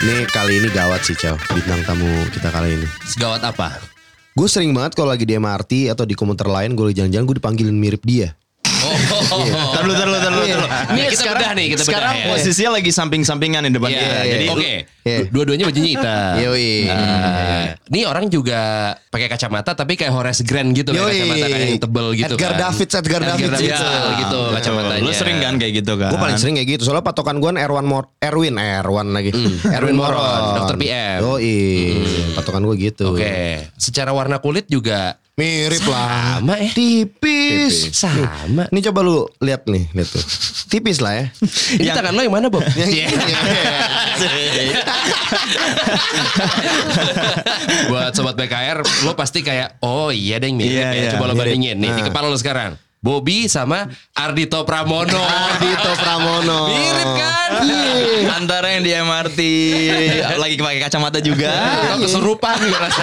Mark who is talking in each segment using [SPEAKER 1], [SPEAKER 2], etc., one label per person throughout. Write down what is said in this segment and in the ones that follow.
[SPEAKER 1] Nih kali ini gawat sih Chow Bintang tamu kita kali ini
[SPEAKER 2] Segawat apa?
[SPEAKER 1] Gue sering banget kalau lagi di MRT atau di komuter lain Gue jangan-jangan gue dipanggilin mirip dia
[SPEAKER 2] Oh,
[SPEAKER 3] Ntar dulu, ntar dulu, ntar dulu, ntar dulu.
[SPEAKER 2] Ini kita bedah nih, kita bedah
[SPEAKER 3] sekarang
[SPEAKER 2] ya.
[SPEAKER 3] posisinya lagi samping-sampingan di depan
[SPEAKER 2] Iya,
[SPEAKER 3] kita.
[SPEAKER 2] iya.
[SPEAKER 3] Jadi
[SPEAKER 2] oke.
[SPEAKER 1] Iya.
[SPEAKER 2] Du- Dua-duanya bajunya hitam.
[SPEAKER 1] Yoi.
[SPEAKER 2] Nah, Ini orang juga pakai kacamata tapi kayak Horace Grant gitu kayak
[SPEAKER 1] Yoi.
[SPEAKER 2] kacamata kayak yang tebel gitu
[SPEAKER 1] Edgar
[SPEAKER 2] kan.
[SPEAKER 1] Davids, Edgar Davids gitu.
[SPEAKER 2] gitu. gitu
[SPEAKER 3] Betul.
[SPEAKER 2] kacamatanya.
[SPEAKER 3] Iya. Lu sering kan kayak gitu kan?
[SPEAKER 1] Gue paling sering kayak gitu Soalnya patokan gue Erwan Mor Erwin eh, Erwan lagi Erwin Moron
[SPEAKER 2] Dr. PM.
[SPEAKER 1] Yoi Patokan gue gitu
[SPEAKER 2] Oke. Secara warna kulit juga
[SPEAKER 1] Mirip lah
[SPEAKER 2] sama ya.
[SPEAKER 1] Tipis
[SPEAKER 2] Sama.
[SPEAKER 1] Nih coba lu lihat nih lihat tuh. Tipis lah ya
[SPEAKER 2] Ini tangan lo yang mana, Bob? Iya. Buat sobat BKR, lo pasti kayak oh iya deh mirip
[SPEAKER 3] Iya,
[SPEAKER 2] ya.
[SPEAKER 3] iya,
[SPEAKER 2] Coba lo
[SPEAKER 1] mirip.
[SPEAKER 2] bandingin nih di
[SPEAKER 1] Nah.
[SPEAKER 2] kepala lo sekarang. Bobby sama Ardito Pramono.
[SPEAKER 1] Ardito Pramono Iya.
[SPEAKER 2] Mirip kan?
[SPEAKER 3] Antara yang di MRT lagi pakai kacamata juga.
[SPEAKER 2] Atau keserupan gue rasa.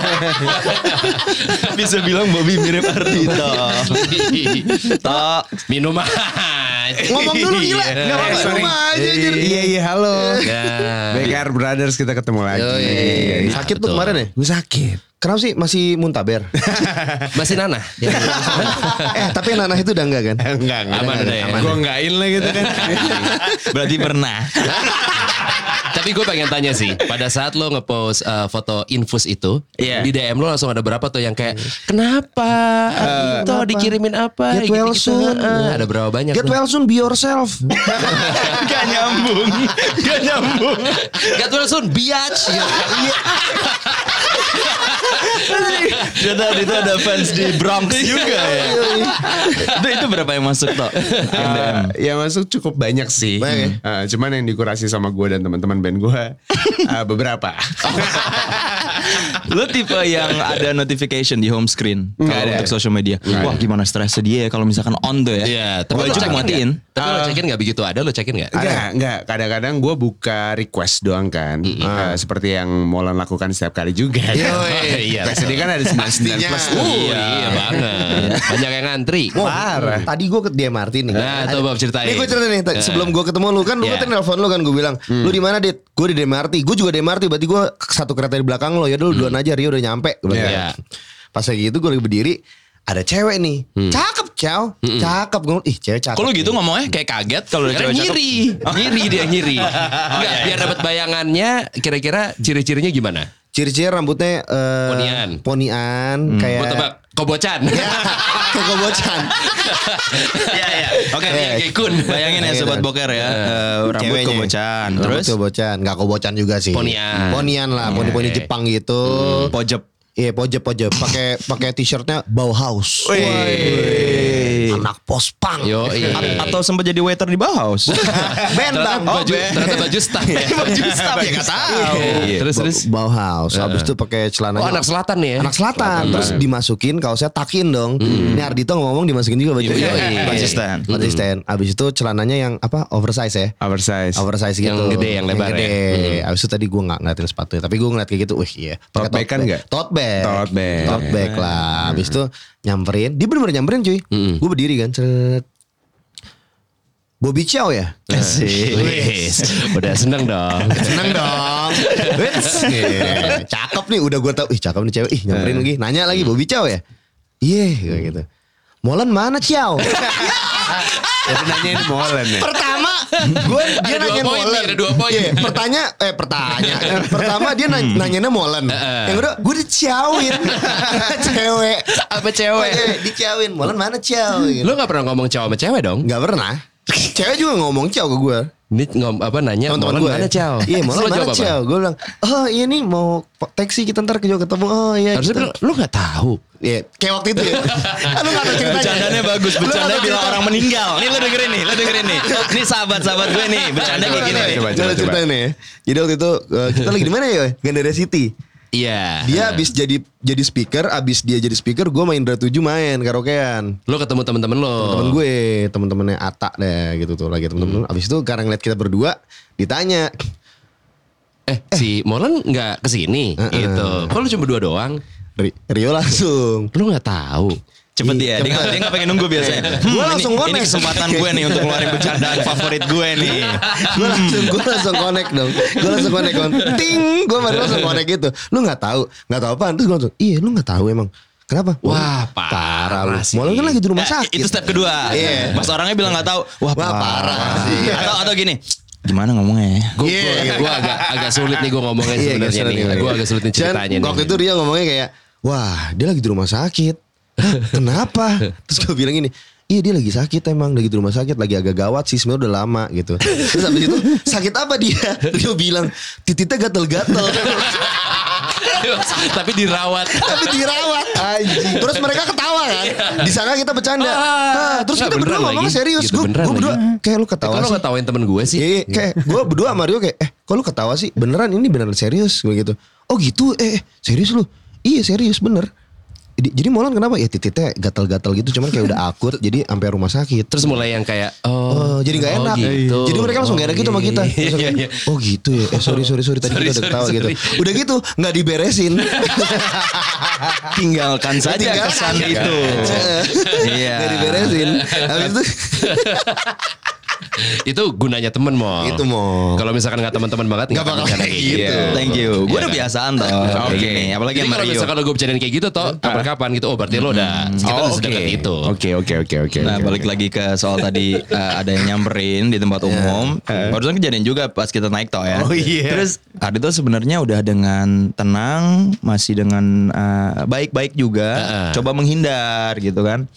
[SPEAKER 3] Bisa bilang Bobby mirip Ardito. Tok.
[SPEAKER 2] Minum aja.
[SPEAKER 1] Ngomong dulu gila
[SPEAKER 2] Iya.
[SPEAKER 1] Gak apa-apa
[SPEAKER 2] Eh, sorry.
[SPEAKER 1] ngomong aja anjir.
[SPEAKER 4] Iya iya halo.
[SPEAKER 2] Nah.
[SPEAKER 4] BKR Brothers kita ketemu lagi.
[SPEAKER 1] Yoi. Sakit tuh
[SPEAKER 2] Betul.
[SPEAKER 1] kemarin ya
[SPEAKER 4] Gue sakit.
[SPEAKER 1] Kenapa sih masih muntaber
[SPEAKER 2] Masih nanah.
[SPEAKER 1] Eh tapi yang nanah itu udah enggak kan
[SPEAKER 4] Enggak enggak.
[SPEAKER 2] Aman udah ya.
[SPEAKER 4] Gue enggakin lah gitu kan.
[SPEAKER 3] Berarti pernah.
[SPEAKER 2] Tapi gue pengen tanya sih, pada saat lo ngepost eh, foto infus itu,
[SPEAKER 3] Iya.
[SPEAKER 2] di DM lo langsung ada berapa tuh yang kayak kenapa itu dikirimin apa?
[SPEAKER 1] Get well
[SPEAKER 2] Gitu-gitu.
[SPEAKER 1] soon.
[SPEAKER 2] Eh, ada berapa banyak?
[SPEAKER 1] Get
[SPEAKER 2] tuh?
[SPEAKER 1] well soon be yourself
[SPEAKER 3] Gak nyambung. Gak nyambung.
[SPEAKER 2] Get well soon, biatch.
[SPEAKER 3] Ternyata Ardito ada fans di Bronx juga ya. itu, itu berapa yang masuk Tok? Yang DM.
[SPEAKER 4] Eh, ya masuk cukup banyak sih.
[SPEAKER 1] Banyak
[SPEAKER 4] Eh, cuman yang dikurasi sama gue dan teman-teman band gue eh, beberapa.
[SPEAKER 3] Lu tipe yang ada notification di home screen
[SPEAKER 4] Nggak
[SPEAKER 3] kalau
[SPEAKER 4] ada.
[SPEAKER 3] untuk social media. Wah, gimana stresnya dia ya kalau misalkan on tuh ya.
[SPEAKER 2] Iya, tapi
[SPEAKER 3] Wah,
[SPEAKER 2] lo
[SPEAKER 3] itu
[SPEAKER 2] cekin
[SPEAKER 3] matiin.
[SPEAKER 2] nggak? Tapi lo cekin gak begitu? Ada lo cekin gak?
[SPEAKER 4] Enggak, enggak. Kadang-kadang gue buka request doang kan. Eh, seperti yang Molan lakukan setiap kali juga. kan. Oh,
[SPEAKER 2] iya.
[SPEAKER 4] Request ini kan ada 99 plus tuh.
[SPEAKER 2] Uh, iya banget. Banyak yang ngantri.
[SPEAKER 1] Wow,
[SPEAKER 4] Parah.
[SPEAKER 1] Tadi gue ke dia Martin nih.
[SPEAKER 2] Nah,
[SPEAKER 1] Ada-
[SPEAKER 2] tuh, Bob, ceritain.
[SPEAKER 1] Nih gue cerita nih. tadi
[SPEAKER 2] Eh.
[SPEAKER 1] Sebelum gue ketemu lu kan, lu
[SPEAKER 2] Iya. Hmm.
[SPEAKER 1] kan nelfon lu kan gue bilang, lu di mana dit? Gue di Demarti. Gue juga Demarti. Berarti gue satu kereta di belakang lo. Ya dulu duluan aja Rio udah nyampe. Gue bilang, "Ya."
[SPEAKER 2] Hmm. Iya.
[SPEAKER 1] Pas lagi itu gue lagi berdiri. Ada cewek nih,
[SPEAKER 2] Hmm.
[SPEAKER 1] cakep ciao, cakep gue, ih cewek cakep.
[SPEAKER 3] Kalau lu gitu ngomongnya
[SPEAKER 2] eh,
[SPEAKER 3] kayak kaget kalau ada
[SPEAKER 2] Karena
[SPEAKER 3] cewek cakep.
[SPEAKER 2] nyiri, nyiri dia nyiri. Enggak,
[SPEAKER 3] iya,
[SPEAKER 2] biar dapat bayangannya kira-kira ciri-cirinya gimana?
[SPEAKER 1] Ciri-ciri rambutnya eh,
[SPEAKER 2] Ponian.
[SPEAKER 1] ponian, kayak.
[SPEAKER 2] Gue tebak, kobocan.
[SPEAKER 1] Ya. Kayak kobocan.
[SPEAKER 3] Iya, iya. Oke,
[SPEAKER 2] Iya, kayak kun.
[SPEAKER 3] bayangin ya sobat boker ya. eh, rambut
[SPEAKER 1] Ceweknya.
[SPEAKER 3] kebocan. Terus
[SPEAKER 1] Rambut kobocan, nggak kobocan juga sih.
[SPEAKER 2] Ponian. Iya, Hmm.
[SPEAKER 1] Ponian lah, poni-poni
[SPEAKER 2] Oke.
[SPEAKER 1] Jepang gitu.
[SPEAKER 3] pojep.
[SPEAKER 1] Iya pojep pojep pakai pakai t-shirtnya Bauhaus.
[SPEAKER 3] Wih.
[SPEAKER 1] Anak pos pang.
[SPEAKER 2] Yo, iya.
[SPEAKER 3] A- atau sempat jadi waiter di Bauhaus.
[SPEAKER 1] Band
[SPEAKER 2] ternyata
[SPEAKER 1] bang.
[SPEAKER 2] baju,
[SPEAKER 1] Oh, band.
[SPEAKER 2] ternyata baju staff. ya.
[SPEAKER 3] Baju staff ya nggak tahu.
[SPEAKER 2] Iya. Terus terus.
[SPEAKER 1] Ba- Bauhaus. Habis itu pakai celana.
[SPEAKER 2] Oh anak selatan nih ya.
[SPEAKER 1] Anak selatan. Terus dimasukin kaosnya takin dong. Ini Ardito ngomong dimasukin juga baju.
[SPEAKER 2] Iya, iya.
[SPEAKER 3] Konsisten.
[SPEAKER 1] Konsisten. Habis itu celananya yang apa oversize ya.
[SPEAKER 4] Oversize.
[SPEAKER 1] Oversize gitu.
[SPEAKER 2] Yang gede, yang lebar ya.
[SPEAKER 1] gede. Abis itu tadi gue gak ngeliatin sepatunya. Tapi gue ngeliat kayak gitu. Wih iya. Pakai
[SPEAKER 4] Tote bag kan nggak?
[SPEAKER 1] Tote bag.
[SPEAKER 4] Tote bag.
[SPEAKER 1] Tote bag lah. Abis itu nyamperin. Dia bener-bener nyamperin cuy. Gue berdiri kan. Ceret. Bobby Chow ya?
[SPEAKER 2] Asik. Wih, Udah seneng dong.
[SPEAKER 1] Seneng dong. Wits. Iya. cakep nih udah gue tau. Ih cakep nih cewek. Ih nyamperin lagi. Nanya lagi Bobby Chow ya? Iya gua gitu. Molan mana Chow?
[SPEAKER 4] Tapi nanyain Molan ya.
[SPEAKER 1] pertama gue dia
[SPEAKER 2] Ada dua
[SPEAKER 1] nanyain
[SPEAKER 2] poin nih,
[SPEAKER 1] Molen.
[SPEAKER 2] ada dua poin. Hmm.
[SPEAKER 1] Iya, pertanya eh pertanya. pertama dia nanya, nanyainnya Molen. Yang kedua gue diciauin cewek.
[SPEAKER 2] Apa cewek?
[SPEAKER 1] Eh, diciauin Molen mana Ciao gitu.
[SPEAKER 2] Lo gak pernah ngomong cowok sama cewek dong?
[SPEAKER 1] Gak pernah. Cewek juga ngomong Ciao ke gue.
[SPEAKER 2] Ini ngom apa nanya
[SPEAKER 1] teman-teman
[SPEAKER 2] Molen
[SPEAKER 1] gue
[SPEAKER 2] Ya, mana Cao?
[SPEAKER 1] Iya, Molen
[SPEAKER 2] Terus lo
[SPEAKER 1] mana
[SPEAKER 2] jawab apa?
[SPEAKER 1] Ciao? Gue bilang, "Oh, iya nih mau po- taksi kita ntar ke ketemu." Oh, iya.
[SPEAKER 2] Harusnya
[SPEAKER 1] kita-
[SPEAKER 2] bilang lu gak tahu.
[SPEAKER 1] Iya, kayak waktu itu ya. Ah, Lu gak tahu ceritanya.
[SPEAKER 3] Bercandanya bagus,
[SPEAKER 1] Lu nggak tahu
[SPEAKER 3] bercandanya bilang
[SPEAKER 1] ceritanya.
[SPEAKER 3] orang meninggal. Nih lu dengerin nih, lu dengerin nih. Nih sahabat-sahabat gue nih, bercanda kayak gini nih.
[SPEAKER 4] Coba,
[SPEAKER 1] Coba,
[SPEAKER 4] coba,
[SPEAKER 1] ceritain nih ya. Jadi waktu itu eh, kita lagi di mana ya? Gandaria City.
[SPEAKER 2] Iya.
[SPEAKER 1] Dia abis jadi jadi speaker, abis dia jadi speaker, gue main Indra 7 main karaokean.
[SPEAKER 2] Lo ketemu temen-temen lo.
[SPEAKER 3] Oh.
[SPEAKER 1] Temen gue, temen-temennya Ata deh gitu tuh lagi
[SPEAKER 3] Hmm.
[SPEAKER 1] temen-temen. Abis itu karena ngeliat kita berdua, ditanya.
[SPEAKER 2] Eh, si Molen gak kesini gitu. Kok lu cuma dua doang?
[SPEAKER 1] Ri- Rio langsung. Iya,
[SPEAKER 2] Lu gak tahu.
[SPEAKER 3] Cepet
[SPEAKER 1] Ih,
[SPEAKER 3] dia. Dia nggak- Dia nggak pengen nunggu biasanya.
[SPEAKER 1] Gua
[SPEAKER 3] Hmm, ini-
[SPEAKER 1] langsung
[SPEAKER 3] Ini
[SPEAKER 1] konek.
[SPEAKER 3] kesempatan gue nih untuk ngeluarin bercandaan favorit gue nih.
[SPEAKER 1] gue langsung gue langsung connect dong gue langsung connect kon ting gue baru langsung connect gitu lu nggak tahu nggak tahu apaan terus gue langsung iya lu nggak tahu emang kenapa
[SPEAKER 2] Wah, parah
[SPEAKER 1] lu
[SPEAKER 2] sih.
[SPEAKER 1] malah kan lagi di rumah
[SPEAKER 3] Nah,
[SPEAKER 1] sakit
[SPEAKER 3] Itu step kedua.
[SPEAKER 1] Iya.
[SPEAKER 3] Mas orangnya bilang nggak tahu. Wah,
[SPEAKER 1] Wah, parah sih.
[SPEAKER 3] Atau atau gini. Gimana ngomongnya ya?
[SPEAKER 2] Gue
[SPEAKER 1] Iya.
[SPEAKER 2] gue agak agak sulit nih gue ngomongnya
[SPEAKER 1] Iya, guys,
[SPEAKER 2] sebenarnya nih.
[SPEAKER 1] sorry, sorry.
[SPEAKER 2] Gue agak sulit nih
[SPEAKER 1] Dan
[SPEAKER 2] ceritanya nih.
[SPEAKER 1] waktu itu dia ngomongnya kayak wah dia lagi di rumah sakit Hah, kenapa terus gue bilang ini Iya dia lagi sakit emang lagi di rumah sakit lagi agak gawat sih sebenarnya udah lama gitu. Terus habis itu sakit apa dia? Dia bilang tititnya gatel-gatel.
[SPEAKER 2] Tapi dirawat.
[SPEAKER 1] tapi dirawat anjing. Terus mereka ketawa kan. Di sana kita bercanda.
[SPEAKER 2] Ah,
[SPEAKER 1] Hah, terus
[SPEAKER 2] nggak,
[SPEAKER 1] kita berdua
[SPEAKER 2] beneran
[SPEAKER 1] ngomong
[SPEAKER 2] lagi.
[SPEAKER 1] serius.
[SPEAKER 2] Gitu,
[SPEAKER 1] Gue
[SPEAKER 2] beneran
[SPEAKER 1] berdua kayak lu
[SPEAKER 2] Kok
[SPEAKER 1] ketawa
[SPEAKER 2] lo
[SPEAKER 1] sih.
[SPEAKER 2] ngetawain temen gue sih?
[SPEAKER 1] Iya, iya, kayak gue berdua sama Rio kayak eh kok lu ketawa sih beneran ini beneran serius gue gitu. Oh gitu eh eh, serius lu? Iya serius bener. Jadi, jadi Molan kenapa? Ya tititnya gatal-gatal gitu cuman kayak udah akut jadi sampai rumah sakit.
[SPEAKER 2] Terus mulai yang kayak
[SPEAKER 1] Oh,
[SPEAKER 2] oh,
[SPEAKER 1] jadi nggak
[SPEAKER 2] oh
[SPEAKER 1] enak.
[SPEAKER 2] gitu.
[SPEAKER 1] Jadi mereka langsung nggak enak gitu sama kita.
[SPEAKER 2] Iya,
[SPEAKER 1] Langsung
[SPEAKER 2] iya,
[SPEAKER 1] kayak,
[SPEAKER 2] iya.
[SPEAKER 1] Oh gitu ya. Eh sorry sorry sorry tadi
[SPEAKER 2] Sorry,
[SPEAKER 1] kita udah
[SPEAKER 2] sorry,
[SPEAKER 1] ketawa gitu.
[SPEAKER 2] sorry.
[SPEAKER 1] Udah gitu nggak diberesin.
[SPEAKER 3] Tinggalkan saja
[SPEAKER 1] Tinggalkan.
[SPEAKER 3] kesan itu. Iya.
[SPEAKER 1] Nggak diberesin. Habis itu
[SPEAKER 2] Itu gunanya temen mau.
[SPEAKER 1] Itu, Mol.
[SPEAKER 2] Kalau misalkan nggak teman-teman banget nggak
[SPEAKER 1] bakal
[SPEAKER 2] bercanda
[SPEAKER 1] kayak gitu.
[SPEAKER 3] Thank you. Gue udah biasaan toh. Oke.
[SPEAKER 4] Oke.
[SPEAKER 3] Apalagi
[SPEAKER 2] Iya kan? Jadi
[SPEAKER 3] sama
[SPEAKER 2] kalau
[SPEAKER 3] Rio. Hmm.
[SPEAKER 2] misalkan lo gue bercandain kayak gitu toh kapan-kapan gitu oh berarti lo udah kita
[SPEAKER 3] Oh,
[SPEAKER 2] udah sedekat itu.
[SPEAKER 4] Oke oke oke oke.
[SPEAKER 3] Nah
[SPEAKER 4] oke,
[SPEAKER 3] balik
[SPEAKER 4] oke.
[SPEAKER 3] lagi ke soal tadi eh, ada yang nyamperin di tempat umum. Barusan kejadian juga pas kita naik tol ya.
[SPEAKER 4] Oh, iya.
[SPEAKER 3] Terus Adi tuh sebenarnya udah dengan tenang, masih dengan eh, baik-baik juga.
[SPEAKER 2] Heeh.
[SPEAKER 3] Coba menghindar gitu kan.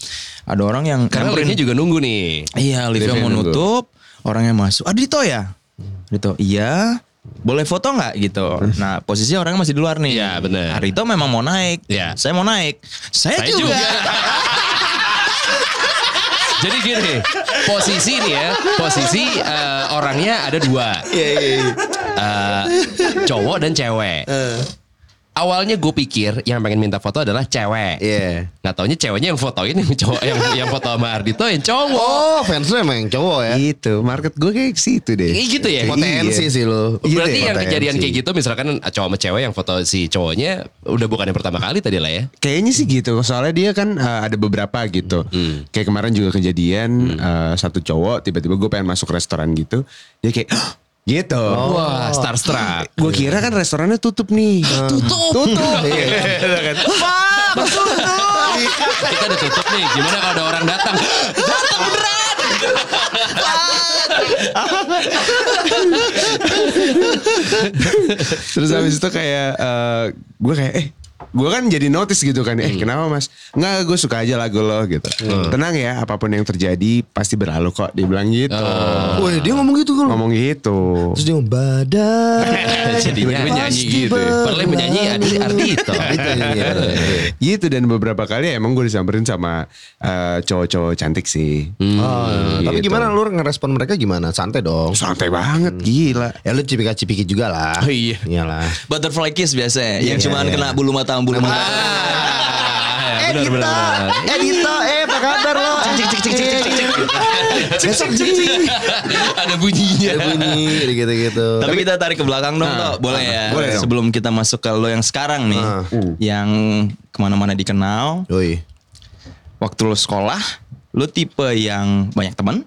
[SPEAKER 3] Ada orang yang
[SPEAKER 2] Karena
[SPEAKER 3] nyamperin.
[SPEAKER 2] liftnya juga nunggu nih.
[SPEAKER 1] Eh,
[SPEAKER 3] Iya, liftnya
[SPEAKER 4] Liftnya
[SPEAKER 3] mau
[SPEAKER 2] gitu.
[SPEAKER 4] nunggu.
[SPEAKER 3] nutup, orangnya masuk. Ah, Dito ya? Dito, iya. Boleh foto nggak gitu? Nah, posisinya orangnya masih di luar nih.
[SPEAKER 2] Iya, bener.
[SPEAKER 3] Ah, Dito memang mau naik.
[SPEAKER 2] Iya.
[SPEAKER 3] Saya mau naik. Saya,
[SPEAKER 2] Saya juga.
[SPEAKER 3] juga.
[SPEAKER 2] Jadi gini, posisi nih ya, posisi eh, orangnya ada dua,
[SPEAKER 1] Iya iya iya. Eh.
[SPEAKER 2] Eh, cowok dan cewek. Awalnya gue pikir yang pengen minta foto adalah cewek.
[SPEAKER 1] Iya.
[SPEAKER 2] Nggak taunya ceweknya yang fotoin yang cowok yang yang foto sama Ardito yang cowok.
[SPEAKER 1] Oh, fans lu emang yang cowok ya.
[SPEAKER 4] Itu market gue kayak ke situ deh.
[SPEAKER 2] Kayak gitu ya?
[SPEAKER 1] Potensi
[SPEAKER 4] Iya.
[SPEAKER 1] sih lu.
[SPEAKER 4] Iya
[SPEAKER 2] Berarti
[SPEAKER 4] deh,
[SPEAKER 2] yang
[SPEAKER 4] potensi.
[SPEAKER 2] kejadian kayak gitu misalkan cowok sama cewek yang foto si cowoknya udah bukan yang pertama kali tadi lah ya.
[SPEAKER 4] Kayaknya sih gitu, soalnya dia kan uh, ada beberapa gitu. Kayak kemarin juga kejadian uh, satu cowok tiba-tiba gue pengen masuk restoran gitu, dia kayak gitu.
[SPEAKER 2] Wah, starstruck.
[SPEAKER 4] Gue kira kan restorannya tutup nih. tutup. Tutup. Iya.
[SPEAKER 2] Kita udah tutup nih. Gimana kalau ada orang datang?
[SPEAKER 4] Terus habis itu kayak gue kayak eh gue kan jadi notice gitu kan eh kenapa mas nggak gue suka aja lagu lo gitu tenang ya apapun yang terjadi pasti berlalu kok dibilang gitu
[SPEAKER 2] Iya.
[SPEAKER 1] Woi, dia ngomong gitu kan.
[SPEAKER 4] ngomong gitu
[SPEAKER 1] Terus dia ngomong badai.
[SPEAKER 2] Jadinya
[SPEAKER 4] Tiba-tiba
[SPEAKER 2] nyanyi
[SPEAKER 1] pasti
[SPEAKER 2] gitu. Padahal yang menyanyi
[SPEAKER 1] berlalu."
[SPEAKER 2] ada Ardito.
[SPEAKER 1] Iya. Gitu, iya, iya.
[SPEAKER 4] gitu dan beberapa kali emang gue disamperin sama eh, cowok-cowok cantik sih
[SPEAKER 2] Hmm.
[SPEAKER 1] Oh, Tapi
[SPEAKER 4] Gitu.
[SPEAKER 1] gimana lu ngerespon mereka gimana? Santai dong.
[SPEAKER 4] santai banget
[SPEAKER 2] Hmm.
[SPEAKER 4] gila
[SPEAKER 1] Ya lu cipika-cipiki juga lah.
[SPEAKER 2] Oh, iya.
[SPEAKER 1] Iyalah.
[SPEAKER 3] Butterfly kiss biasanya. yang
[SPEAKER 1] Iya,
[SPEAKER 3] cuman
[SPEAKER 1] iya.
[SPEAKER 3] kena bulu mata sama bulu mata.
[SPEAKER 2] Ah,
[SPEAKER 1] Eh
[SPEAKER 2] benar,
[SPEAKER 1] Dito,
[SPEAKER 2] benar, benar.
[SPEAKER 1] eh Dito, eh apa kabar lo? Cik cik cik cik cik cik. Besok cik.
[SPEAKER 2] Ada bunyinya. Ah.
[SPEAKER 1] Bunyi gitu-gitu.
[SPEAKER 3] Tapi kita tarik ke belakang dong, Tok. boleh ya.
[SPEAKER 4] boleh dong. Uh.
[SPEAKER 3] Sebelum kita masuk ke lo yang sekarang nih,
[SPEAKER 1] Ah.
[SPEAKER 3] yang kemana-mana dikenal.
[SPEAKER 1] Woi.
[SPEAKER 3] Waktu lo sekolah, lo tipe yang banyak teman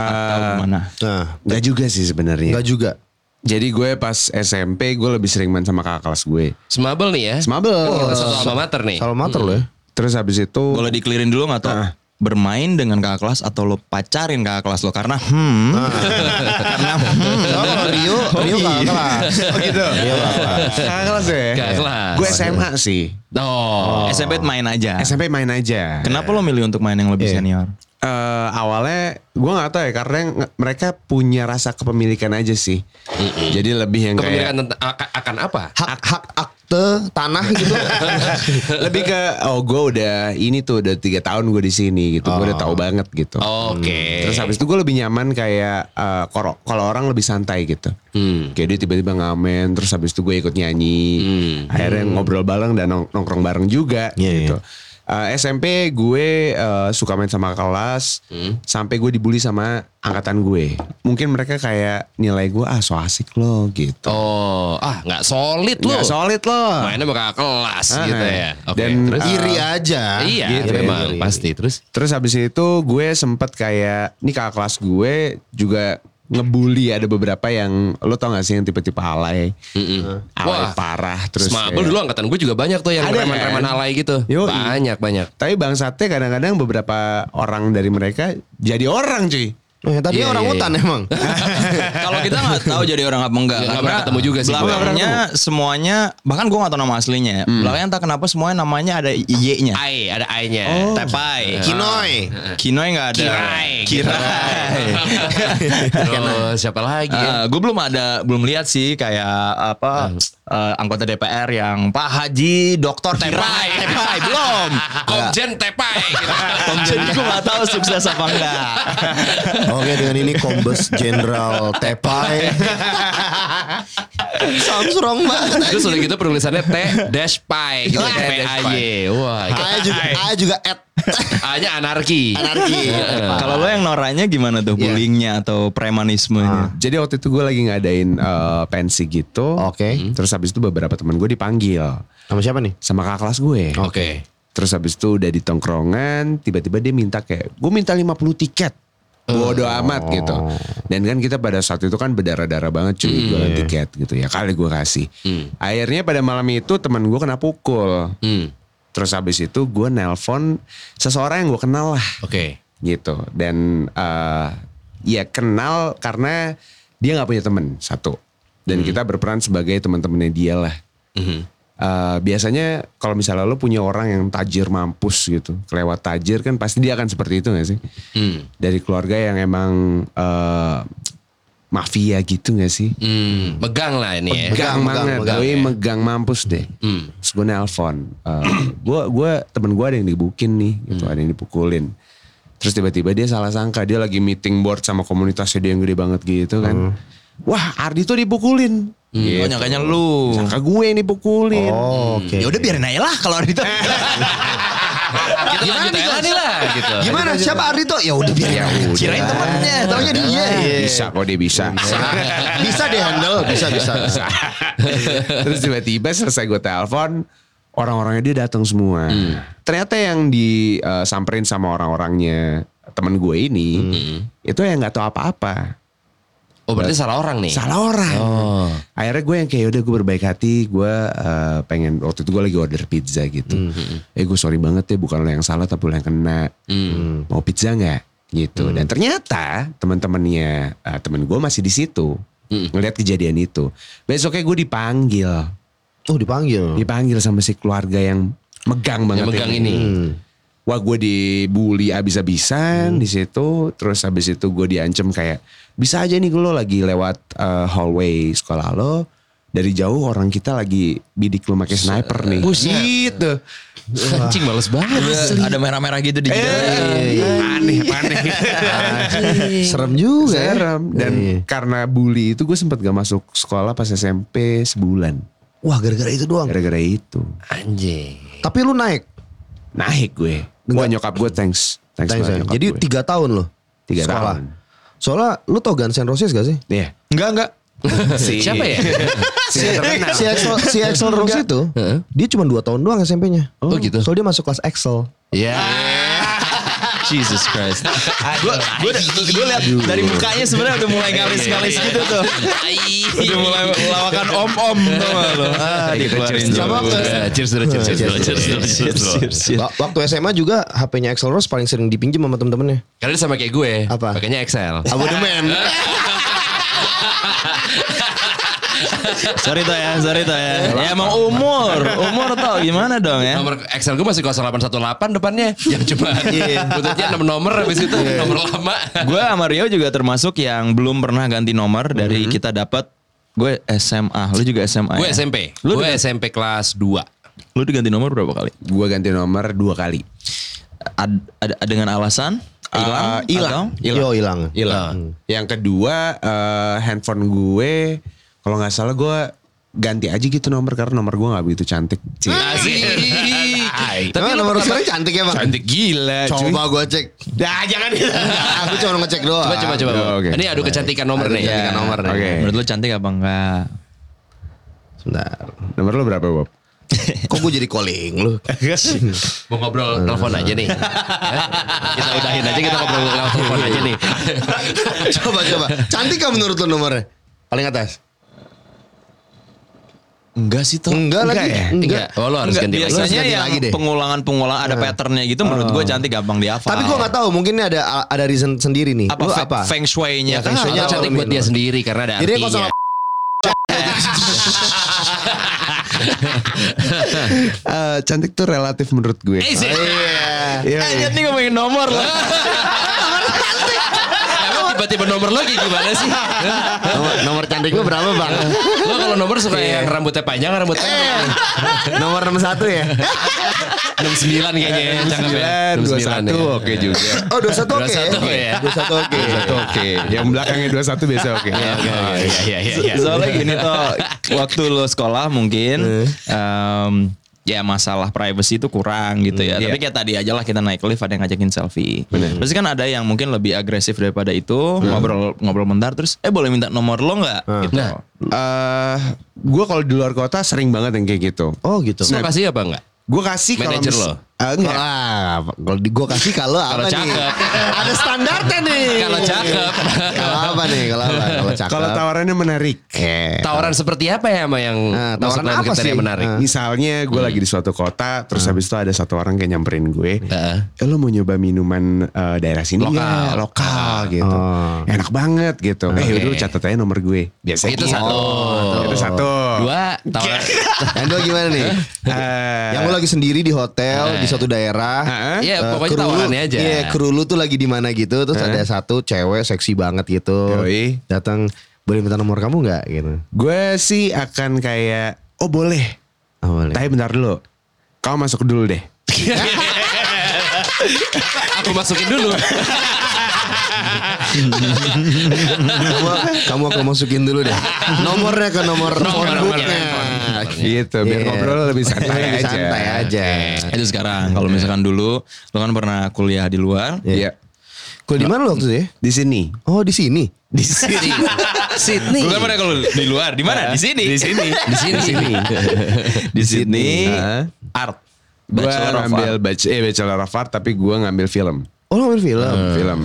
[SPEAKER 3] atau
[SPEAKER 4] Ah.
[SPEAKER 3] gimana?
[SPEAKER 1] Nah,
[SPEAKER 4] Gak juga sih sebenarnya
[SPEAKER 1] enggak juga.
[SPEAKER 4] jadi gue pas SMP gue lebih sering main sama kakak kelas gue
[SPEAKER 2] Semabel nih ya.
[SPEAKER 4] semabel
[SPEAKER 2] Satu alma mater nih.
[SPEAKER 1] Kalau mater lo ya.
[SPEAKER 4] terus habis itu
[SPEAKER 3] Boleh dikelirin dulu nggak Tok? Bermain dengan kakak kelas atau lo pacarin kakak kelas lo karena hmm
[SPEAKER 2] Nah.
[SPEAKER 3] karena hmm
[SPEAKER 1] Kalau Oh, Rio, Rio kakak kelas.
[SPEAKER 4] oh gitu
[SPEAKER 1] Rio kakak kelas.
[SPEAKER 4] kakak kelas ya
[SPEAKER 2] Iya. Kakak kelas.
[SPEAKER 4] gue SMA sih
[SPEAKER 2] Oh.
[SPEAKER 3] SMP main aja.
[SPEAKER 4] SMP main aja
[SPEAKER 3] Kenapa lo milih untuk main yang lebih senior?
[SPEAKER 4] Eh, awalnya gue nggak tahu ya karena nge- mereka punya rasa kepemilikan aja sih jadi lebih yang kayak
[SPEAKER 2] Kepemilikan tentang- ak- akan apa?
[SPEAKER 1] Hak hak akte tanah gitu.
[SPEAKER 4] lebih ke oh gue udah ini tuh udah tiga tahun gue di sini gitu gue udah tahu banget gitu
[SPEAKER 2] Oh, Oke.
[SPEAKER 4] terus habis itu gue lebih nyaman kayak eh, koro- kalau orang lebih santai gitu
[SPEAKER 2] Hmm.
[SPEAKER 4] kayak dia tiba-tiba ngamen
[SPEAKER 2] hmm.
[SPEAKER 4] terus habis itu gue ikut nyanyi akhirnya ngobrol bareng dan nong- nongkrong bareng juga
[SPEAKER 1] Iya,
[SPEAKER 4] gitu Eh, SMP gue eh, suka main sama kelas sampai gue dibully sama angkatan gue. Mungkin mereka kayak nilai gue ah so asik lo gitu.
[SPEAKER 2] Oh, ah nggak solid lu.
[SPEAKER 4] Nggak solid lo.
[SPEAKER 2] Mainnya bakal kelas
[SPEAKER 4] Ah,
[SPEAKER 2] gitu ya. Oke.
[SPEAKER 4] dan,
[SPEAKER 2] terus
[SPEAKER 4] ah,
[SPEAKER 1] Iri aja.
[SPEAKER 2] iya,
[SPEAKER 4] gitu ya,
[SPEAKER 2] memang
[SPEAKER 1] iri.
[SPEAKER 2] pasti. Terus
[SPEAKER 4] Terus habis itu gue sempet kayak nih kakak kelas gue juga ngebully ada beberapa yang lo tau gak sih yang tipe-tipe alay. Alay
[SPEAKER 2] Wah.
[SPEAKER 4] parah Ah, terus.
[SPEAKER 2] Smabel
[SPEAKER 4] kayak-
[SPEAKER 2] dulu angkatan gue juga banyak tuh yang
[SPEAKER 4] Ada,
[SPEAKER 2] reman-reman
[SPEAKER 4] kan?
[SPEAKER 2] alay gitu.
[SPEAKER 4] Yoi.
[SPEAKER 2] Banyak banyak.
[SPEAKER 4] Tapi bangsatnya kadang-kadang beberapa orang dari mereka jadi orang cuy.
[SPEAKER 1] Oh, ya, tapi
[SPEAKER 2] Iya,
[SPEAKER 1] orang
[SPEAKER 2] iya,
[SPEAKER 1] hutan
[SPEAKER 2] iya.
[SPEAKER 1] emang.
[SPEAKER 3] Kalau kita nggak tahu jadi orang apa enggak.
[SPEAKER 2] Nggak
[SPEAKER 3] Karena
[SPEAKER 2] pernah ketemu juga sih,
[SPEAKER 3] Belakangnya
[SPEAKER 2] gua.
[SPEAKER 3] semuanya, bahkan gue nggak tahu nama aslinya. ya.
[SPEAKER 2] Hmm.
[SPEAKER 3] Belakangnya entah kenapa semuanya namanya ada Y-nya.
[SPEAKER 4] Ya.
[SPEAKER 2] Ai, ada ai-nya.
[SPEAKER 4] Oh,
[SPEAKER 3] Tepai.
[SPEAKER 1] Kinoi.
[SPEAKER 3] Kinoy nggak ada.
[SPEAKER 2] Oh. Iya. Kirai.
[SPEAKER 3] Kirai.
[SPEAKER 2] Terus siapa lagi ya?
[SPEAKER 3] gue belum ada, belum lihat sih kayak apa eh, anggota DPR yang Pak Haji Dokter Tepai, Tepai belum.
[SPEAKER 4] Ah,
[SPEAKER 2] Komjen Tepai. gitu.
[SPEAKER 3] Jadi gue gak tahu sukses apa enggak.
[SPEAKER 1] Oke dengan ini Kombes Jenderal Tepai. Sounds wrong banget.
[SPEAKER 2] Terus udah gitu penulisannya T dash pai gitu
[SPEAKER 1] Wah,
[SPEAKER 2] P A Y. Wah. gitu.
[SPEAKER 1] A juga A juga at
[SPEAKER 2] A-nya anarki.
[SPEAKER 1] anarki.
[SPEAKER 3] Kalau lo yang noranya gimana tuh bullyingnya atau premanismenya?
[SPEAKER 4] Jadi waktu itu gue lagi ngadain eh, pensi gitu.
[SPEAKER 1] Oke.
[SPEAKER 4] Hmm. Terus habis itu beberapa teman gue dipanggil
[SPEAKER 1] Sama siapa nih?
[SPEAKER 4] sama kakak kelas gue.
[SPEAKER 2] Oke.
[SPEAKER 4] Terus habis itu udah di tongkrongan, tiba-tiba dia minta kayak, gue minta 50 tiket. Bodo amat gitu. Dan kan kita pada saat itu kan berdarah-darah banget cuy jualan tiket gitu ya. Kali gue kasih. Akhirnya pada malam itu teman gue kena pukul.
[SPEAKER 2] Hmm.
[SPEAKER 4] Terus habis itu gue nelpon seseorang yang gue kenal lah.
[SPEAKER 2] Oke.
[SPEAKER 4] gitu dan eh, ya kenal karena dia nggak punya temen satu dan kita berperan sebagai teman-temannya dia lah
[SPEAKER 2] Mhm.
[SPEAKER 4] Eh, biasanya kalau misalnya lo punya orang yang tajir mampus gitu kelewat tajir kan pasti dia akan seperti itu gak sih
[SPEAKER 2] Hmm.
[SPEAKER 4] dari keluarga yang emang eh, mafia gitu gak sih
[SPEAKER 2] Hmm, megang lah ini ya.
[SPEAKER 4] Megang banget,
[SPEAKER 1] megang,
[SPEAKER 4] gue megang mampus deh.
[SPEAKER 2] Hmm.
[SPEAKER 4] Terus gue nelpon, Eh, gue gue temen gue ada yang dibukin nih, gitu, ada yang dipukulin. Terus tiba-tiba dia salah sangka dia lagi meeting board sama komunitasnya dia yang gede banget gitu kan. Wah Ardi tuh dipukulin. Gitu.
[SPEAKER 3] Oh, nyangkanya lu.
[SPEAKER 4] Sangka gue yang dipukulin.
[SPEAKER 1] Oh, Oke.
[SPEAKER 3] Ya udah biarin aja lah kalau Ardito.
[SPEAKER 2] Kita lanjut aja lah nih lah gitu.
[SPEAKER 1] Gimana? Siapa Ardito? Ya udah
[SPEAKER 4] Iya.
[SPEAKER 1] biar.
[SPEAKER 3] Kirain temennya,
[SPEAKER 1] Taunya dia.
[SPEAKER 4] Bisa kok dia bisa.
[SPEAKER 1] Iya. Bisa deh handle, bisa bisa. bisa.
[SPEAKER 4] Terus tiba-tiba selesai gue telepon orang-orangnya dia datang semua. Ternyata yang disamperin sama orang-orangnya temen gue ini itu yang nggak tahu apa-apa.
[SPEAKER 2] Oh berarti salah orang nih.
[SPEAKER 4] Salah orang.
[SPEAKER 2] Oh.
[SPEAKER 4] Akhirnya gue yang kayak udah gue berbaik hati, gue eh, pengen waktu itu gue lagi order pizza gitu. Eh gue sorry banget ya bukan lo yang salah tapi lo yang kena.
[SPEAKER 2] Hmm.
[SPEAKER 4] Mau pizza nggak? Gitu. Dan ternyata teman-temannya eh, temen gue masih di situ
[SPEAKER 2] Hmm.
[SPEAKER 4] ngelihat kejadian itu. Besoknya gue dipanggil
[SPEAKER 1] Oh dipanggil.
[SPEAKER 4] dipanggil sama si keluarga yang megang banget
[SPEAKER 2] Hmm.
[SPEAKER 4] Hmm.
[SPEAKER 2] Yang megang ini.
[SPEAKER 4] Wah gue dibully
[SPEAKER 2] Hmm.
[SPEAKER 4] abis-abisan di situ, terus habis itu gue diancem kayak bisa aja nih lo lagi lewat eh, hallway sekolah lo dari jauh orang kita lagi bidik lo pakai sniper nih. Gitu.
[SPEAKER 2] Hmm. Anjing males banget. iya,
[SPEAKER 3] Ada merah-merah gitu di
[SPEAKER 4] Eh, aneh, aneh.
[SPEAKER 1] Serem juga. ya.
[SPEAKER 4] Iya. Serem. Dan
[SPEAKER 1] Iya.
[SPEAKER 4] karena bully itu gue sempet gak masuk sekolah pas SMP sebulan.
[SPEAKER 1] Wah gara-gara itu doang.
[SPEAKER 4] Gara-gara itu.
[SPEAKER 2] Anjing.
[SPEAKER 1] Tapi lu naik.
[SPEAKER 4] Naik gue. Wah nyokap gue thanks. Thanks,
[SPEAKER 1] Thanks,
[SPEAKER 4] banget
[SPEAKER 1] Bang.
[SPEAKER 4] nyokap
[SPEAKER 1] Jadi
[SPEAKER 4] gue.
[SPEAKER 1] tiga tahun loh.
[SPEAKER 4] Tiga
[SPEAKER 1] sekolah.
[SPEAKER 4] tahun.
[SPEAKER 1] Soalnya lu tau Guns N' Roses gak sih?
[SPEAKER 4] Iya.
[SPEAKER 3] Enggak, enggak.
[SPEAKER 4] Si-
[SPEAKER 2] Siapa ya?
[SPEAKER 4] Si terkenal.
[SPEAKER 1] si Axel, si Axel Rose itu,
[SPEAKER 2] Heeh.
[SPEAKER 1] dia cuma 2 tahun doang SMP-nya.
[SPEAKER 2] Oh, gitu.
[SPEAKER 1] Soalnya dia masuk kelas Axel.
[SPEAKER 2] Ya.
[SPEAKER 3] Jesus Christ. Gue gue gue lihat dari mukanya sebenarnya udah mulai ngalis-ngalis gitu tuh. Udah mulai melawakan om-om tuh lo. Ah, dikeluarin
[SPEAKER 4] cheers
[SPEAKER 1] dulu.
[SPEAKER 3] jauh.
[SPEAKER 2] Eh, Cheers dulu, cheers dulu, cheers dulu, cheers dulu.
[SPEAKER 1] Wa- Waktu SMA juga HP-nya Axel Rose paling sering dipinjam sama temen-temennya.
[SPEAKER 2] Karena dia sama kayak gue.
[SPEAKER 1] Apa?
[SPEAKER 2] Pakainya XL.
[SPEAKER 1] Abodemen.
[SPEAKER 3] Sorry toh ya, sorry toh ya. Ya emang umur, umur tau gimana dong ya.
[SPEAKER 2] Nomor XL gue masih 0818 depannya. Yang cuma buntutnya 6 nomor habis itu nomor lama.
[SPEAKER 3] Gue sama Rio juga termasuk yang belum pernah ganti nomor dari
[SPEAKER 1] Mhm.
[SPEAKER 3] kita dapat gue SMA, lu juga SMA.
[SPEAKER 2] Gue
[SPEAKER 3] ya?
[SPEAKER 2] SMP.
[SPEAKER 3] Lu
[SPEAKER 2] Gue
[SPEAKER 3] udah-
[SPEAKER 2] SMP kelas 2.
[SPEAKER 3] Lu diganti nomor berapa kali?
[SPEAKER 4] Gue ganti nomor dua kali.
[SPEAKER 3] Ad- ada- dengan alasan
[SPEAKER 4] Eh,
[SPEAKER 3] atau-
[SPEAKER 4] hilang.
[SPEAKER 3] Ya.
[SPEAKER 1] Yo Ah, hilang. Hmm.
[SPEAKER 4] Hilang. Yang kedua eh, handphone gue kalau nggak salah gue ganti aja gitu nomor karena nomor gue nggak begitu cantik. Cie.
[SPEAKER 2] Asik. Hai.
[SPEAKER 1] Tapi
[SPEAKER 2] Ah, lu
[SPEAKER 1] nomor
[SPEAKER 2] pertama-
[SPEAKER 1] resernya cantik ya bang?
[SPEAKER 4] Cantik gila cuy.
[SPEAKER 1] Coba gue cek.
[SPEAKER 4] Dah jangan
[SPEAKER 1] Aku cuma ngecek doang.
[SPEAKER 2] Coba coba coba.
[SPEAKER 4] Oh, oke.
[SPEAKER 2] Ini adu kecantikan nomor
[SPEAKER 1] Adu
[SPEAKER 2] nih.
[SPEAKER 1] kecantikan nomor nih.
[SPEAKER 4] Oke.
[SPEAKER 3] Menurut lu cantik apa enggak?
[SPEAKER 1] Sebentar.
[SPEAKER 4] Nomor lo berapa Bob?
[SPEAKER 1] Kok gue jadi calling lu?
[SPEAKER 2] Mau ngobrol telepon aja nih. Hah? kita udahin aja kita ngobrol lewat telepon aja nih.
[SPEAKER 1] coba coba. Cantik kan menurut lu nomornya? Paling atas.
[SPEAKER 3] Enggak sih toh.
[SPEAKER 1] Enggak, lagi.
[SPEAKER 4] ya?
[SPEAKER 1] Enggak.
[SPEAKER 2] Enggak, oh, lo harus
[SPEAKER 3] Enggak,
[SPEAKER 2] ganti
[SPEAKER 1] Lu
[SPEAKER 2] lagi.
[SPEAKER 1] harus
[SPEAKER 3] biasanya
[SPEAKER 1] ganti
[SPEAKER 3] yang
[SPEAKER 1] lagi deh. Nah. Oh.
[SPEAKER 3] pengulangan-pengulangan ada patternnya gitu menurut gue cantik gampang dihafal.
[SPEAKER 1] Tapi gue nggak tahu. Mungkin ini ada ada reason sendiri nih.
[SPEAKER 3] apa,
[SPEAKER 1] Lu
[SPEAKER 3] fe-
[SPEAKER 1] apa?
[SPEAKER 3] feng
[SPEAKER 1] Ya,
[SPEAKER 3] shui-nya kan?
[SPEAKER 1] feng
[SPEAKER 3] kah?
[SPEAKER 1] shui-nya
[SPEAKER 2] Atau
[SPEAKER 3] Atau-
[SPEAKER 2] cantik buat dia sendiri karena ada
[SPEAKER 1] Jadi kok sama
[SPEAKER 2] artinya.
[SPEAKER 4] Eh, cantik tuh relatif menurut gue.
[SPEAKER 3] Eh, sih.
[SPEAKER 1] Iya.
[SPEAKER 4] Iya, iya.
[SPEAKER 3] nih ngomongin nomor lah.
[SPEAKER 2] Emang tiba-tiba nomor lo kayak gimana sih?
[SPEAKER 1] Nomor, nomor cantik gue berapa bang?
[SPEAKER 2] Lo kalau nomor suka yang rambutnya panjang, rambutnya
[SPEAKER 1] nomor 61 ya?
[SPEAKER 2] 69
[SPEAKER 4] eh,
[SPEAKER 2] kayaknya ya. Cakep ya.
[SPEAKER 4] 21
[SPEAKER 2] ya.
[SPEAKER 4] oke juga.
[SPEAKER 1] Oh 21 oke.
[SPEAKER 2] 21 ya.
[SPEAKER 1] 21 oke.
[SPEAKER 4] Satu oke. Yang belakangnya 21 biasa oke. Oh,
[SPEAKER 2] Iya, iya, iya, iya.
[SPEAKER 3] Soalnya gini tuh waktu lo sekolah
[SPEAKER 2] Eh.
[SPEAKER 3] mungkin em, ya masalah privacy itu kurang gitu ya.
[SPEAKER 2] Hmm, iya.
[SPEAKER 3] Tapi kayak tadi aja lah kita naik lift ada yang ngajakin selfie. Terus kan ada yang mungkin lebih agresif daripada itu
[SPEAKER 2] Hmm.
[SPEAKER 3] ngobrol ngobrol bentar terus eh boleh minta nomor lo nggak? Gitu.
[SPEAKER 2] Nah,
[SPEAKER 4] Eh, gue kalau di luar kota sering banget yang kayak gitu.
[SPEAKER 1] Oh gitu.
[SPEAKER 2] lo kasih apa enggak?
[SPEAKER 4] Gue kasih kalau
[SPEAKER 2] Manager
[SPEAKER 4] mis-
[SPEAKER 2] lo?
[SPEAKER 4] Eh, enggak.
[SPEAKER 1] Ah, kalau di gue kasih kalau apa nih?
[SPEAKER 2] cakep.
[SPEAKER 1] Ada standarnya nih.
[SPEAKER 2] Kalau cakep.
[SPEAKER 1] Kalau apa nih? Kalau apa? Kalau cakep.
[SPEAKER 4] Kalau tawarannya menarik.
[SPEAKER 1] Eh,
[SPEAKER 2] Tawaran seperti apa ya sama yang
[SPEAKER 1] Nah,
[SPEAKER 2] masuk
[SPEAKER 1] tawaran
[SPEAKER 2] dalam
[SPEAKER 1] apa
[SPEAKER 2] kriteria
[SPEAKER 1] sih?
[SPEAKER 2] menarik?
[SPEAKER 1] Nah.
[SPEAKER 4] Misalnya gue
[SPEAKER 2] Hmm.
[SPEAKER 4] lagi di suatu kota, terus habis itu ada satu orang kayak nyamperin gue.
[SPEAKER 2] Heeh.
[SPEAKER 4] Eh, lo mau nyoba minuman eh, daerah sini
[SPEAKER 2] Iya. Lokal.
[SPEAKER 4] nggak? lokal gitu.
[SPEAKER 1] Oh.
[SPEAKER 4] Enak banget gitu. Eh udah lu catat aja nomor gue. Biasanya
[SPEAKER 2] Itu
[SPEAKER 4] gitu.
[SPEAKER 2] satu.
[SPEAKER 4] Itu satu.
[SPEAKER 2] Dua, tawaran.
[SPEAKER 1] Nah, Yang dua gimana nih?
[SPEAKER 4] Eh,
[SPEAKER 1] Yang lu lagi sendiri di hotel di suatu daerah.
[SPEAKER 4] eh,
[SPEAKER 2] Iya,
[SPEAKER 1] Eh,
[SPEAKER 2] pokoknya
[SPEAKER 1] kru lu-
[SPEAKER 2] tawarannya aja.
[SPEAKER 1] Iya, kru lu tuh lagi di mana gitu, terus ada satu cewek seksi banget gitu.
[SPEAKER 4] Yoi.
[SPEAKER 1] Datang, boleh minta nomor kamu nggak gitu.
[SPEAKER 4] gue sih akan kayak oh boleh.
[SPEAKER 1] Awalnya.
[SPEAKER 4] Tapi bentar dulu. Kau masuk dulu deh.
[SPEAKER 2] Aku masukin dulu.
[SPEAKER 1] kamu, kamu aku masukin dulu deh. Nomornya ke nomor
[SPEAKER 2] Nomor, nomor,
[SPEAKER 1] phonebooknya.
[SPEAKER 2] nomor.
[SPEAKER 4] Gitu, biar
[SPEAKER 1] Iya.
[SPEAKER 4] ngobrol lebih santai
[SPEAKER 1] Lebih
[SPEAKER 4] aja.
[SPEAKER 1] santai aja.
[SPEAKER 3] Itu sekarang kalau misalkan dulu lo kan pernah kuliah di luar.
[SPEAKER 4] Iya.
[SPEAKER 1] Kuliah di mana lu waktu itu ya?
[SPEAKER 4] Di sini.
[SPEAKER 1] Oh di sini.
[SPEAKER 2] Di sini. Sydney.
[SPEAKER 3] Bukan kan pernah kalau di luar, di mana? Di sini. Di sini.
[SPEAKER 2] Di sini.
[SPEAKER 3] di sini
[SPEAKER 4] Heeh.
[SPEAKER 3] art.
[SPEAKER 4] Gue
[SPEAKER 3] Bachelor of Art.
[SPEAKER 4] ngambil bac- eh, Bachelor of Art tapi gue ngambil film.
[SPEAKER 1] Oh lu main film.
[SPEAKER 3] Hmm.
[SPEAKER 4] Hmm, Film.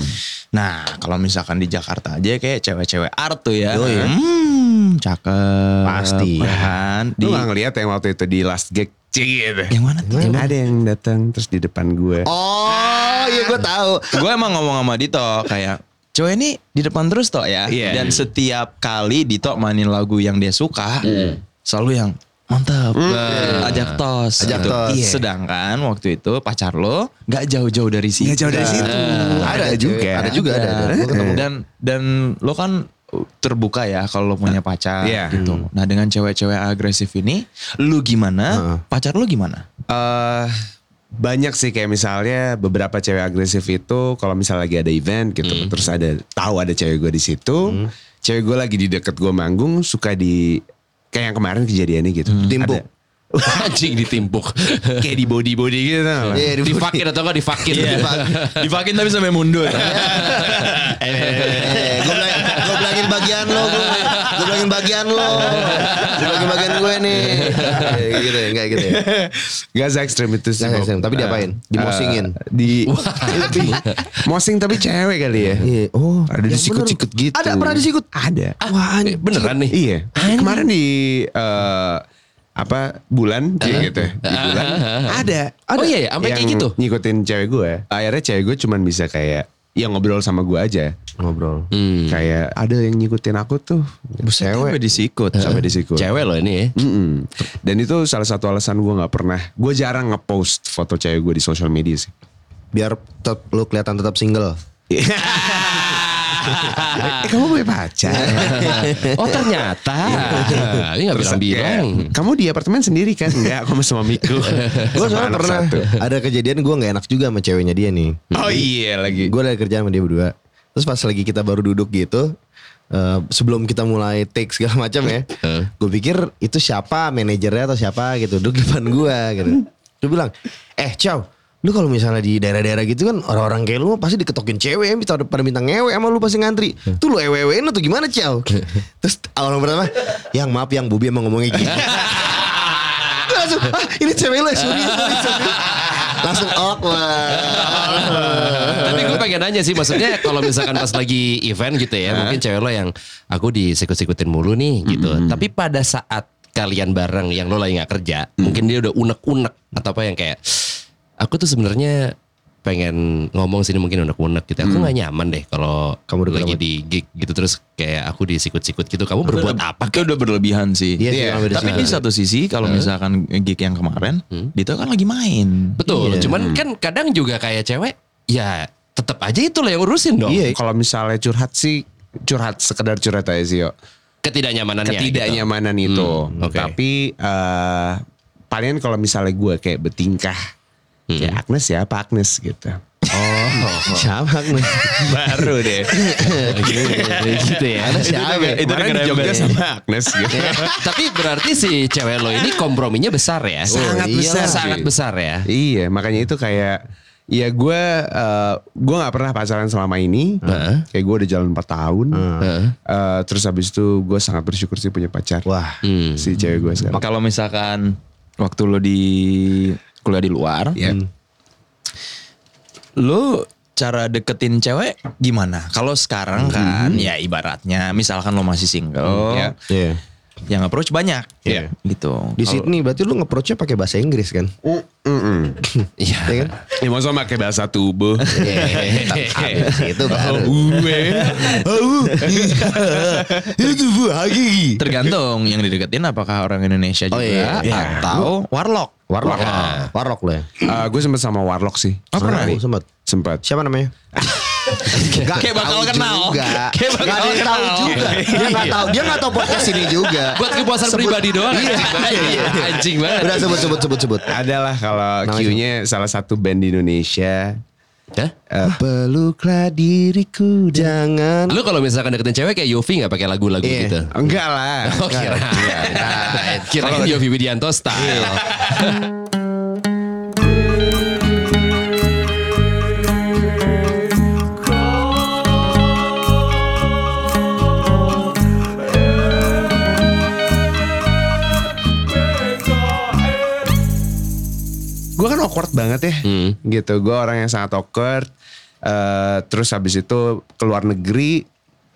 [SPEAKER 3] Nah, kalau misalkan di Jakarta aja kayak cewek-cewek art tuh ya. Hmm, cakep.
[SPEAKER 1] Pasti.
[SPEAKER 3] Kan di
[SPEAKER 4] Lu gak ngeliat yang waktu itu di Last Gig? Cik gitu.
[SPEAKER 3] yang mana tuh?
[SPEAKER 4] Yang ada yang datang terus di depan gue.
[SPEAKER 1] Oh iya gue tahu.
[SPEAKER 3] Gue emang ngomong sama Dito kayak cewek ini di depan terus toh ya.
[SPEAKER 4] Iya.
[SPEAKER 3] Dan setiap kali Dito mainin lagu yang dia suka,
[SPEAKER 4] Iya.
[SPEAKER 3] selalu yang mantap, Nah, ajak tos,
[SPEAKER 1] Hmm. Iya. Ajak
[SPEAKER 3] gitu.
[SPEAKER 1] tos.
[SPEAKER 3] Iya. Sedangkan waktu itu pacar lo nggak jauh-jauh dari situ. Iya.
[SPEAKER 4] Nggak jauh dari situ. Ada
[SPEAKER 1] cuy.
[SPEAKER 4] juga.
[SPEAKER 1] Iya. Ada juga ada. ada. Gua ketemu.
[SPEAKER 3] Dan dan lo kan terbuka ya kalau lo
[SPEAKER 1] Nah,
[SPEAKER 3] punya pacar
[SPEAKER 4] Iya.
[SPEAKER 3] gitu.
[SPEAKER 1] Hmm.
[SPEAKER 3] Nah dengan cewek-cewek agresif ini, lu gimana? Pacar lu gimana?
[SPEAKER 4] Eh, banyak sih kayak misalnya beberapa cewek agresif itu kalau misalnya lagi ada event gitu
[SPEAKER 3] Hmm.
[SPEAKER 4] terus ada tahu ada cewek gue di situ cewek gue lagi di deket gue manggung suka di kayak yang kemarin kejadiannya gitu
[SPEAKER 3] Hmm.
[SPEAKER 1] Timpuk.
[SPEAKER 2] Anjing ditimpuk.
[SPEAKER 4] Ada- kayak di body body gitu
[SPEAKER 1] Iya,
[SPEAKER 4] tau gak?
[SPEAKER 1] di-
[SPEAKER 2] Difakin atau enggak difakin.
[SPEAKER 1] Iya.
[SPEAKER 3] Iya, Dipakin tapi sampai mundur.
[SPEAKER 1] Eh, gue bilang, gue bilangin bagian lo, gue, gue bilangin bagian lo, gue bilangin Oh. bagian gue nih, Eh, gitu, ya, enggak gitu. Ya.
[SPEAKER 4] Gak se ekstrim itu sih
[SPEAKER 1] Nggak se-ekstrim,
[SPEAKER 4] Bob.
[SPEAKER 1] tapi diapain?
[SPEAKER 4] Eh,
[SPEAKER 1] Dimosingin?
[SPEAKER 4] eh, di Tapi- mosing tapi cewek kali ya
[SPEAKER 1] Iya, oh,
[SPEAKER 4] ada
[SPEAKER 1] yang
[SPEAKER 4] disikut-sikut
[SPEAKER 1] bener.
[SPEAKER 4] gitu
[SPEAKER 1] Ada pernah disikut?
[SPEAKER 4] ada
[SPEAKER 2] Wah, beneran nih.
[SPEAKER 4] Iya. Kemarin di eh, apa bulan kayak gitu ya, di bulan ada
[SPEAKER 2] Oh iya ya, sampai
[SPEAKER 4] yang
[SPEAKER 2] kayak gitu.
[SPEAKER 4] ngikutin cewek gue akhirnya cewek gue cuman bisa kayak yang ngobrol sama gue aja
[SPEAKER 1] Ngobrol.
[SPEAKER 4] kayak ada yang ngikutin aku tuh cewek
[SPEAKER 3] Sampai disikut.
[SPEAKER 4] sampai disikut
[SPEAKER 2] Cewek loh ini ya.
[SPEAKER 4] Mm-mm. dan itu salah satu alasan gue nggak pernah gue jarang ngepost foto cewek gue di sosial media sih
[SPEAKER 1] Biar tetap lu kelihatan tetap single.
[SPEAKER 4] eh kamu punya pacar
[SPEAKER 2] Oh ternyata. Ini gak
[SPEAKER 4] Terus kayak,
[SPEAKER 2] bilang-bilang.
[SPEAKER 4] kamu di apartemen sendiri kan? Enggak, aku sama Miku.
[SPEAKER 1] Gue soalnya pernah ada kejadian gue nggak enak juga sama ceweknya dia nih.
[SPEAKER 4] Oh iya lagi.
[SPEAKER 1] Gue lagi kerja sama dia berdua. Terus pas lagi kita baru duduk gitu, eh, sebelum kita mulai take segala macam ya, gue pikir itu siapa manajernya atau siapa gitu duduk depan gue gitu. Dia bilang, eh Chow, lu kalau misalnya di daerah-daerah gitu kan orang-orang kayak lu pasti diketokin cewek minta pada minta ngewe sama lu pasti ngantri. Tuh lu ewewein atau gimana Chow? Terus orang pertama, yang maaf yang Bobi emang ngomongnya gitu. Gue langsung, ah ini cewek lu, sorry, sorry, sorry. Langsung awkward.
[SPEAKER 2] Tapi gue pengen nanya sih maksudnya kalau misalkan pas lagi event gitu ya, mungkin cewek lo yang aku disikut-sikutin mulu nih gitu. Tapi pada saat kalian bareng yang lo lagi nggak kerja, mungkin dia udah unek-unek atau apa yang kayak aku tuh sebenarnya pengen ngomong sini mungkin unek-unek gitu. Aku nggak nyaman deh kalau
[SPEAKER 1] Kamu udah
[SPEAKER 2] lagi di gig gitu terus kayak aku disikut-sikut gitu. Kamu berbuat apa?
[SPEAKER 3] Itu udah berlebihan sih.
[SPEAKER 1] Iya sih,
[SPEAKER 3] Iya.
[SPEAKER 1] emang udah
[SPEAKER 3] Tapi di
[SPEAKER 1] berlebihan.
[SPEAKER 3] satu sisi kalau misalkan gig yang kemarin, Dito kan lagi main.
[SPEAKER 2] Betul. Cuman kan kadang juga kayak cewek ya tetap aja itu lah yang urusin dong.
[SPEAKER 1] Iya.
[SPEAKER 4] Kalau misalnya curhat sih curhat sekedar curhat aja sih yo.
[SPEAKER 2] Ketidaknyamanannya. gitu.
[SPEAKER 4] Ketidaknyamanan itu.
[SPEAKER 2] Hmm, oke.
[SPEAKER 4] Tapi eh palingan kalau misalnya gue kayak bertingkah kayak Agnes ya, Pak Agnes gitu.
[SPEAKER 1] Siapa nih?
[SPEAKER 3] Baru deh.
[SPEAKER 2] gitu ya.
[SPEAKER 1] Ada siapa?
[SPEAKER 3] Itu kan
[SPEAKER 4] Kemarin di
[SPEAKER 3] dengar
[SPEAKER 4] Jogja
[SPEAKER 3] ember.
[SPEAKER 4] sama Agnes gitu.
[SPEAKER 2] Tapi berarti si cewek lo ini komprominya besar ya?
[SPEAKER 4] Sangat
[SPEAKER 2] iyalah,
[SPEAKER 4] besar.
[SPEAKER 2] Sangat besar ya.
[SPEAKER 1] Ah.
[SPEAKER 4] Iya, makanya itu kayak ya gue eh, gue nggak pernah pacaran selama ini.
[SPEAKER 1] Ah.
[SPEAKER 4] Kayak gue udah jalan 4 tahun. Eh, terus habis itu gue sangat bersyukur sih punya pacar. Hmm.
[SPEAKER 1] Wah.
[SPEAKER 4] si cewek gue sekarang.
[SPEAKER 3] Kalau misalkan waktu lo di kuliah di luar,
[SPEAKER 4] Iya.
[SPEAKER 1] Hmm.
[SPEAKER 3] lo cara deketin cewek gimana? Kalau sekarang kan ya ibaratnya misalkan lo masih single,
[SPEAKER 4] Iya.
[SPEAKER 1] Hmm. Iya.
[SPEAKER 3] yang approach banyak,
[SPEAKER 1] Iya.
[SPEAKER 3] gitu.
[SPEAKER 1] Di Sydney berarti lu nge-approach-nya pakai bahasa Inggris kan?
[SPEAKER 4] Mm, mm, mm.
[SPEAKER 1] Iya
[SPEAKER 2] Iya.
[SPEAKER 1] kan?
[SPEAKER 4] Ya masa pakai bahasa tubuh.
[SPEAKER 1] Habis itu Iya. baru.
[SPEAKER 4] Gue.
[SPEAKER 1] Oh, itu bu Hagi.
[SPEAKER 3] Tergantung yang dideketin apakah orang Indonesia
[SPEAKER 1] Oh,
[SPEAKER 3] juga
[SPEAKER 1] iya. Iya.
[SPEAKER 3] atau warlock.
[SPEAKER 1] Warlock. Warlock lo ya.
[SPEAKER 4] Eh, gue sempet sama Warlock sih.
[SPEAKER 1] Oh, pernah? Oh, sempet.
[SPEAKER 4] Sempet.
[SPEAKER 1] Siapa namanya? Gak
[SPEAKER 3] Kayak
[SPEAKER 1] tahu
[SPEAKER 3] bakal kenal.
[SPEAKER 1] Juga.
[SPEAKER 3] Kayak bakal
[SPEAKER 1] Gak ada yang tahu
[SPEAKER 3] kenal.
[SPEAKER 1] juga. Dia gak tahu. Dia gak tahu podcast ini juga.
[SPEAKER 2] Buat kepuasan pribadi doang.
[SPEAKER 1] Iya.
[SPEAKER 2] Anjing banget.
[SPEAKER 1] Iya.
[SPEAKER 2] Anjing banget.
[SPEAKER 1] Udah sebut sebut sebut sebut.
[SPEAKER 4] Adalah kalau
[SPEAKER 1] Namanya
[SPEAKER 4] Q-nya salah satu band di Indonesia.
[SPEAKER 2] Hah?
[SPEAKER 4] Eh, peluklah diriku dan
[SPEAKER 1] Jangan.
[SPEAKER 2] Lu kalau misalkan deketin cewek kayak Yofi nggak pakai lagu-lagu
[SPEAKER 1] Iya.
[SPEAKER 2] gitu?
[SPEAKER 4] Enggak lah.
[SPEAKER 2] Oh kira. Kirain Yofi Widianto style.
[SPEAKER 4] Gue kan awkward banget ya.
[SPEAKER 2] Hmm.
[SPEAKER 4] Gitu. Gue orang yang sangat awkward. Eh, terus habis itu keluar negeri.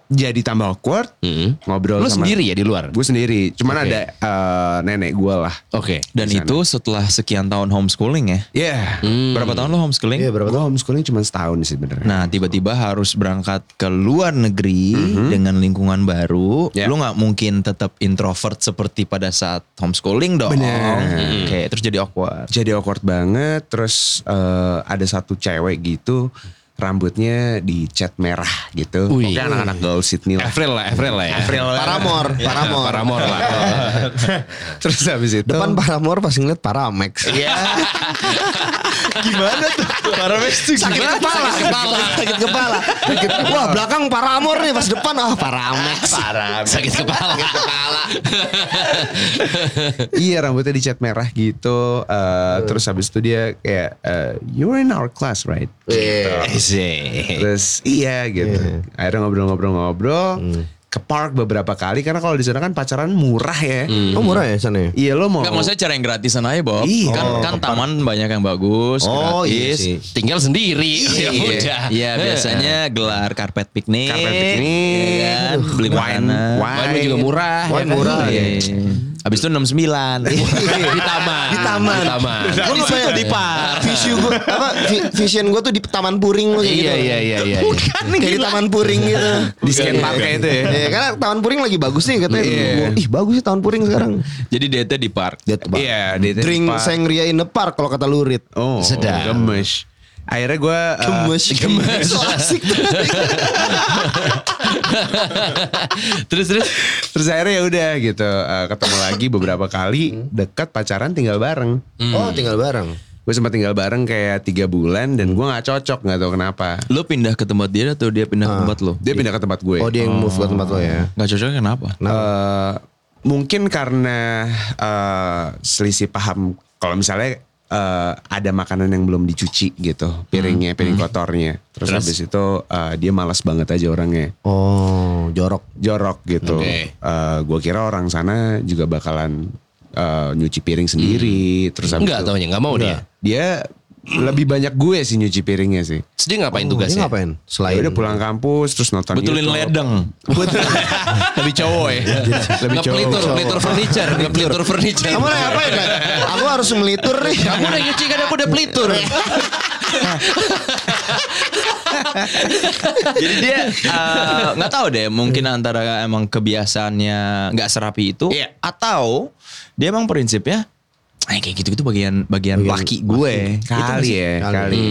[SPEAKER 4] Jadi tambah awkward.
[SPEAKER 2] Mm.
[SPEAKER 4] Ngobrol
[SPEAKER 2] Lu
[SPEAKER 4] sama.
[SPEAKER 2] sendiri ya di luar?
[SPEAKER 4] Gue sendiri. Cuman
[SPEAKER 2] Oke.
[SPEAKER 4] ada eh, nenek gue lah.
[SPEAKER 2] Oke.
[SPEAKER 3] Dan
[SPEAKER 4] Di sana.
[SPEAKER 3] itu setelah sekian tahun homeschooling ya.
[SPEAKER 4] Iya.
[SPEAKER 2] Hmm.
[SPEAKER 3] Berapa tahun lo homeschooling?
[SPEAKER 1] Iya berapa
[SPEAKER 4] Gue
[SPEAKER 1] tahun?
[SPEAKER 4] homeschooling cuma setahun sih sebenarnya.
[SPEAKER 3] Nah, tiba-tiba harus berangkat ke luar negeri dengan lingkungan baru.
[SPEAKER 4] Ya.
[SPEAKER 3] Lu nggak mungkin tetap introvert seperti pada saat homeschooling dong.
[SPEAKER 4] Bener.
[SPEAKER 3] Oke, terus jadi awkward.
[SPEAKER 4] jadi awkward banget terus eh, ada satu cewek gitu rambutnya dicat merah gitu
[SPEAKER 2] Wih.
[SPEAKER 4] pokoknya anak-anak gaul Sydney lah
[SPEAKER 2] April lah, April lah ya.
[SPEAKER 1] Paramor, Paramor.
[SPEAKER 2] Paramor lah.
[SPEAKER 4] terus habis itu
[SPEAKER 1] Depan Paramor pas ngeliat Paramex.
[SPEAKER 4] gimana tuh
[SPEAKER 1] sakit kepala, sakit kepala, sakit kepala. Wah belakang Paramor nih pas depan ah Paramex.
[SPEAKER 2] Sakit kepala.
[SPEAKER 4] iya rambutnya dicat merah gitu eh, terus habis itu dia kayak eh, you're in our class right
[SPEAKER 1] Gitu.
[SPEAKER 4] terus iya gitu akhirnya ngobrol-ngobrol-ngobrol ke park beberapa kali karena kalau di sana kan pacaran murah ya
[SPEAKER 1] Oh murah ya sana ya?
[SPEAKER 4] iya lo mau
[SPEAKER 3] Enggak maksudnya cara yang gratisan aja, Bob.
[SPEAKER 4] Iya.
[SPEAKER 3] Kan
[SPEAKER 4] Oh,
[SPEAKER 3] kan taman banyak yang bagus,
[SPEAKER 1] Oh, iya
[SPEAKER 3] gratis.
[SPEAKER 1] sih.
[SPEAKER 2] Tinggal sendiri. Ya udah.
[SPEAKER 3] Iya, Iya, biasanya gelar karpet piknik.
[SPEAKER 4] Karpet piknik.
[SPEAKER 3] Iya kan? Beli
[SPEAKER 4] wine,
[SPEAKER 3] makanan.
[SPEAKER 4] wine.
[SPEAKER 2] Wine juga murah. ya
[SPEAKER 1] Wine
[SPEAKER 2] kan?
[SPEAKER 1] murah.
[SPEAKER 2] Iya.
[SPEAKER 3] gitu. Iya. Habis itu 69.
[SPEAKER 2] di taman.
[SPEAKER 1] Di taman.
[SPEAKER 2] Di taman.
[SPEAKER 1] Gue lumayan ya, di park. Vision gue apa? vi- Vision gue tuh di Taman Puring loh kayak
[SPEAKER 2] Iya,
[SPEAKER 1] gitu.
[SPEAKER 2] iya, iya, iya.
[SPEAKER 1] Kayak di Taman Puring gitu.
[SPEAKER 4] di skate park
[SPEAKER 1] Iya.
[SPEAKER 4] itu ya
[SPEAKER 1] Iya, karena Taman Puring lagi bagus nih katanya.
[SPEAKER 4] Iya.
[SPEAKER 1] Gua, Ih bagus sih Taman Puring sekarang.
[SPEAKER 3] Jadi DT di park.
[SPEAKER 1] Dia tuh, Bang.
[SPEAKER 4] Iya, di
[SPEAKER 1] Drink
[SPEAKER 4] tempat-
[SPEAKER 1] sangria in the park kalau kata Lurit.
[SPEAKER 4] Oh,
[SPEAKER 2] Sedap.
[SPEAKER 4] Gemes. Akhirnya eh, gue
[SPEAKER 1] Gemes, gemes. So asik tuh.
[SPEAKER 2] terus terus.
[SPEAKER 4] terus akhirnya ya udah gitu eh, ketemu lagi beberapa kali dekat pacaran tinggal bareng.
[SPEAKER 1] Oh tinggal bareng.
[SPEAKER 4] Gue sempat tinggal bareng kayak tiga bulan dan gue nggak cocok nggak tahu kenapa.
[SPEAKER 3] Lu pindah ke tempat dia atau dia pindah ke tempat lu?
[SPEAKER 4] Dia pindah ke tempat gue.
[SPEAKER 1] Oh dia yang move ke tempat lo ya.
[SPEAKER 3] Gak cocok kenapa?
[SPEAKER 4] Eh, mungkin karena eh, selisih paham. Kalau misalnya eh, ada makanan yang belum dicuci gitu piringnya piring kotornya terus, habis itu eh, dia malas banget aja orangnya
[SPEAKER 1] Oh, jorok.
[SPEAKER 4] jorok gitu.
[SPEAKER 2] Oke.
[SPEAKER 4] Eh, gua kira orang sana juga bakalan eh, nyuci piring sendiri. Terus habis
[SPEAKER 2] Enggak
[SPEAKER 4] itu-
[SPEAKER 2] taunya, enggak mau dia.
[SPEAKER 4] Dia lebih banyak gue sih nyuci piringnya sih.
[SPEAKER 2] Terus dia ngapain
[SPEAKER 1] Oh, dia
[SPEAKER 2] tugasnya?
[SPEAKER 1] ngapain? Selain
[SPEAKER 4] Ya udah pulang kampus terus nonton
[SPEAKER 3] Betulin
[SPEAKER 4] YouTube.
[SPEAKER 3] ledeng. Lebih cowok ya.
[SPEAKER 4] Lebih cowok.
[SPEAKER 2] Ngepelitur, ngepelitur furniture, ngepelitur furniture.
[SPEAKER 1] Kamu lagi ngapain kan? Aku harus melitur nih.
[SPEAKER 2] Kamu udah nyuci kan aku udah pelitur.
[SPEAKER 3] Jadi dia eh, nggak tahu deh, mungkin antara emang kebiasaannya nggak serapi itu,
[SPEAKER 2] Iya.
[SPEAKER 3] atau dia emang prinsipnya, "Eh, kayak gitu-gitu bagian bagian laki gue.
[SPEAKER 4] Kali
[SPEAKER 1] Kali.
[SPEAKER 4] ya,
[SPEAKER 1] Hmm.
[SPEAKER 4] kali.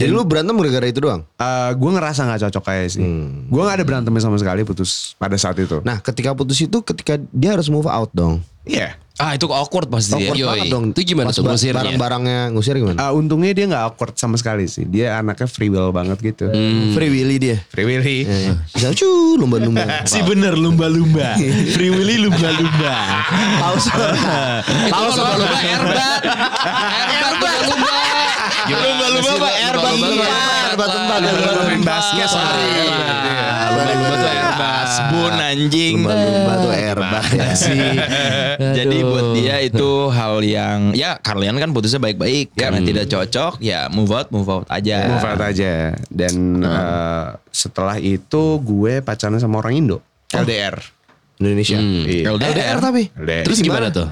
[SPEAKER 1] Jadi lu berantem gara-gara itu doang?
[SPEAKER 4] Eh, gue ngerasa nggak cocok aja sih. Gue nggak ada berantem sama sekali putus pada saat itu.
[SPEAKER 1] Nah, ketika putus itu ketika dia harus move out dong.
[SPEAKER 4] Iya.
[SPEAKER 3] Ah itu awkward pasti.
[SPEAKER 2] Iya,
[SPEAKER 1] Awkward
[SPEAKER 2] yoi.
[SPEAKER 1] banget dong.
[SPEAKER 2] Itu gimana
[SPEAKER 1] Pas
[SPEAKER 2] tuh
[SPEAKER 1] ba-
[SPEAKER 2] ngusirnya?
[SPEAKER 1] Barang-barangnya ngusir gimana?
[SPEAKER 4] Eh, untungnya dia nggak awkward sama sekali sih. Dia anaknya free will banget gitu.
[SPEAKER 1] Free Willy dia.
[SPEAKER 4] Free willy.
[SPEAKER 1] Iya, Bisa cu lumba-lumba.
[SPEAKER 3] Si bener lumba-lumba. Free Willy lumba-lumba.
[SPEAKER 1] Pause.
[SPEAKER 2] Itu kalau
[SPEAKER 1] Pause.
[SPEAKER 2] lumba erbat. Erbat bukan lumba.
[SPEAKER 3] Lumba-lumba apa? Erbat
[SPEAKER 1] tempat.
[SPEAKER 2] Erbat tempat.
[SPEAKER 1] Lumba-lumba
[SPEAKER 2] Erbat
[SPEAKER 4] main
[SPEAKER 2] tempat.
[SPEAKER 4] basket, sorry.
[SPEAKER 3] Lumba-lumba tuh airbus, bun anjing.
[SPEAKER 1] Lumba-lumba tuh airbag ya.
[SPEAKER 3] Jadi buat dia itu hal yang ya kalian kan putusnya baik-baik karena tidak cocok ya move out move out aja.
[SPEAKER 4] Move out aja. Dan eh, setelah itu gue pacaran sama orang Indo. LDR.
[SPEAKER 1] Indonesia.
[SPEAKER 4] Iya.
[SPEAKER 1] LDR tapi.
[SPEAKER 4] LDR.
[SPEAKER 2] Terus gimana tuh?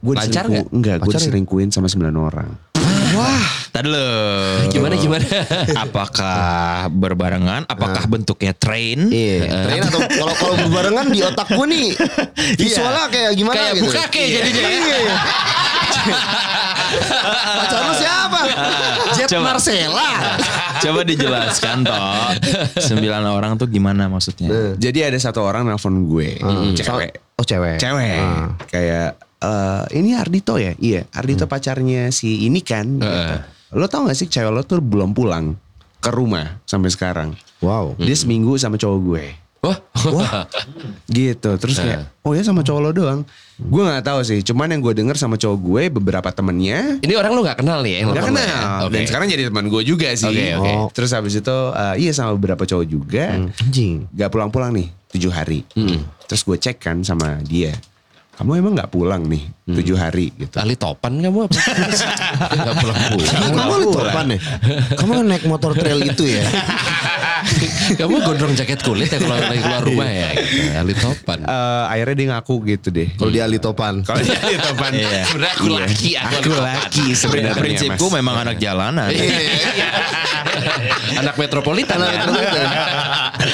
[SPEAKER 4] Gue
[SPEAKER 2] Pacar
[SPEAKER 4] diselingkuh-
[SPEAKER 2] nggak?
[SPEAKER 4] Enggak, gue
[SPEAKER 1] Pacar nggak?
[SPEAKER 4] diselingkuhin sama 9 orang.
[SPEAKER 3] Tadi lo
[SPEAKER 2] Gimana gimana?
[SPEAKER 3] apakah berbarengan? Apakah bentuknya train?
[SPEAKER 1] Iya. Train atau kalau kalau berbarengan di otak gue nih visualnya kayak gimana
[SPEAKER 2] Kayak
[SPEAKER 1] gitu.
[SPEAKER 2] bukake jadinya ya.
[SPEAKER 1] Iya. Pacar lu siapa? Jet
[SPEAKER 3] Coba.
[SPEAKER 1] Marcella.
[SPEAKER 3] Coba dijelaskan toh. Sembilan orang tuh gimana maksudnya?
[SPEAKER 4] Jadi ada satu orang nelpon gue, cewek.
[SPEAKER 1] Oh cewek.
[SPEAKER 2] Eh,
[SPEAKER 1] Ah.
[SPEAKER 4] Cewek.
[SPEAKER 2] ah.
[SPEAKER 4] Kayak eh, ini Ardito ya? Iya, Ardito
[SPEAKER 2] Hmm.
[SPEAKER 4] pacarnya si ini kan.
[SPEAKER 2] Eh,
[SPEAKER 4] gitu. Lo tau gak sih cewek lo tuh belum pulang ke rumah sampai sekarang.
[SPEAKER 1] Wow.
[SPEAKER 4] Dia seminggu sama cowok gue.
[SPEAKER 2] Wah. Eh.
[SPEAKER 4] gitu terus kayak oh ya sama cowok lo doang gue nggak tahu sih cuman yang gue denger sama cowok gue beberapa temennya
[SPEAKER 2] Ini orang lu gak kenal nih ya? yang
[SPEAKER 4] udah
[SPEAKER 2] nelfon lu
[SPEAKER 4] kenal
[SPEAKER 2] ya? Oke.
[SPEAKER 4] dan sekarang jadi teman gue juga sih
[SPEAKER 2] Oke, oke. Hmm.
[SPEAKER 4] Oh. terus habis itu eh, iya sama beberapa cowok juga
[SPEAKER 1] Anjing.
[SPEAKER 4] nggak pulang-pulang nih tujuh hari terus gue cek kan sama dia kamu emang nggak pulang nih tujuh hari gitu
[SPEAKER 2] Ahli topan kamu apa? Gak pulang-pulang.
[SPEAKER 1] Kamu lu topan ya? Kamu kan naik motor trail itu ya?
[SPEAKER 2] Kamu gondrong jaket kulit ya kalau lagi keluar rumah ya? Gitu. Ahli topan.
[SPEAKER 4] Eh, akhirnya dia ngaku gitu deh
[SPEAKER 1] Kalau dia ahli topan.
[SPEAKER 4] kalau dia di depan
[SPEAKER 3] Iya.
[SPEAKER 2] Sebenernya aku laki, aku,
[SPEAKER 4] aku
[SPEAKER 2] ahli
[SPEAKER 4] laki
[SPEAKER 3] Pri-
[SPEAKER 4] sebenarnya
[SPEAKER 3] Prinsipku
[SPEAKER 4] Mas.
[SPEAKER 3] memang anak jalanan.
[SPEAKER 1] Iya.
[SPEAKER 2] topan. Anak metropolitan.
[SPEAKER 1] Karena
[SPEAKER 2] ya?
[SPEAKER 1] itu kan.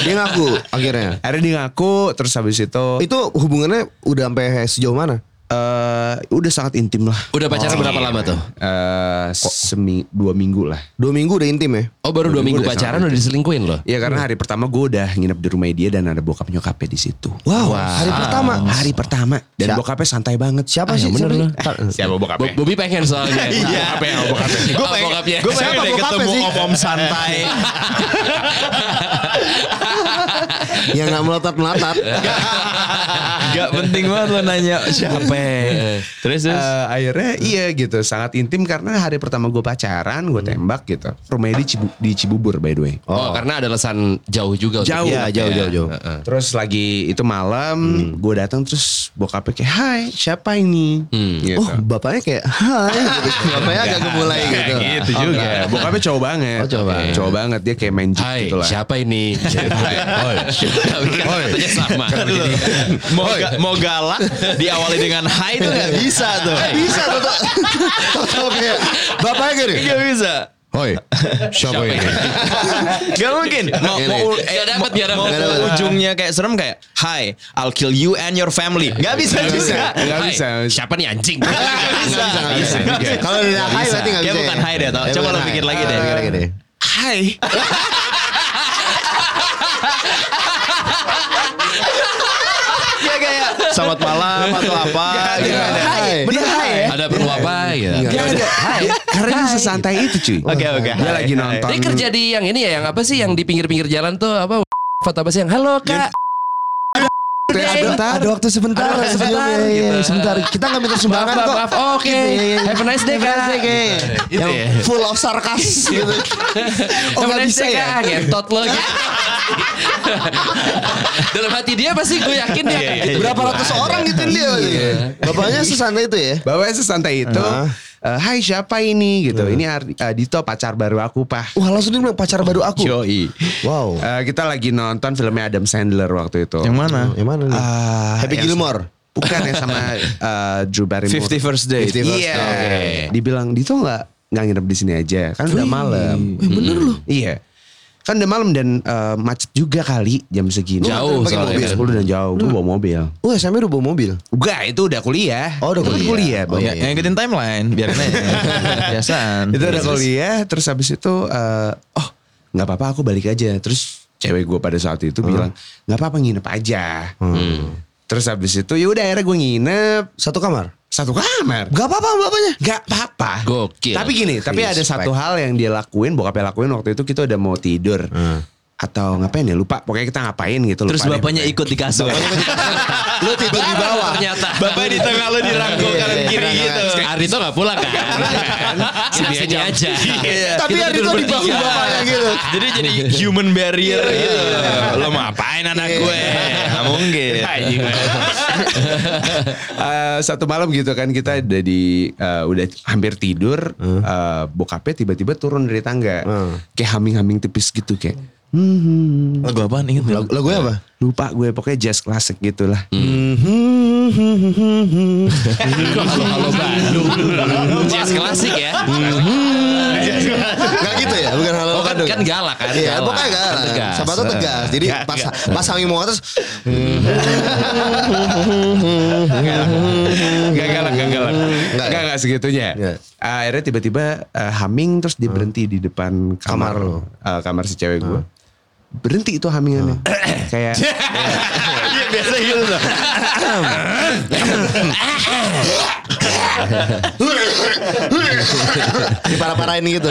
[SPEAKER 1] Dia ngaku akhirnya.
[SPEAKER 4] akhirnya dia ngaku terus habis itu
[SPEAKER 1] Oh, Itu hubungannya udah sampai sejauh mana?
[SPEAKER 4] eh, udah sangat intim lah
[SPEAKER 2] Udah pacaran berapa lama tuh?
[SPEAKER 4] eh semi dua minggu lah.
[SPEAKER 1] Dua minggu udah intim ya?
[SPEAKER 2] Oh baru dua minggu pacaran udah diselingkuin loh.
[SPEAKER 4] Ya karena hari pertama gue udah nginep di rumah dia dan ada bokap nyokapnya di situ.
[SPEAKER 1] Wow, hari pertama.
[SPEAKER 4] Hari pertama dan
[SPEAKER 1] Siap.
[SPEAKER 4] bokapnya santai banget.
[SPEAKER 1] Siapa
[SPEAKER 2] Ah, ya
[SPEAKER 1] sih?
[SPEAKER 2] bener
[SPEAKER 1] siapa
[SPEAKER 2] lu.
[SPEAKER 1] sih? Tar-
[SPEAKER 4] iya, Siapa
[SPEAKER 3] ya?
[SPEAKER 2] Bo- Bobi pengen soalnya. Nah,
[SPEAKER 4] Iya. Apa yang bokapnya?
[SPEAKER 2] Gue ya. pengen.
[SPEAKER 3] Gue pengen deh
[SPEAKER 1] bokapnya
[SPEAKER 3] ketemu
[SPEAKER 1] sih?
[SPEAKER 3] om-om santai.
[SPEAKER 1] Ya nggak meletat meletat.
[SPEAKER 3] Gak penting banget lo nanya siapa. Terus terus.
[SPEAKER 4] Eh, akhirnya iya gitu sangat intim karena hari pertama gue pacaran gue tembak gitu. Rumahnya di, Cibu- di Cibubur by the way.
[SPEAKER 2] Oh, karena ada alasan jauh juga. untuk-
[SPEAKER 4] Jauh.
[SPEAKER 2] Iya,
[SPEAKER 1] jauh jauh jauh.
[SPEAKER 4] Hmm. Terus lagi itu malam gue datang terus bokapnya kayak Hai siapa ini? Gitu.
[SPEAKER 1] Oh bapaknya kayak hai. gitu. Bapaknya agak gemulai gitu.
[SPEAKER 3] gitu
[SPEAKER 4] Oh,
[SPEAKER 3] juga.
[SPEAKER 4] enggak. Bokapnya cowok banget.
[SPEAKER 1] Oh, cowok banget.
[SPEAKER 4] Cowok banget dia kayak main jeep
[SPEAKER 2] Hai,
[SPEAKER 4] gitu lah.
[SPEAKER 2] siapa ini? Oh, katanya sama.
[SPEAKER 3] Mau ga- mau galak diawali dengan hai itu gak bisa tuh.
[SPEAKER 1] Eh, Bisa tuh. tuh. Total kayak bapaknya gini.
[SPEAKER 3] Gak bisa.
[SPEAKER 1] Hoi, siapa ini?
[SPEAKER 3] Gak mungkin. Mau,
[SPEAKER 1] Ini.
[SPEAKER 3] mau, eh,
[SPEAKER 2] Gak dapet,
[SPEAKER 3] mau-
[SPEAKER 2] gak dapet.
[SPEAKER 3] mau
[SPEAKER 1] Gak dapet.
[SPEAKER 3] ujungnya kayak serem kayak Hi, I'll kill you and your family. Gak bisa
[SPEAKER 4] Gak bisa.
[SPEAKER 3] juga.
[SPEAKER 4] Gak
[SPEAKER 2] Hai,
[SPEAKER 4] bisa.
[SPEAKER 2] Siapa nih anjing?
[SPEAKER 3] bisa.
[SPEAKER 1] Nggak bisa, nggak bisa. Kalau udah hai berarti nggak bisa.
[SPEAKER 3] Dia
[SPEAKER 1] ya?
[SPEAKER 3] bukan hai deh, tau.
[SPEAKER 1] Dia
[SPEAKER 3] Coba
[SPEAKER 1] bukan
[SPEAKER 3] lo
[SPEAKER 1] hai.
[SPEAKER 3] pikir lagi deh.
[SPEAKER 1] Ah, pikir lagi deh.
[SPEAKER 3] Hai. ya kayak selamat malam atau apa gitu.
[SPEAKER 1] Iya, Nggak ada.
[SPEAKER 3] Hai.
[SPEAKER 1] Hai.
[SPEAKER 3] Bener hai ya.
[SPEAKER 2] Ada perlu apa ya?
[SPEAKER 4] Dia ada. Iya, Karena dia sesantai itu cuy.
[SPEAKER 3] Oke, oke.
[SPEAKER 4] Dia
[SPEAKER 3] Hai,
[SPEAKER 4] lagi
[SPEAKER 3] hai.
[SPEAKER 4] nonton.
[SPEAKER 2] Dia kerja di yang ini ya, yang apa sih yang di pinggir-pinggir jalan tuh apa? Foto apa sih yang halo kak?
[SPEAKER 4] Teh,
[SPEAKER 1] Ada,
[SPEAKER 4] bentar.
[SPEAKER 1] Iya, ada waktu sebentar,
[SPEAKER 2] Ada waktu
[SPEAKER 1] sebelum-
[SPEAKER 2] sebentar,
[SPEAKER 1] iya, iya,
[SPEAKER 2] gitu.
[SPEAKER 1] sebentar. Kita nggak minta sumbangan
[SPEAKER 2] Maaf,
[SPEAKER 1] kok.
[SPEAKER 2] maaf, maaf. Oke.
[SPEAKER 1] Gitu, iya, iya.
[SPEAKER 2] Have a nice day,
[SPEAKER 1] Have a
[SPEAKER 2] Kak.
[SPEAKER 1] nice day, Kak.
[SPEAKER 2] Gitu
[SPEAKER 1] Yang
[SPEAKER 2] ya.
[SPEAKER 1] full of sarkas gitu. Oh
[SPEAKER 2] Sama
[SPEAKER 1] nggak bisa
[SPEAKER 2] SDK,
[SPEAKER 1] ya?
[SPEAKER 2] Ngentot lo gitu. Dalam hati dia pasti gue yakin dia akan gitu.
[SPEAKER 1] Berapa ratus orang gitu dia. Bapaknya sesantai itu ya?
[SPEAKER 4] Bapaknya sesantai itu.
[SPEAKER 1] Ah.
[SPEAKER 4] eh, Hai siapa ini gitu. Ini Ar- Adito pacar baru aku pak.
[SPEAKER 1] Wah langsung dia bilang pacar baru Oh, aku.
[SPEAKER 4] Yoi.
[SPEAKER 1] Wow.
[SPEAKER 4] Eh, kita lagi nonton filmnya Adam Sandler waktu itu.
[SPEAKER 3] Yang mana?
[SPEAKER 1] Yang mana nih?
[SPEAKER 4] Ah,
[SPEAKER 1] Happy
[SPEAKER 4] yang-
[SPEAKER 1] Gilmore.
[SPEAKER 4] Bukan yang sama eh, Drew Barrymore.
[SPEAKER 3] 50 First Date.
[SPEAKER 4] Iya. Dibilang Dito nggak nggak nginep di sini aja kan udah malam. bener loh. Iya. Kan udah malam dan eh, macet juga kali jam segini.
[SPEAKER 2] Jauh
[SPEAKER 4] Pakai
[SPEAKER 2] soalnya
[SPEAKER 4] mobil
[SPEAKER 2] kan.
[SPEAKER 4] 10 dan jauh. Gue bawa mobil.
[SPEAKER 1] Wah sampai udah bawa mobil.
[SPEAKER 4] Enggak, itu udah kuliah.
[SPEAKER 1] Oh, udah
[SPEAKER 4] Itu kan
[SPEAKER 1] kuliah.
[SPEAKER 4] kuliah,
[SPEAKER 1] Oh,
[SPEAKER 4] Bang.
[SPEAKER 3] Ya, yang ikutin timeline biarin aja. Biasaan. Iya.
[SPEAKER 4] Itu udah kuliah, terus habis itu eh, oh nggak apa-apa aku balik aja. Terus cewek gue pada saat itu bilang nggak apa-apa nginep aja. Terus habis itu yaudah akhirnya gue nginep
[SPEAKER 1] Satu kamar.
[SPEAKER 4] satu kamar.
[SPEAKER 1] Gak apa-apa bapaknya.
[SPEAKER 4] Gak apa-apa.
[SPEAKER 2] Gokil.
[SPEAKER 4] Tapi gini, tapi ada
[SPEAKER 1] Respect.
[SPEAKER 4] satu hal yang dia lakuin, bokapnya lakuin waktu itu kita udah mau tidur. Atau ngapain ya, lupa. Pokoknya kita ngapain gitu.
[SPEAKER 3] Terus
[SPEAKER 4] lupa deh.
[SPEAKER 3] bapaknya ikut di kasur.
[SPEAKER 1] Lu tidur di bawah.
[SPEAKER 2] Ternyata.
[SPEAKER 3] Bapak di tengah lu dirangkul
[SPEAKER 1] Iya,
[SPEAKER 3] kanan
[SPEAKER 1] iya,
[SPEAKER 3] kiri
[SPEAKER 1] iya.
[SPEAKER 3] gitu.
[SPEAKER 2] Arito gak pulang kan? Sini aja. Iya. aja.
[SPEAKER 1] Tapi
[SPEAKER 2] Kita Iya.
[SPEAKER 1] hari itu
[SPEAKER 2] tidur
[SPEAKER 1] di bahu
[SPEAKER 2] bertiga.
[SPEAKER 1] bapaknya gitu.
[SPEAKER 3] Iya. Jadi jadi human barrier
[SPEAKER 1] Iya,
[SPEAKER 3] gitu. Lo mau apain anak gue? Gak mungkin.
[SPEAKER 4] Eh, satu malam gitu kan kita udah di eh, udah hampir tidur eh, bokapnya tiba-tiba turun dari tangga
[SPEAKER 1] Hmm.
[SPEAKER 4] kayak haming-haming tipis gitu kayak
[SPEAKER 3] Lagu apaan inget gak?
[SPEAKER 1] Lagu- Lagunya apa?
[SPEAKER 4] lupa gue pokoknya jazz klasik gitulah
[SPEAKER 1] Hmm,
[SPEAKER 2] Halo-halo Bandung. Jazz klasik ya.
[SPEAKER 1] Gak gitu ya? Bukan halo
[SPEAKER 2] Oh, kan-
[SPEAKER 1] Bandung.
[SPEAKER 2] kan galak kan,
[SPEAKER 1] Iya,
[SPEAKER 2] galak.
[SPEAKER 1] pokoknya galak.
[SPEAKER 2] Tegas.
[SPEAKER 1] Siapa tuh tegas. Jadi pas pas Sami mau atas
[SPEAKER 4] Gak galak, gak galak.
[SPEAKER 1] Nggak
[SPEAKER 4] Gak,
[SPEAKER 1] ya?
[SPEAKER 4] gak segitunya.
[SPEAKER 1] Iya.
[SPEAKER 4] Ah, akhirnya tiba-tiba eh, humming terus dia berhenti di depan
[SPEAKER 1] Kamar
[SPEAKER 4] kamar
[SPEAKER 1] lo.
[SPEAKER 4] eh, kamar si cewek gue. Berhenti itu hummingannya. Kayak
[SPEAKER 3] Iya biasa gitu tuh.
[SPEAKER 1] diparah-parahin gitu.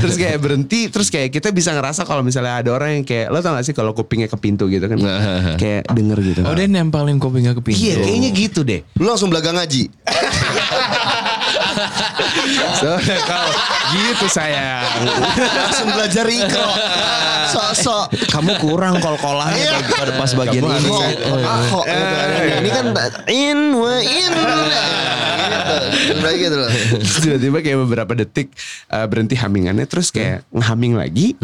[SPEAKER 4] terus kayak berhenti terus kayak kita bisa ngerasa kalau misalnya ada orang yang kayak lo tau gak sih kalau kupingnya ke pintu gitu kan. kayak denger gitu.
[SPEAKER 3] Oh dia nempelin kupingnya ke pintu.
[SPEAKER 4] Iya, kayaknya gitu deh.
[SPEAKER 1] Lu langsung belaga ngaji.
[SPEAKER 4] Soalnya kalau gitu sayang.
[SPEAKER 1] langsung belajar ikro. Sok-sok.
[SPEAKER 3] Kamu kurang kol-kolannya
[SPEAKER 1] Iya.
[SPEAKER 3] bag- pada pas bagian
[SPEAKER 1] Ini
[SPEAKER 3] ini.
[SPEAKER 1] ahok. gitu. Ini kan in wa in. Nah, Gitu. Udah gitu loh.
[SPEAKER 4] Terus tiba-tiba kayak beberapa detik uh, berhenti hamingannya terus kayak ngehaming lagi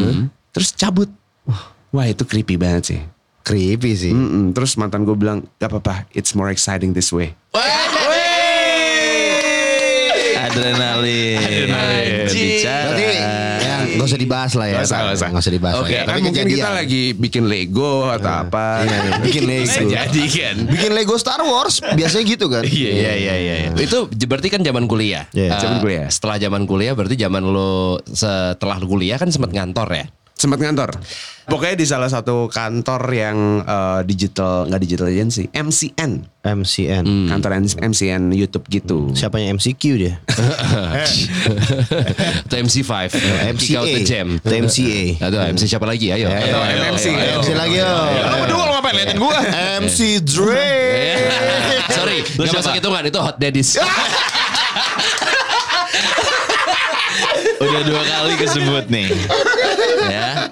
[SPEAKER 4] terus cabut Hmm. wah itu creepy banget sih
[SPEAKER 1] Creepy sih.
[SPEAKER 4] Mm-mm. terus mantan gue bilang gak apa-apa it's more exciting this way
[SPEAKER 3] Adrenalin. Bicara.
[SPEAKER 1] Berarti ya nggak usah dibahas lah ya.
[SPEAKER 4] Nggak usah, nggak usah.
[SPEAKER 1] Nggak usah dibahas.
[SPEAKER 4] Oke,
[SPEAKER 1] lah ya.
[SPEAKER 4] kan
[SPEAKER 1] Tapi
[SPEAKER 4] mungkin kita
[SPEAKER 1] kejadian.
[SPEAKER 4] lagi bikin Lego atau apa Gitu
[SPEAKER 1] bikin Lego.
[SPEAKER 3] Jadi kan.
[SPEAKER 1] Bikin Lego Star Wars biasanya gitu kan.
[SPEAKER 2] eh, Iya iya iya iya. Itu j- berarti kan zaman kuliah.
[SPEAKER 1] Iya,
[SPEAKER 2] Eh,
[SPEAKER 4] zaman kuliah.
[SPEAKER 2] Setelah zaman kuliah berarti zaman lo setelah kuliah kan sempat ngantor ya.
[SPEAKER 4] sempat ngantor pokoknya di salah satu kantor yang uh, digital nggak digital agency MCN
[SPEAKER 1] MCN.
[SPEAKER 2] Hmm.
[SPEAKER 4] kantor MCN YouTube gitu
[SPEAKER 1] Siapanya MCQ dia?
[SPEAKER 2] Atau MC5, Kick
[SPEAKER 1] MCA.
[SPEAKER 2] Out the Jam.
[SPEAKER 1] Atau MCA.
[SPEAKER 2] Atau MC siapa lagi?
[SPEAKER 1] Ya,
[SPEAKER 2] Ayo. Ayo, ayo,
[SPEAKER 4] MMC.
[SPEAKER 2] ayo, ayo.
[SPEAKER 1] MC lagi yo.
[SPEAKER 3] Kamu berdua lo ngapain liatin gue?
[SPEAKER 1] MC Dre.
[SPEAKER 2] Eh. Sorry, nggak masuk hitungan itu Hot Daddies.
[SPEAKER 3] Udah dua kali kesebut nih. ya.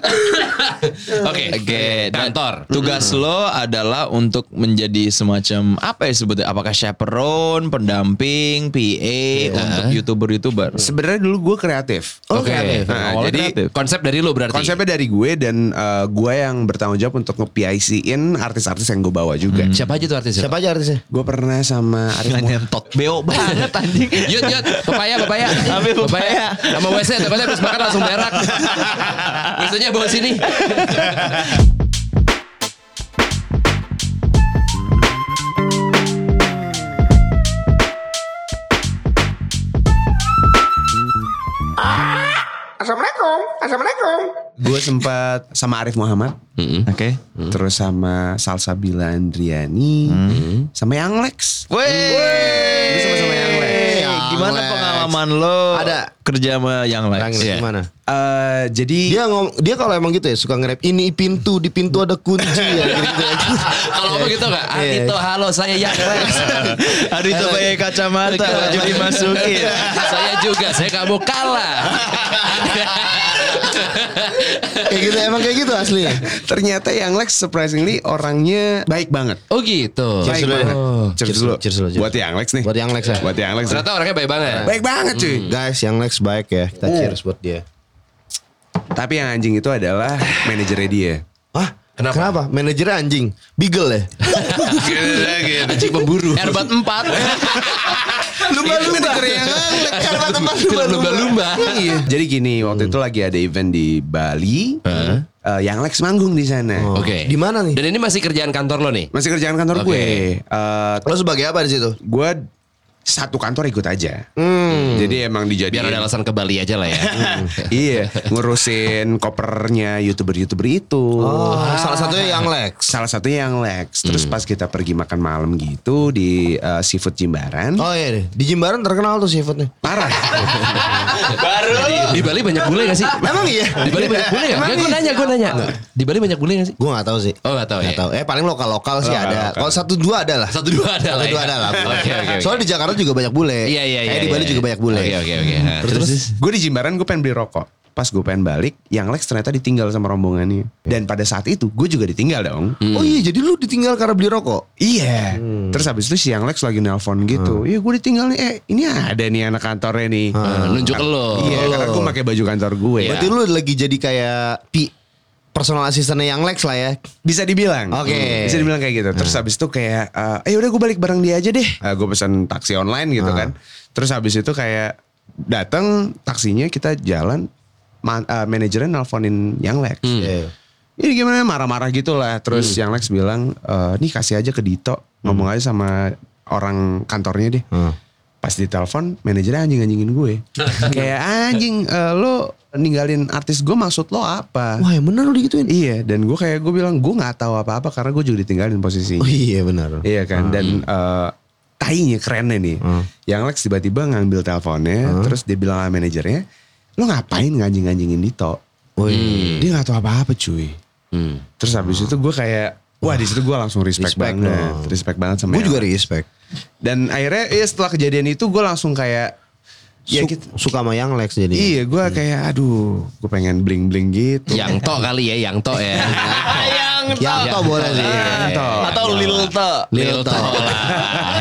[SPEAKER 2] Oke.
[SPEAKER 3] Oke, dan
[SPEAKER 2] Kantor.
[SPEAKER 3] Tugas lo adalah untuk menjadi semacam apa ya sebutnya? Apakah chaperone, pendamping, PA untuk youtuber-youtuber?
[SPEAKER 4] sebenarnya dulu gue kreatif
[SPEAKER 2] Oke.
[SPEAKER 4] Nah,
[SPEAKER 3] Awalnya
[SPEAKER 4] jadi
[SPEAKER 3] kreatif.
[SPEAKER 2] Konsep dari lo berarti.
[SPEAKER 4] Konsepnya dari gue dan eh, gue yang bertanggung jawab untuk nge-PIC-in artis-artis yang gue bawa juga.
[SPEAKER 1] Hmm.
[SPEAKER 2] Siapa aja tuh artis?
[SPEAKER 1] Siapa aja artisnya?
[SPEAKER 4] Gue pernah sama Arif
[SPEAKER 3] Gila
[SPEAKER 4] Muhammad.
[SPEAKER 3] nyentot beo banget anjing.
[SPEAKER 2] Yut, yut, pepaya, pepaya.
[SPEAKER 3] Ambil pepaya.
[SPEAKER 2] Sama WC, takutnya habis makan langsung berak. Maksudnya bawa sini.
[SPEAKER 5] Assalamualaikum, Assalamualaikum.
[SPEAKER 4] Gue sempat sama Arif Muhammad.
[SPEAKER 3] Hmm. Oke.
[SPEAKER 1] Hmm.
[SPEAKER 4] Terus sama Salsabila
[SPEAKER 1] Hmm.
[SPEAKER 4] Andriani. Sama Yang Lex.
[SPEAKER 3] Woi.
[SPEAKER 4] Sama-sama Yang Lex.
[SPEAKER 1] Eh,
[SPEAKER 3] gimana Gimana
[SPEAKER 1] Lex.
[SPEAKER 3] pengalaman lo
[SPEAKER 1] Ada.
[SPEAKER 3] kerja sama yang lain?
[SPEAKER 1] Lex,
[SPEAKER 3] Iya.
[SPEAKER 1] gimana?
[SPEAKER 4] Eh, jadi
[SPEAKER 1] Dia ngom dia kalau emang gitu ya suka nge-rap ini pintu di pintu ada kunci ya gitu.
[SPEAKER 2] Kalau apa gitu enggak?
[SPEAKER 1] Iya.
[SPEAKER 2] Adito, halo saya yang Lex.
[SPEAKER 3] Aduh itu pakai kacamata baju dimasukin.
[SPEAKER 2] Iya. saya juga, saya nggak mau kalah.
[SPEAKER 1] kayak gitu emang kayak gitu asli ya.
[SPEAKER 4] ternyata yang Lex surprisingly orangnya baik banget.
[SPEAKER 2] Oh gitu.
[SPEAKER 4] Baik
[SPEAKER 1] dulu ya.
[SPEAKER 4] banget.
[SPEAKER 1] Oh.
[SPEAKER 4] Cheers
[SPEAKER 1] Cheers
[SPEAKER 4] dulu.
[SPEAKER 1] dulu, cheers dulu, cheers.
[SPEAKER 4] Buat yang Lex nih.
[SPEAKER 1] Buat yang Lex ya. Hmm.
[SPEAKER 4] Buat yang Lex.
[SPEAKER 2] Ternyata orangnya baik banget.
[SPEAKER 4] Baik banget cuy.
[SPEAKER 1] Guys, yang Lex baik ya. Kita cheers buat dia.
[SPEAKER 4] Tapi yang anjing itu adalah manajernya dia.
[SPEAKER 1] Hah?
[SPEAKER 2] Kenapa?
[SPEAKER 1] Kenapa? Manajernya anjing. Beagle ya?
[SPEAKER 2] Anjing pemburu. Erbat 4.
[SPEAKER 4] Lumba-lumba.
[SPEAKER 1] Karena teman
[SPEAKER 2] Lumba-lumba.
[SPEAKER 4] Iya. Jadi gini, waktu
[SPEAKER 2] Hmm.
[SPEAKER 4] itu lagi ada event di Bali. Eh, yang Lex manggung di sana.
[SPEAKER 2] Oke.
[SPEAKER 1] Di mana nih?
[SPEAKER 2] Dan ini masih kerjaan kantor lo nih?
[SPEAKER 4] Masih kerjaan kantor
[SPEAKER 2] Oh. Oke.
[SPEAKER 4] gue. Eh,
[SPEAKER 1] Lo sebagai apa di situ?
[SPEAKER 4] gue satu kantor ikut aja. Jadi emang
[SPEAKER 2] Hmm.
[SPEAKER 4] dijadiin.
[SPEAKER 1] Iya.
[SPEAKER 2] Biar ada alasan ke Bali aja lah ya.
[SPEAKER 4] iya, ngurusin kopernya youtuber-youtuber itu.
[SPEAKER 1] Oh, salah satunya yang Lex.
[SPEAKER 4] Salah satunya yang Lex.
[SPEAKER 2] Hmm.
[SPEAKER 4] Terus pas kita pergi makan malam gitu di eh, Seafood Jimbaran.
[SPEAKER 1] Oh iya, deh. di Jimbaran terkenal tuh seafoodnya.
[SPEAKER 4] Parah.
[SPEAKER 2] Di Bali banyak bule gak sih?
[SPEAKER 1] Emang iya?
[SPEAKER 2] Di Bali banyak bule gak? Gue nanya, gue nanya. Di Bali banyak bule gak sih?
[SPEAKER 1] Gue gak tahu sih.
[SPEAKER 2] Oh, nggak tahu
[SPEAKER 1] Nggak
[SPEAKER 2] ya. Oh,
[SPEAKER 1] tahu. Eh paling lokal-lokal sih ada. Kalau satu dua ada lah.
[SPEAKER 2] Satu dua ada lah
[SPEAKER 1] Satu dua
[SPEAKER 2] ya.
[SPEAKER 1] ada lah.
[SPEAKER 2] Oke, oke, oke.
[SPEAKER 1] Soalnya di Jakarta juga banyak bule.
[SPEAKER 2] Iya, iya, iya.
[SPEAKER 1] Eh, di Bali
[SPEAKER 2] iya.
[SPEAKER 1] juga banyak bule.
[SPEAKER 2] Oke, oke, oke. Nah, Terus,
[SPEAKER 4] Terus, gue di Jimbaran gue pengen beli rokok. Pas gue pengen balik, yang Lex ternyata ditinggal sama rombongannya. Dan pada saat itu gue juga ditinggal dong.
[SPEAKER 2] Hmm.
[SPEAKER 1] Oh iya, jadi lu ditinggal karena beli rokok.
[SPEAKER 4] Iya. Terus habis itu si yang Lex lagi nelpon gitu. Iya gue ditinggal nih. Eh ini ada nih anak kantornya nih.
[SPEAKER 2] eh, nunjuk ke lo.
[SPEAKER 4] Iya karena gue pakai baju kantor gue.
[SPEAKER 2] Iya.
[SPEAKER 1] Berarti lu lagi jadi kayak pi personal assistantnya yang Lex lah ya.
[SPEAKER 2] Hmm.
[SPEAKER 4] Bisa dibilang.
[SPEAKER 1] Oke.
[SPEAKER 4] Hmm, Bisa dibilang kayak gitu. Terus habis itu kayak, eh udah gue balik bareng dia aja deh. gue pesan taksi online gitu kan. Terus habis itu kayak datang taksinya kita jalan. Man, eh, manajernya nelponin yang Lex.
[SPEAKER 2] Hmm.
[SPEAKER 1] Iya.
[SPEAKER 4] Ini gimana marah-marah gitu lah. Terus yang Lex bilang, "Eh, nih kasih aja ke Dito. Ngomong aja sama orang kantornya deh.
[SPEAKER 1] Hmm.
[SPEAKER 4] Pas ditelepon manajernya anjing-anjingin gue. Kayak anjing eh, lo ninggalin artis gue maksud lo apa?
[SPEAKER 1] Wah, yang bener lu digituin.
[SPEAKER 4] Iya dan gue kayak gue bilang gue nggak tahu apa-apa karena gue juga ditinggalin
[SPEAKER 1] Oh
[SPEAKER 4] posisinya.
[SPEAKER 1] iya benar.
[SPEAKER 4] Iya kan dan eh, tainya kerennya nih.
[SPEAKER 1] Hmm.
[SPEAKER 4] Yang Lex tiba-tiba ngambil teleponnya terus dia bilang sama manajernya lo ngapain nganjing-nganjingin Dito?
[SPEAKER 1] Oh iya.
[SPEAKER 4] Dia nggak tahu apa-apa cuy.
[SPEAKER 2] Hmm.
[SPEAKER 4] Terus habis itu gue kayak Wah di situ gue langsung respect,
[SPEAKER 1] Respect
[SPEAKER 4] banget,
[SPEAKER 1] dong.
[SPEAKER 4] respect banget
[SPEAKER 1] Gue
[SPEAKER 4] sama yang-
[SPEAKER 1] juga respect.
[SPEAKER 4] Dan akhirnya ya setelah kejadian itu gue langsung kayak ya
[SPEAKER 1] Su-
[SPEAKER 4] kita-
[SPEAKER 1] suka sama yang Lex jadi.
[SPEAKER 4] iya gue kayak aduh gue pengen bling bling gitu.
[SPEAKER 2] Yang to kali ya, yang to ya.
[SPEAKER 3] Yang
[SPEAKER 1] Yang
[SPEAKER 2] Iya.
[SPEAKER 1] to boleh sih.
[SPEAKER 2] Iya.
[SPEAKER 4] Yanto.
[SPEAKER 3] atau Lil To.
[SPEAKER 2] Lil
[SPEAKER 1] Lil
[SPEAKER 2] to
[SPEAKER 1] To.
[SPEAKER 2] lah.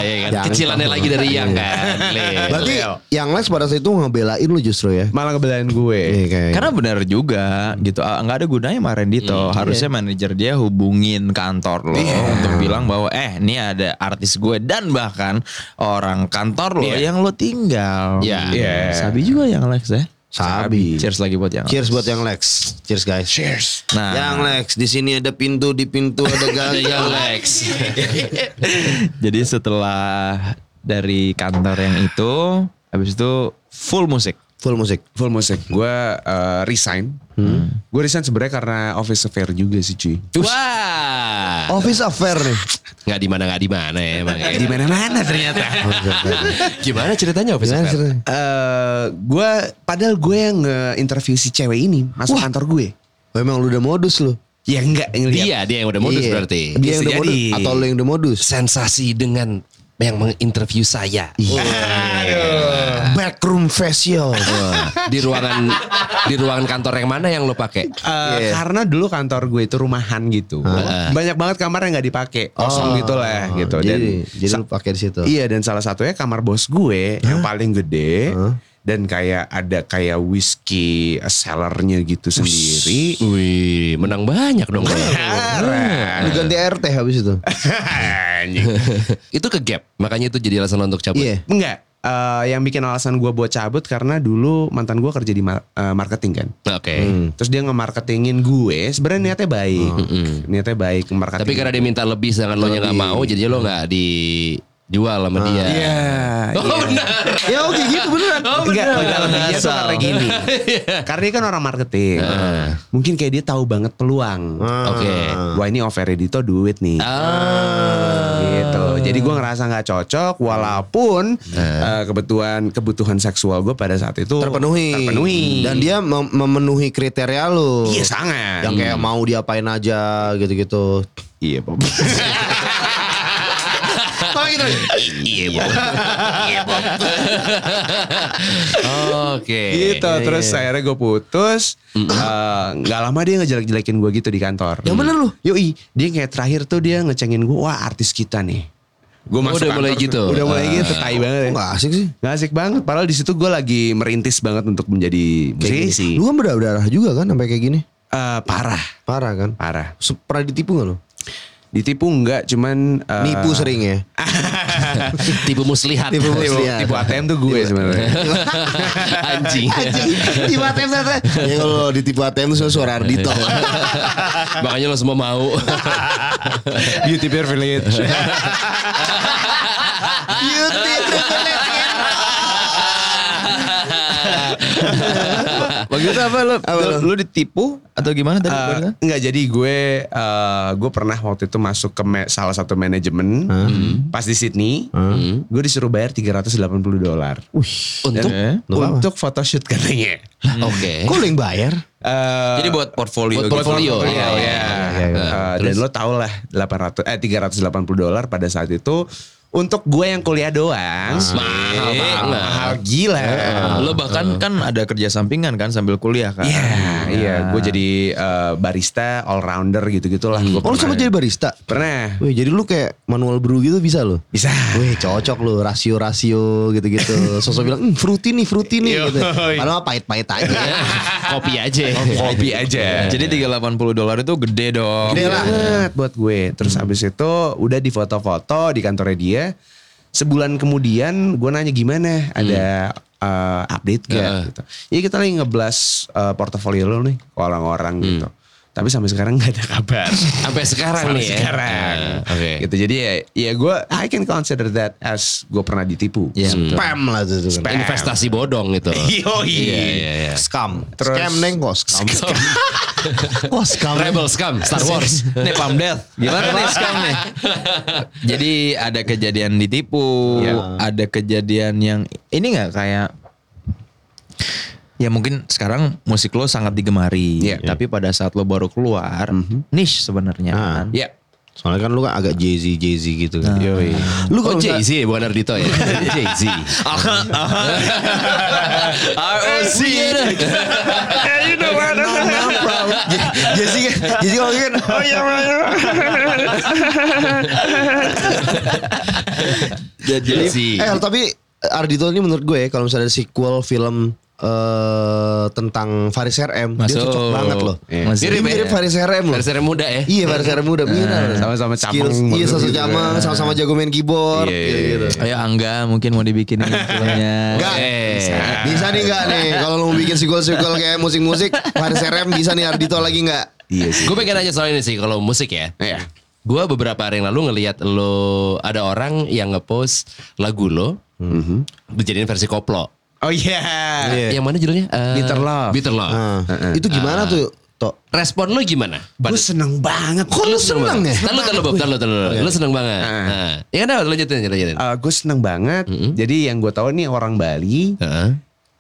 [SPEAKER 2] ya kan?
[SPEAKER 1] Yang
[SPEAKER 2] Kecilannya
[SPEAKER 1] to.
[SPEAKER 2] lagi dari yang kan. Lil.
[SPEAKER 1] Berarti yang Lex pada saat itu ngebelain lu justru ya.
[SPEAKER 4] Malah ngebelain gue.
[SPEAKER 1] Iya, kayak
[SPEAKER 3] Karena benar juga gitu, Ah, nggak ada gunanya marahin Dito. Harusnya manajer dia hubungin kantor lo untuk bilang bahwa eh ini ada artis gue dan bahkan orang kantor lo yang lo tinggal.
[SPEAKER 2] Iya.
[SPEAKER 4] Iya.
[SPEAKER 3] Sabi juga yang Lex ya.
[SPEAKER 1] Sabi.
[SPEAKER 3] Cheers lagi buat yang.
[SPEAKER 1] Cheers buat yang Lex. Cheers guys. Cheers.
[SPEAKER 3] Nah.
[SPEAKER 1] Yang Lex, di sini ada pintu, di pintu ada gang.
[SPEAKER 2] Yang Lex.
[SPEAKER 3] Jadi setelah dari kantor yang itu, habis itu full musik.
[SPEAKER 1] Full musik.
[SPEAKER 4] Full musik. Gue eh, resign. Gue resign sebenarnya karena office affair juga sih cuy.
[SPEAKER 2] Wah.
[SPEAKER 1] Office affair nih.
[SPEAKER 2] Nggak di mana nggak di mana ya emang. ya.
[SPEAKER 4] Di mana mana ternyata.
[SPEAKER 2] Gimana ceritanya Office
[SPEAKER 1] Gimana
[SPEAKER 2] Affair?
[SPEAKER 1] ceritanya?
[SPEAKER 4] Eh, gue padahal gue yang nge-interview si cewek ini masuk kantor gue.
[SPEAKER 1] Oh, emang lu udah modus lu.
[SPEAKER 4] Ya enggak ngeliat.
[SPEAKER 2] Dia, dia yang udah modus
[SPEAKER 1] Iya.
[SPEAKER 2] berarti.
[SPEAKER 1] Dia yang
[SPEAKER 4] Bisa
[SPEAKER 1] udah modus
[SPEAKER 4] jadi.
[SPEAKER 1] atau lu yang udah modus?
[SPEAKER 2] Sensasi dengan yang menginterview saya.
[SPEAKER 1] Backroom facial.
[SPEAKER 2] di ruangan di ruangan kantor yang mana yang lo pakai?
[SPEAKER 4] Eh, Karena dulu kantor gue itu rumahan gitu, banyak banget kamar yang nggak dipakai, kosong gitu lah gitu. Dan
[SPEAKER 1] Oh. Jadi, jadi
[SPEAKER 4] sa-
[SPEAKER 1] lu pakai di situ.
[SPEAKER 2] gitu.
[SPEAKER 4] iya dan salah satunya kamar bos gue yang paling gede dan kayak ada kayak whiskey sellernya gitu sendiri.
[SPEAKER 2] Wih, menang banyak dong. lo.
[SPEAKER 4] Nah.
[SPEAKER 1] Lu ganti RT habis itu.
[SPEAKER 4] Eh, Anjing.
[SPEAKER 2] itu ke gap, makanya itu jadi alasan lo untuk cabut.
[SPEAKER 1] Iya.
[SPEAKER 4] Enggak. eh, yang bikin alasan gue buat cabut karena dulu mantan gue kerja di ma- eh, marketing kan.
[SPEAKER 2] Oke.
[SPEAKER 4] Terus dia nge-marketingin gue, sebenarnya niatnya
[SPEAKER 2] Oh.
[SPEAKER 4] baik. Niatnya baik marketing.
[SPEAKER 2] Tapi karena dia minta lebih sedangkan lo nya nggak mau, jadinya lo nggak di jual sama dia.
[SPEAKER 4] Iya.
[SPEAKER 2] Oh benar.
[SPEAKER 1] Ya oke gitu beneran. Iya,
[SPEAKER 2] Oh
[SPEAKER 4] Enggak,
[SPEAKER 2] benar.
[SPEAKER 4] enggak, enggak, itu karena gini. karena dia kan orang marketing. Mungkin kayak dia tahu banget peluang.
[SPEAKER 1] Ah.
[SPEAKER 2] Oke.
[SPEAKER 4] Wah ini overedito duit nih.
[SPEAKER 2] Ah.
[SPEAKER 4] gitu. Jadi gue ngerasa nggak cocok, walaupun eh, kebutuhan kebutuhan seksual gue pada saat itu
[SPEAKER 1] terpenuhi.
[SPEAKER 4] Terpenuhi.
[SPEAKER 1] Dan dia mem- memenuhi kriteria lu.
[SPEAKER 4] iya sangat.
[SPEAKER 1] Yang kayak mau diapain aja gitu-gitu.
[SPEAKER 4] Iya, Bob.
[SPEAKER 1] Kalau gitu.
[SPEAKER 2] Iya, Bob. Iya, Bob. Oke.
[SPEAKER 4] gitu. Terus akhirnya gue putus. Eh, Nggak lama dia ngejelek-jelekin gue gitu di kantor. Yang bener lu? Yoi. Dia kayak terakhir tuh dia ngecengin gue. Wah artis kita nih. Gue
[SPEAKER 2] Oh, udah mulai gitu.
[SPEAKER 4] Udah mulai
[SPEAKER 2] Ah.
[SPEAKER 4] gitu. Tai banget ya.
[SPEAKER 1] Enggak asik sih.
[SPEAKER 4] Gak asik banget. Padahal di situ gue lagi merintis banget untuk menjadi musisi.
[SPEAKER 1] Lu kan berdarah juga kan sampai kayak gini.
[SPEAKER 4] Eh, parah,
[SPEAKER 1] Parah kan?
[SPEAKER 4] parah.
[SPEAKER 1] Se- Pernah ditipu gak lu?
[SPEAKER 4] Eh, Ditipu enggak, cuman eh,
[SPEAKER 1] Nipu sering ya.
[SPEAKER 2] Tipu muslihat.
[SPEAKER 1] Tipu
[SPEAKER 4] Tipu,
[SPEAKER 1] muslihat.
[SPEAKER 4] tipu ATM tuh gue sebenarnya.
[SPEAKER 2] Anjing.
[SPEAKER 1] tipu ATM ternyata. Ya kalau ditipu ATM tuh suara Ardito.
[SPEAKER 2] Makanya lo semua mau.
[SPEAKER 4] Beauty Bear Village.
[SPEAKER 1] Beauty privilege ya.
[SPEAKER 3] Begitu apa lu?
[SPEAKER 1] Apa
[SPEAKER 3] lu ditipu atau gimana tadi?
[SPEAKER 4] Eh,
[SPEAKER 3] barusan?
[SPEAKER 4] enggak jadi gue eh, gue pernah waktu itu masuk ke ma- salah satu manajemen pas di Sydney gue disuruh bayar 380 dolar
[SPEAKER 2] Untuk?
[SPEAKER 4] Dan-
[SPEAKER 1] Untuk apa?
[SPEAKER 4] untuk photoshoot katanya
[SPEAKER 2] Oke.
[SPEAKER 1] Kok lu yang bayar?
[SPEAKER 4] Eh,
[SPEAKER 3] Jadi buat portfolio
[SPEAKER 2] buat
[SPEAKER 3] gitu.
[SPEAKER 2] portfolio.
[SPEAKER 4] Oh,
[SPEAKER 2] Iya, iya,
[SPEAKER 4] iya, iya.
[SPEAKER 2] iya.
[SPEAKER 4] Eh, dan lo tau lah 800 eh 380 dolar pada saat itu untuk gue yang kuliah doang
[SPEAKER 2] Mahal
[SPEAKER 4] mahal,
[SPEAKER 2] banget.
[SPEAKER 4] mahal gila
[SPEAKER 2] Ah,
[SPEAKER 3] Lo bahkan kan ada kerja sampingan kan sambil kuliah kan.
[SPEAKER 4] Iya, iya. Gue jadi eh, barista, all rounder gitu-gitu lah. Gua
[SPEAKER 1] Oh lu sama
[SPEAKER 4] pernah.
[SPEAKER 1] jadi barista?
[SPEAKER 4] Pernah.
[SPEAKER 1] Wih jadi lu kayak manual brew gitu bisa lu?
[SPEAKER 4] Bisa.
[SPEAKER 1] Wih cocok lu rasio-rasio gitu-gitu. Sosok bilang, hmm, fruity nih, fruity nih gitu. Padahal mah pahit-pahit aja.
[SPEAKER 2] Kopi aja.
[SPEAKER 4] Kopi aja.
[SPEAKER 3] Jadi 380 dolar itu gede dong.
[SPEAKER 4] Gede banget buat gue. Terus abis itu udah di foto-foto di kantornya dia. Sebulan kemudian gue nanya gimana ada eh, update gak
[SPEAKER 2] Heeh.
[SPEAKER 4] gitu. Ya kita lagi ngeblast eh, portofolio lo nih ke orang-orang gitu. Tapi sampai sekarang gak ada kabar.
[SPEAKER 2] Sampai sekarang
[SPEAKER 4] Sampai
[SPEAKER 2] nih ya.
[SPEAKER 4] sekarang.
[SPEAKER 2] Ah, Oke.
[SPEAKER 4] Gitu jadi ya, ya gue I can consider that as gue pernah ditipu.
[SPEAKER 1] Spam lah itu. tuh kan.
[SPEAKER 4] Spam.
[SPEAKER 2] Investasi bodong gitu.
[SPEAKER 4] Yoi.
[SPEAKER 2] Iya, iya, iya.
[SPEAKER 1] Scam.
[SPEAKER 4] Terus-
[SPEAKER 1] scam neng kok scam. Kok scam.
[SPEAKER 2] Rebel scam Star Wars.
[SPEAKER 3] nih Palm Death. Gimana nih sekarang nih? Jadi ada kejadian ditipu, ada kejadian yang ini nggak kayak Ya mungkin sekarang musik lo sangat digemari,
[SPEAKER 4] Iya.
[SPEAKER 3] tapi pada saat lo baru keluar, niche sebenarnya.
[SPEAKER 1] Ah.
[SPEAKER 3] kan.
[SPEAKER 4] Ya.
[SPEAKER 1] Soalnya kan lu kan agak Jay-Z Jay-Z gitu kan.
[SPEAKER 4] Yoi.
[SPEAKER 1] Lu
[SPEAKER 2] Oh
[SPEAKER 1] kalau
[SPEAKER 2] Jay
[SPEAKER 1] misalnya-
[SPEAKER 2] Z bukan Ardito ya. Jay Z.
[SPEAKER 1] Eh,
[SPEAKER 3] ROC.
[SPEAKER 1] Nah, Jay-Z kan Jay-Z kalau gitu kan oh iya
[SPEAKER 2] Jay Z.
[SPEAKER 1] Eh tapi Ardito ini menurut gue ya, kalau misalnya ada sequel film eh tentang Faris RM dia
[SPEAKER 2] Masuk.
[SPEAKER 1] cocok banget loh.
[SPEAKER 2] Iya.
[SPEAKER 1] Masih
[SPEAKER 2] Mirip
[SPEAKER 1] mirip,
[SPEAKER 2] ya?
[SPEAKER 1] Faris RM loh.
[SPEAKER 2] Versi yang muda ya.
[SPEAKER 1] Iya Faris RM udah bener.
[SPEAKER 4] sama-sama
[SPEAKER 1] Skills-
[SPEAKER 4] camang
[SPEAKER 1] Iya
[SPEAKER 4] banget
[SPEAKER 1] sama-sama
[SPEAKER 4] gitu.
[SPEAKER 1] camang, sama-sama jago main keyboard. gitu gitu.
[SPEAKER 3] Ayo Ya, Angga mungkin mau dibikinin filmnya.
[SPEAKER 1] Enggak.
[SPEAKER 2] Eh.
[SPEAKER 1] Bisa nih enggak nih kalau lu mau bikin sequel-sequel kayak musik-musik Faris RM bisa nih Ardito lagi enggak?
[SPEAKER 4] Iya sih.
[SPEAKER 2] Gue pengen aja soal ini sih kalau musik ya.
[SPEAKER 4] Iya.
[SPEAKER 2] Gue beberapa hari yang lalu ngelihat lo ada orang yang ngepost lagu lo
[SPEAKER 1] Mhm.
[SPEAKER 2] dijadiin versi koplo.
[SPEAKER 4] Oh iya.
[SPEAKER 2] Yang mana judulnya? Eh,
[SPEAKER 4] Bitter Love.
[SPEAKER 2] Bitter Love.
[SPEAKER 1] Nah, itu gimana tuh, Tok?
[SPEAKER 2] Respon lo gimana?
[SPEAKER 4] Gue seneng banget.
[SPEAKER 1] Kok lu seneng ya? Iya. Ah.
[SPEAKER 2] Tahu tahu Bob, tahu tahu. Lo seneng banget. Nah. Ya kan dapat lanjutin lanjutin.
[SPEAKER 4] Eh, gue seneng banget. Jadi yang gue tahu nih orang Bali,
[SPEAKER 2] Heeh.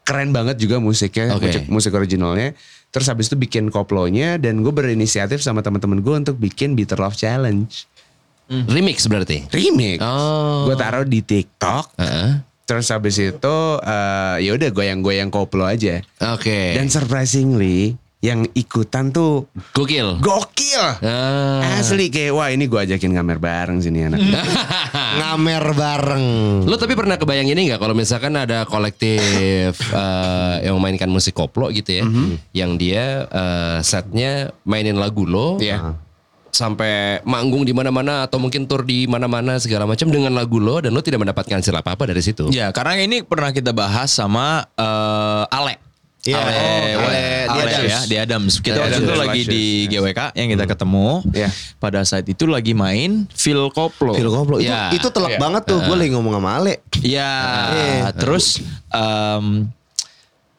[SPEAKER 4] keren banget juga musiknya,
[SPEAKER 2] Oke.
[SPEAKER 4] musik, musik originalnya. Terus habis itu bikin koplonya dan gue berinisiatif sama teman-teman gue untuk bikin Bitter Love Challenge
[SPEAKER 1] Hmm.
[SPEAKER 2] Remix berarti.
[SPEAKER 4] remix.
[SPEAKER 2] Oh.
[SPEAKER 4] Gue taruh di TikTok.
[SPEAKER 2] Heeh.
[SPEAKER 4] Terus habis itu eh, ya udah goyang-goyang koplo aja.
[SPEAKER 2] Oke.
[SPEAKER 4] Dan surprisingly yang ikutan tuh
[SPEAKER 2] Gokil.
[SPEAKER 4] gokil.
[SPEAKER 2] Ah.
[SPEAKER 4] Asli kayak wah ini gue ajakin ngamer bareng sini anak.
[SPEAKER 1] Ngamer bareng.
[SPEAKER 2] Lo tapi pernah kebayang ini nggak kalau misalkan ada kolektif eh, yang memainkan musik koplo gitu ya,
[SPEAKER 4] Mhm.
[SPEAKER 2] yang dia eh, setnya mainin lagu lo,
[SPEAKER 4] Iya.
[SPEAKER 2] sampai manggung di mana-mana atau mungkin tour di mana-mana segala macam dengan lagu lo dan lo gitu.
[SPEAKER 4] Iya,
[SPEAKER 2] tidak mendapatkan hasil apa-apa dari situ.
[SPEAKER 3] Ya, karena ini pernah kita bahas sama eh, Ale.
[SPEAKER 1] Iya.
[SPEAKER 3] Ale,
[SPEAKER 1] Oh,
[SPEAKER 3] Ale,
[SPEAKER 1] Ale,
[SPEAKER 3] Ale
[SPEAKER 1] Adams.
[SPEAKER 3] ya, di Adams. Kita
[SPEAKER 4] Adams.
[SPEAKER 3] waktu itu
[SPEAKER 4] Adams.
[SPEAKER 3] lagi
[SPEAKER 4] Adams.
[SPEAKER 3] di GWK yang kita ketemu.
[SPEAKER 4] Iya.
[SPEAKER 3] Pada saat itu lagi main Phil Koplo.
[SPEAKER 1] Phil Koplo itu,
[SPEAKER 3] Ya.
[SPEAKER 1] itu telak banget tuh. Gue lagi ngomong sama Ale.
[SPEAKER 3] Iya,
[SPEAKER 1] Iya.
[SPEAKER 3] terus em,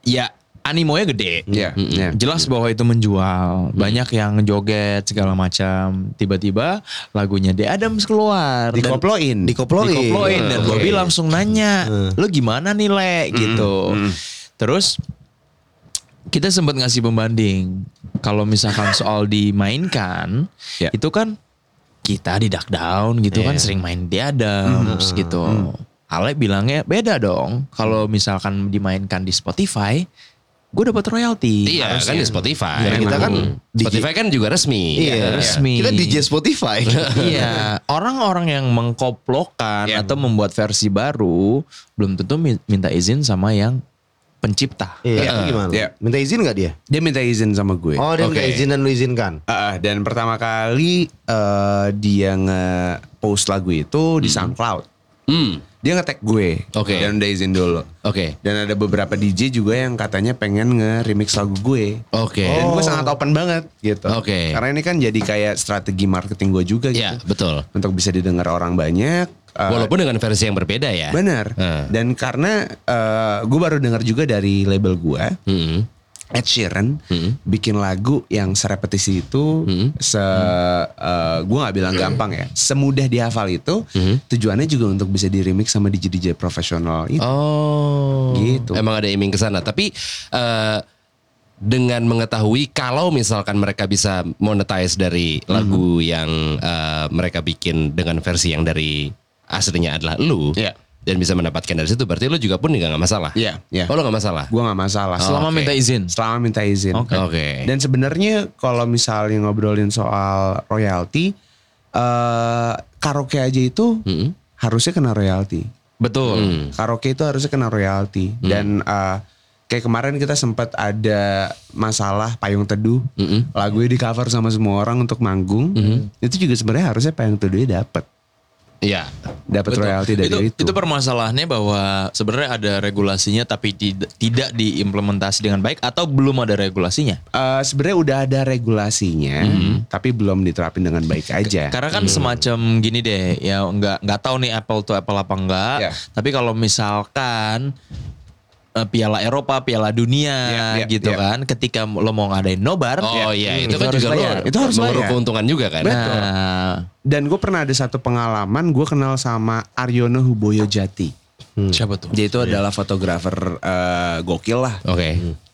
[SPEAKER 3] ya animonya gede. Hmm,
[SPEAKER 4] Iya, iya.
[SPEAKER 3] Jelas bahwa itu menjual. Banyak yang joget segala macam. Tiba-tiba lagunya The Adams keluar.
[SPEAKER 2] Mm.
[SPEAKER 3] Dan-
[SPEAKER 4] Dikoploin.
[SPEAKER 1] Dikoploin.
[SPEAKER 3] dikoploin dan
[SPEAKER 1] Oke.
[SPEAKER 3] Bobby langsung nanya lo gimana nih le gitu terus kita sempat ngasih pembanding kalau misalkan soal dimainkan
[SPEAKER 4] Ya.
[SPEAKER 3] itu kan kita di duck down gitu kan
[SPEAKER 2] Iya.
[SPEAKER 3] sering main di Adams gitu Ale bilangnya beda dong kalau misalkan dimainkan di Spotify gue dapat royalti
[SPEAKER 2] Iya kan di Spotify.
[SPEAKER 1] Ya, kita kan
[SPEAKER 2] Hmm. Spotify kan juga resmi.
[SPEAKER 1] Iya.
[SPEAKER 3] resmi.
[SPEAKER 1] Kita DJ Spotify.
[SPEAKER 3] Iya, orang-orang yang mengkoplokan
[SPEAKER 4] Iya.
[SPEAKER 3] atau membuat versi baru belum tentu mi- minta izin sama yang pencipta.
[SPEAKER 1] Iya, itu gimana?
[SPEAKER 4] Iya.
[SPEAKER 1] Minta izin gak dia?
[SPEAKER 4] Dia minta izin sama gue.
[SPEAKER 1] Oh, dia minta
[SPEAKER 2] Oke.
[SPEAKER 1] izin dan lu izinkan.
[SPEAKER 4] Ah, ah, dan pertama kali eh, dia nge-post lagu itu di SoundCloud.
[SPEAKER 2] Hmm.
[SPEAKER 4] Dia nge-tag gue.
[SPEAKER 2] Oke.
[SPEAKER 4] Dan udah izin dulu.
[SPEAKER 2] Oke.
[SPEAKER 4] Dan ada beberapa DJ juga yang katanya pengen nge-remix lagu gue.
[SPEAKER 2] Oke.
[SPEAKER 4] Dan gue sangat open banget gitu.
[SPEAKER 2] Oke.
[SPEAKER 4] Karena ini kan jadi kayak strategi marketing gue juga gitu.
[SPEAKER 2] Iya betul.
[SPEAKER 4] Untuk bisa didengar orang banyak. eh,
[SPEAKER 2] Walaupun dengan versi yang berbeda ya.
[SPEAKER 4] Benar.
[SPEAKER 2] Eh.
[SPEAKER 4] Dan karena eh, gue baru dengar juga dari label gue,
[SPEAKER 2] Hmm.
[SPEAKER 4] Ed Sheeran bikin lagu yang serepetisi itu, se gue nggak bilang gampang ya, semudah dihafal itu, tujuannya juga untuk bisa di remix sama DJ DJ profesional itu.
[SPEAKER 2] Oh.
[SPEAKER 4] Gitu.
[SPEAKER 2] Emang ada iming ke sana, tapi eh, dengan mengetahui kalau misalkan mereka bisa monetize dari lagu yang eh, mereka bikin dengan versi yang dari aslinya adalah lu
[SPEAKER 3] Iya.
[SPEAKER 2] dan bisa mendapatkan dari situ, berarti lu juga pun juga nggak masalah.
[SPEAKER 4] Iya, iya.
[SPEAKER 2] Oh, lu nggak masalah.
[SPEAKER 4] Gue nggak masalah.
[SPEAKER 3] Selama minta izin.
[SPEAKER 4] Selama minta izin.
[SPEAKER 2] Oke.
[SPEAKER 4] Dan sebenarnya kalau misalnya ngobrolin soal royalti, eh karaoke aja itu harusnya kena royalti.
[SPEAKER 3] Betul.
[SPEAKER 2] Hmm.
[SPEAKER 4] Karaoke itu harusnya kena royalti. Dan eh, kayak kemarin kita sempat ada masalah payung teduh, lagunya di cover sama semua orang untuk manggung. Itu juga sebenarnya harusnya payung teduhnya dapat,
[SPEAKER 2] Iya.
[SPEAKER 4] dapat
[SPEAKER 3] Betul.
[SPEAKER 4] royalti dari itu.
[SPEAKER 3] itu permasalahannya bahwa sebenarnya ada regulasinya tapi tid- tidak diimplementasi dengan baik atau belum ada regulasinya.
[SPEAKER 4] Eh, sebenarnya udah ada regulasinya, tapi belum diterapin dengan baik aja.
[SPEAKER 3] Karena kan semacam gini deh, ya nggak nggak tahu nih apple to apple apa enggak.
[SPEAKER 4] Ya.
[SPEAKER 3] Tapi kalau misalkan eh, Piala Eropa, Piala Dunia
[SPEAKER 4] ya,
[SPEAKER 3] gitu
[SPEAKER 4] ya.
[SPEAKER 3] kan, ketika lo mau ngadain nobar,
[SPEAKER 2] Oh iya,
[SPEAKER 3] hmm,
[SPEAKER 2] itu kan
[SPEAKER 3] harus
[SPEAKER 2] juga lu
[SPEAKER 3] bayar.
[SPEAKER 4] Itu harus
[SPEAKER 2] mengeruk
[SPEAKER 4] bayar.
[SPEAKER 2] keuntungan juga kan.
[SPEAKER 3] Nah,
[SPEAKER 4] Dan gue pernah ada satu pengalaman, gue kenal sama Aryono Huboyo Jati.
[SPEAKER 3] siapa tuh?
[SPEAKER 4] Dia itu adalah fotografer eh, gokil lah. Hmm.
[SPEAKER 2] Oke.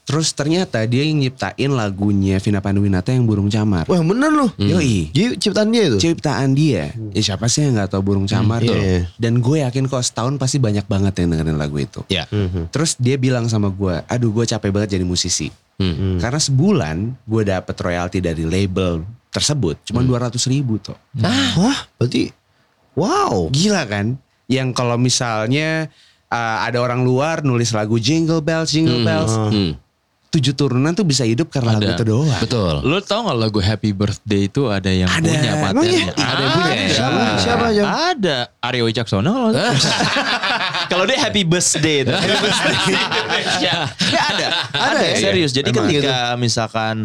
[SPEAKER 4] Terus ternyata dia yang nyiptain lagunya Vina Panduwinata yang Burung Camar.
[SPEAKER 1] Wah, bener lu.
[SPEAKER 4] Yoi.
[SPEAKER 1] Jadi ciptaan dia itu.
[SPEAKER 4] Ciptaan dia. Ya siapa sih yang gak tahu Burung Camar tuh.
[SPEAKER 1] iya.
[SPEAKER 4] Dan gue yakin kok setahun pasti banyak banget yang dengerin lagu itu.
[SPEAKER 2] Ya.
[SPEAKER 1] Mhm.
[SPEAKER 4] Terus dia bilang sama gue, aduh gue capek banget jadi musisi. Karena sebulan gue dapet royalti dari label tersebut cuma 200 ribu tuh.
[SPEAKER 1] Wah, berarti wow.
[SPEAKER 4] Gila kan? Yang kalau misalnya uh, ada orang luar nulis lagu Jingle Bells, Jingle Bells.
[SPEAKER 2] Hmm.
[SPEAKER 4] Tujuh turunan tuh bisa hidup karena lagu
[SPEAKER 3] Ada.
[SPEAKER 4] itu doang.
[SPEAKER 2] Betul.
[SPEAKER 3] Lo tau gak lagu Happy Birthday itu ada yang
[SPEAKER 4] Ada.
[SPEAKER 3] punya
[SPEAKER 4] Emang
[SPEAKER 1] ya?
[SPEAKER 3] patennya? Ada yang punya. Iya.
[SPEAKER 1] Siapa? Siapa aja?
[SPEAKER 3] Ada. Aryo Wicaksono kalau Kalau dia Happy Birthday itu. Nggak ada. Ada,
[SPEAKER 1] ya?
[SPEAKER 3] serius. Jadi
[SPEAKER 1] Emang
[SPEAKER 3] ketika misalkan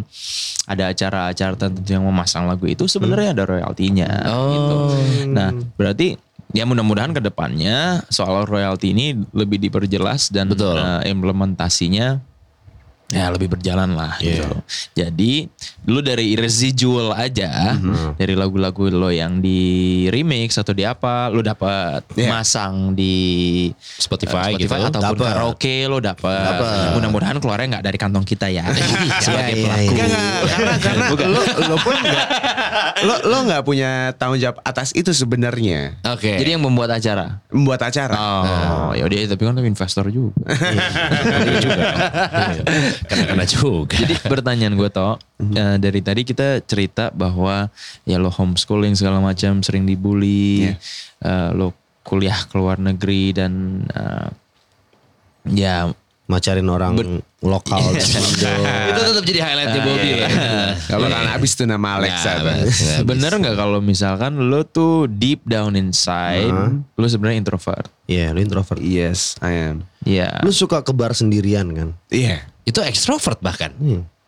[SPEAKER 3] ada acara-acara tertentu yang memasang lagu itu sebenarnya ada royaltinya gitu. Nah, berarti ya mudah-mudahan ke depannya soal royalti ini lebih diperjelas dan
[SPEAKER 2] Betul.
[SPEAKER 3] eh, implementasinya ya lebih berjalan lah gitu. Jadi lu dari residual aja
[SPEAKER 1] Mm-hmm.
[SPEAKER 3] dari lagu-lagu lo yang di remix atau di apa lu dapat masang di
[SPEAKER 2] Spotify
[SPEAKER 3] eh,
[SPEAKER 2] gitu.
[SPEAKER 3] Spotify ataupun
[SPEAKER 1] Dapet.
[SPEAKER 3] karaoke lo dapat. Mudah-mudahan keluarnya nggak dari kantong kita ya.
[SPEAKER 1] Iya,
[SPEAKER 3] Sebagai
[SPEAKER 1] iya, iya.
[SPEAKER 3] pelaku.
[SPEAKER 4] Enggak, enggak. Karena, karena lo, lo pun enggak, lo, lo enggak punya tanggung jawab atas itu sebenarnya.
[SPEAKER 2] Oke.
[SPEAKER 3] Jadi yang membuat acara.
[SPEAKER 4] Membuat acara.
[SPEAKER 1] Nah.
[SPEAKER 3] Oh, ya udah tapi kan lo investor juga.
[SPEAKER 2] kena-kena juga.
[SPEAKER 3] Jadi pertanyaan gue toh eh, dari tadi kita cerita bahwa ya lo homeschooling segala macam sering dibully, eh, lo kuliah ke luar negeri dan eh, ya
[SPEAKER 1] Macarin orang lokal.
[SPEAKER 2] itu tetap jadi highlightnya Bobby. lah.
[SPEAKER 4] Kalau kan habis tuh nama Alexa.
[SPEAKER 2] Nah,
[SPEAKER 4] Bang.
[SPEAKER 2] betul.
[SPEAKER 3] bener nggak kalau misalkan lo tuh deep down inside lo sebenarnya introvert.
[SPEAKER 1] Iya, lu introvert.
[SPEAKER 4] yes, I am.
[SPEAKER 3] Ya.
[SPEAKER 1] Lu suka ke bar sendirian kan?
[SPEAKER 4] Iya.
[SPEAKER 2] Itu ekstrovert bahkan.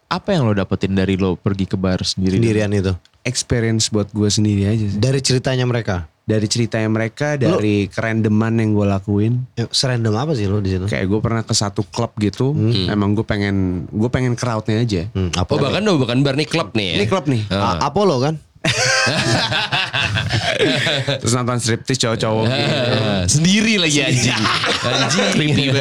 [SPEAKER 3] Apa yang lo dapetin dari lo pergi ke bar sendiri?
[SPEAKER 1] sendirian itu
[SPEAKER 4] Experience buat gue sendiri aja sih.
[SPEAKER 1] dari ceritanya mereka
[SPEAKER 4] Dari ceritanya mereka, dari kerendeman yang gue lakuin.
[SPEAKER 1] Ya, serandom apa sih lo di situ
[SPEAKER 4] Kayak gue pernah ke satu klub gitu. Emang gue pengen, gue pengen crowdnya aja.
[SPEAKER 1] Hmm, apa
[SPEAKER 2] Oh bahkan oh, bukan bar nih klub nih ya.
[SPEAKER 4] Ini klub nih.
[SPEAKER 1] A- Apollo kan
[SPEAKER 4] Terus nonton striptease cowok-cowok gitu.
[SPEAKER 2] Eh, sendiri lagi anjing. anjing. Creepy ya.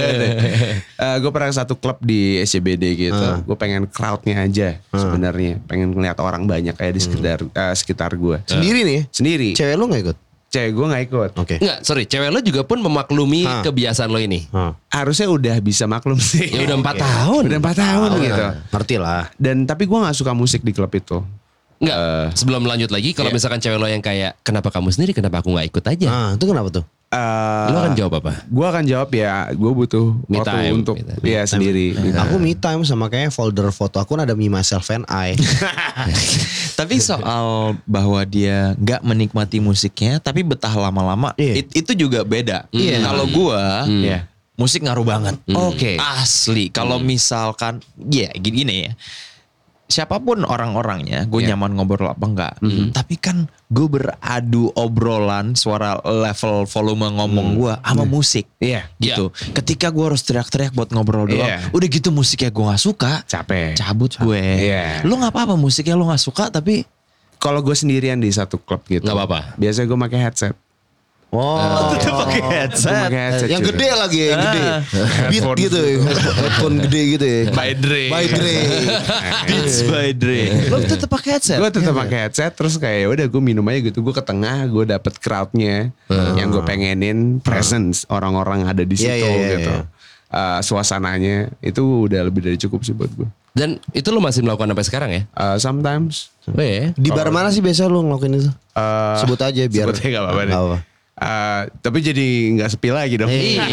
[SPEAKER 4] gue Eh, pernah ke satu klub di SCBD gitu. Gue pengen crowdnya aja sebenarnya. Pengen ngeliat orang banyak kayak di sekitar eh, sekitar gue.
[SPEAKER 1] sendiri nih
[SPEAKER 4] Sendiri.
[SPEAKER 1] cewek lo nggak ikut
[SPEAKER 4] Cewek gue nggak ikut.
[SPEAKER 1] oke
[SPEAKER 2] Enggak, sorry. Cewek lo juga pun memaklumi kebiasaan lo ini.
[SPEAKER 1] Hah.
[SPEAKER 4] Harusnya udah bisa maklum sih.
[SPEAKER 2] Ya udah 4 tahun.
[SPEAKER 4] Udah empat tahun gitu.
[SPEAKER 1] ngerti lah
[SPEAKER 4] Dan tapi gue nggak suka musik di klub itu.
[SPEAKER 2] Enggak, sebelum lanjut lagi kalau misalkan cewek lo yang kayak kenapa kamu sendiri kenapa aku nggak ikut
[SPEAKER 3] Iya.
[SPEAKER 2] aja?
[SPEAKER 1] ah itu kenapa tuh
[SPEAKER 4] Eh,
[SPEAKER 2] Lo kan jawab apa?
[SPEAKER 4] gue akan jawab ya. Gue butuh
[SPEAKER 2] Me
[SPEAKER 4] waktu
[SPEAKER 2] time,
[SPEAKER 4] untuk
[SPEAKER 2] me time.
[SPEAKER 4] ya sendiri.
[SPEAKER 3] Iya.
[SPEAKER 1] Aku me time sama kayak folder foto aku ada me myself and I.
[SPEAKER 3] Tapi soal bahwa dia nggak menikmati musiknya, tapi betah lama-lama,
[SPEAKER 1] Iya.
[SPEAKER 3] it- itu juga beda. Kalau gua,
[SPEAKER 4] Iya. Hmm.
[SPEAKER 3] musik ngaruh banget.
[SPEAKER 4] Oke. Hmm.
[SPEAKER 3] Asli. Kalau misalkan, ya gini, gini ya. Siapapun orang-orangnya, gue
[SPEAKER 4] Iya.
[SPEAKER 3] nyaman ngobrol apa enggak.
[SPEAKER 4] Hmm.
[SPEAKER 3] Tapi kan gue beradu obrolan suara level volume ngomong gua sama musik.
[SPEAKER 4] Hmm. Iya.
[SPEAKER 3] Gitu. Ketika gua harus teriak-teriak buat ngobrol doang,
[SPEAKER 4] Iya.
[SPEAKER 3] udah gitu musiknya gue nggak suka.
[SPEAKER 4] Capek.
[SPEAKER 3] Cabut gue.
[SPEAKER 4] Iya.
[SPEAKER 3] Lo nggak apa-apa musiknya lo nggak suka tapi
[SPEAKER 4] Kalau gue sendirian di satu klub gitu.
[SPEAKER 2] Nggak apa-apa. Eh.
[SPEAKER 4] Biasanya gue pakai headset.
[SPEAKER 1] Oh,
[SPEAKER 3] tetap eh, pakai headset. Ah.
[SPEAKER 4] Gue pakai headset.
[SPEAKER 1] yang
[SPEAKER 4] cuy.
[SPEAKER 1] gede lagi ya, yang gede. Beat
[SPEAKER 4] Headphone.
[SPEAKER 1] gitu, ya, headphone gede gitu ya.
[SPEAKER 3] By Dre.
[SPEAKER 1] By Dre.
[SPEAKER 3] Beats by Dre. Lo tetap pakai headset. Iya.
[SPEAKER 4] Gue
[SPEAKER 2] Iya.
[SPEAKER 4] tetap pakai headset terus kayak udah gue minum aja gitu. Gue ke tengah, gue dapet crowdnya
[SPEAKER 2] Eh.
[SPEAKER 4] yang gue pengenin presence orang-orang ada di situ
[SPEAKER 1] Iya, iya, iya,
[SPEAKER 4] gitu.
[SPEAKER 1] iya.
[SPEAKER 4] Eh, suasananya itu udah lebih dari cukup sih buat gue.
[SPEAKER 2] Dan itu lo masih melakukan sampai sekarang ya?
[SPEAKER 4] Eh, sometimes
[SPEAKER 2] Oh ya.
[SPEAKER 1] Di bar mana sih biasa lu ngelakuin itu?
[SPEAKER 4] eh,
[SPEAKER 1] Sebut aja biar.
[SPEAKER 4] sebutnya nggak apa-apa deh.
[SPEAKER 1] Nggak apa.
[SPEAKER 4] Eh, tapi jadi nggak sepi lagi dong.
[SPEAKER 2] Iya,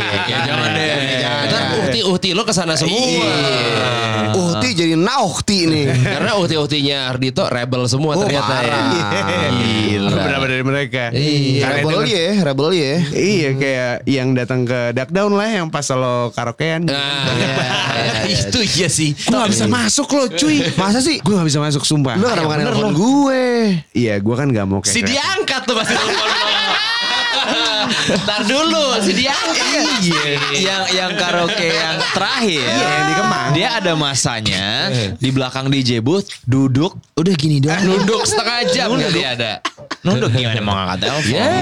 [SPEAKER 2] jangan deh. Iya. Ntar uhti-uhti lo kesana semua.
[SPEAKER 3] Eh.
[SPEAKER 1] Uhti Oh, jadi naukti nih.
[SPEAKER 3] Iya.
[SPEAKER 2] Karena uhti-uhtinya Ardito rebel semua
[SPEAKER 1] Oh,
[SPEAKER 2] ternyata ya.
[SPEAKER 1] parah.
[SPEAKER 2] Gila.
[SPEAKER 4] Beberapa dari mereka.
[SPEAKER 1] Iya,
[SPEAKER 4] Karena
[SPEAKER 1] rebel
[SPEAKER 4] denger-
[SPEAKER 1] ya, rebel
[SPEAKER 3] Eh.
[SPEAKER 1] ya.
[SPEAKER 4] Iya kayak yang datang ke Duck Down lah yang pas lo karaokean.
[SPEAKER 2] Nah, itu iya sih.
[SPEAKER 4] Gue gak bisa masuk lo cuy. Masa sih? Gue gak bisa masuk sumpah.
[SPEAKER 1] Lu kenapa kan
[SPEAKER 4] Bener
[SPEAKER 1] nelfon
[SPEAKER 4] lo.
[SPEAKER 1] gue?
[SPEAKER 4] Iya gue kan gak mau kayak
[SPEAKER 2] Si dia angkat tuh masih telepon. Ntar dulu, si dia angkat.
[SPEAKER 3] Iya. yang yang karaoke yang terakhir
[SPEAKER 4] yang di Kemang.
[SPEAKER 3] dia ada masanya di belakang DJ booth duduk udah gini doang
[SPEAKER 2] Nunduk setengah jam kali ada.
[SPEAKER 3] nunduk gimana mau ngangkat telepon
[SPEAKER 2] Ya.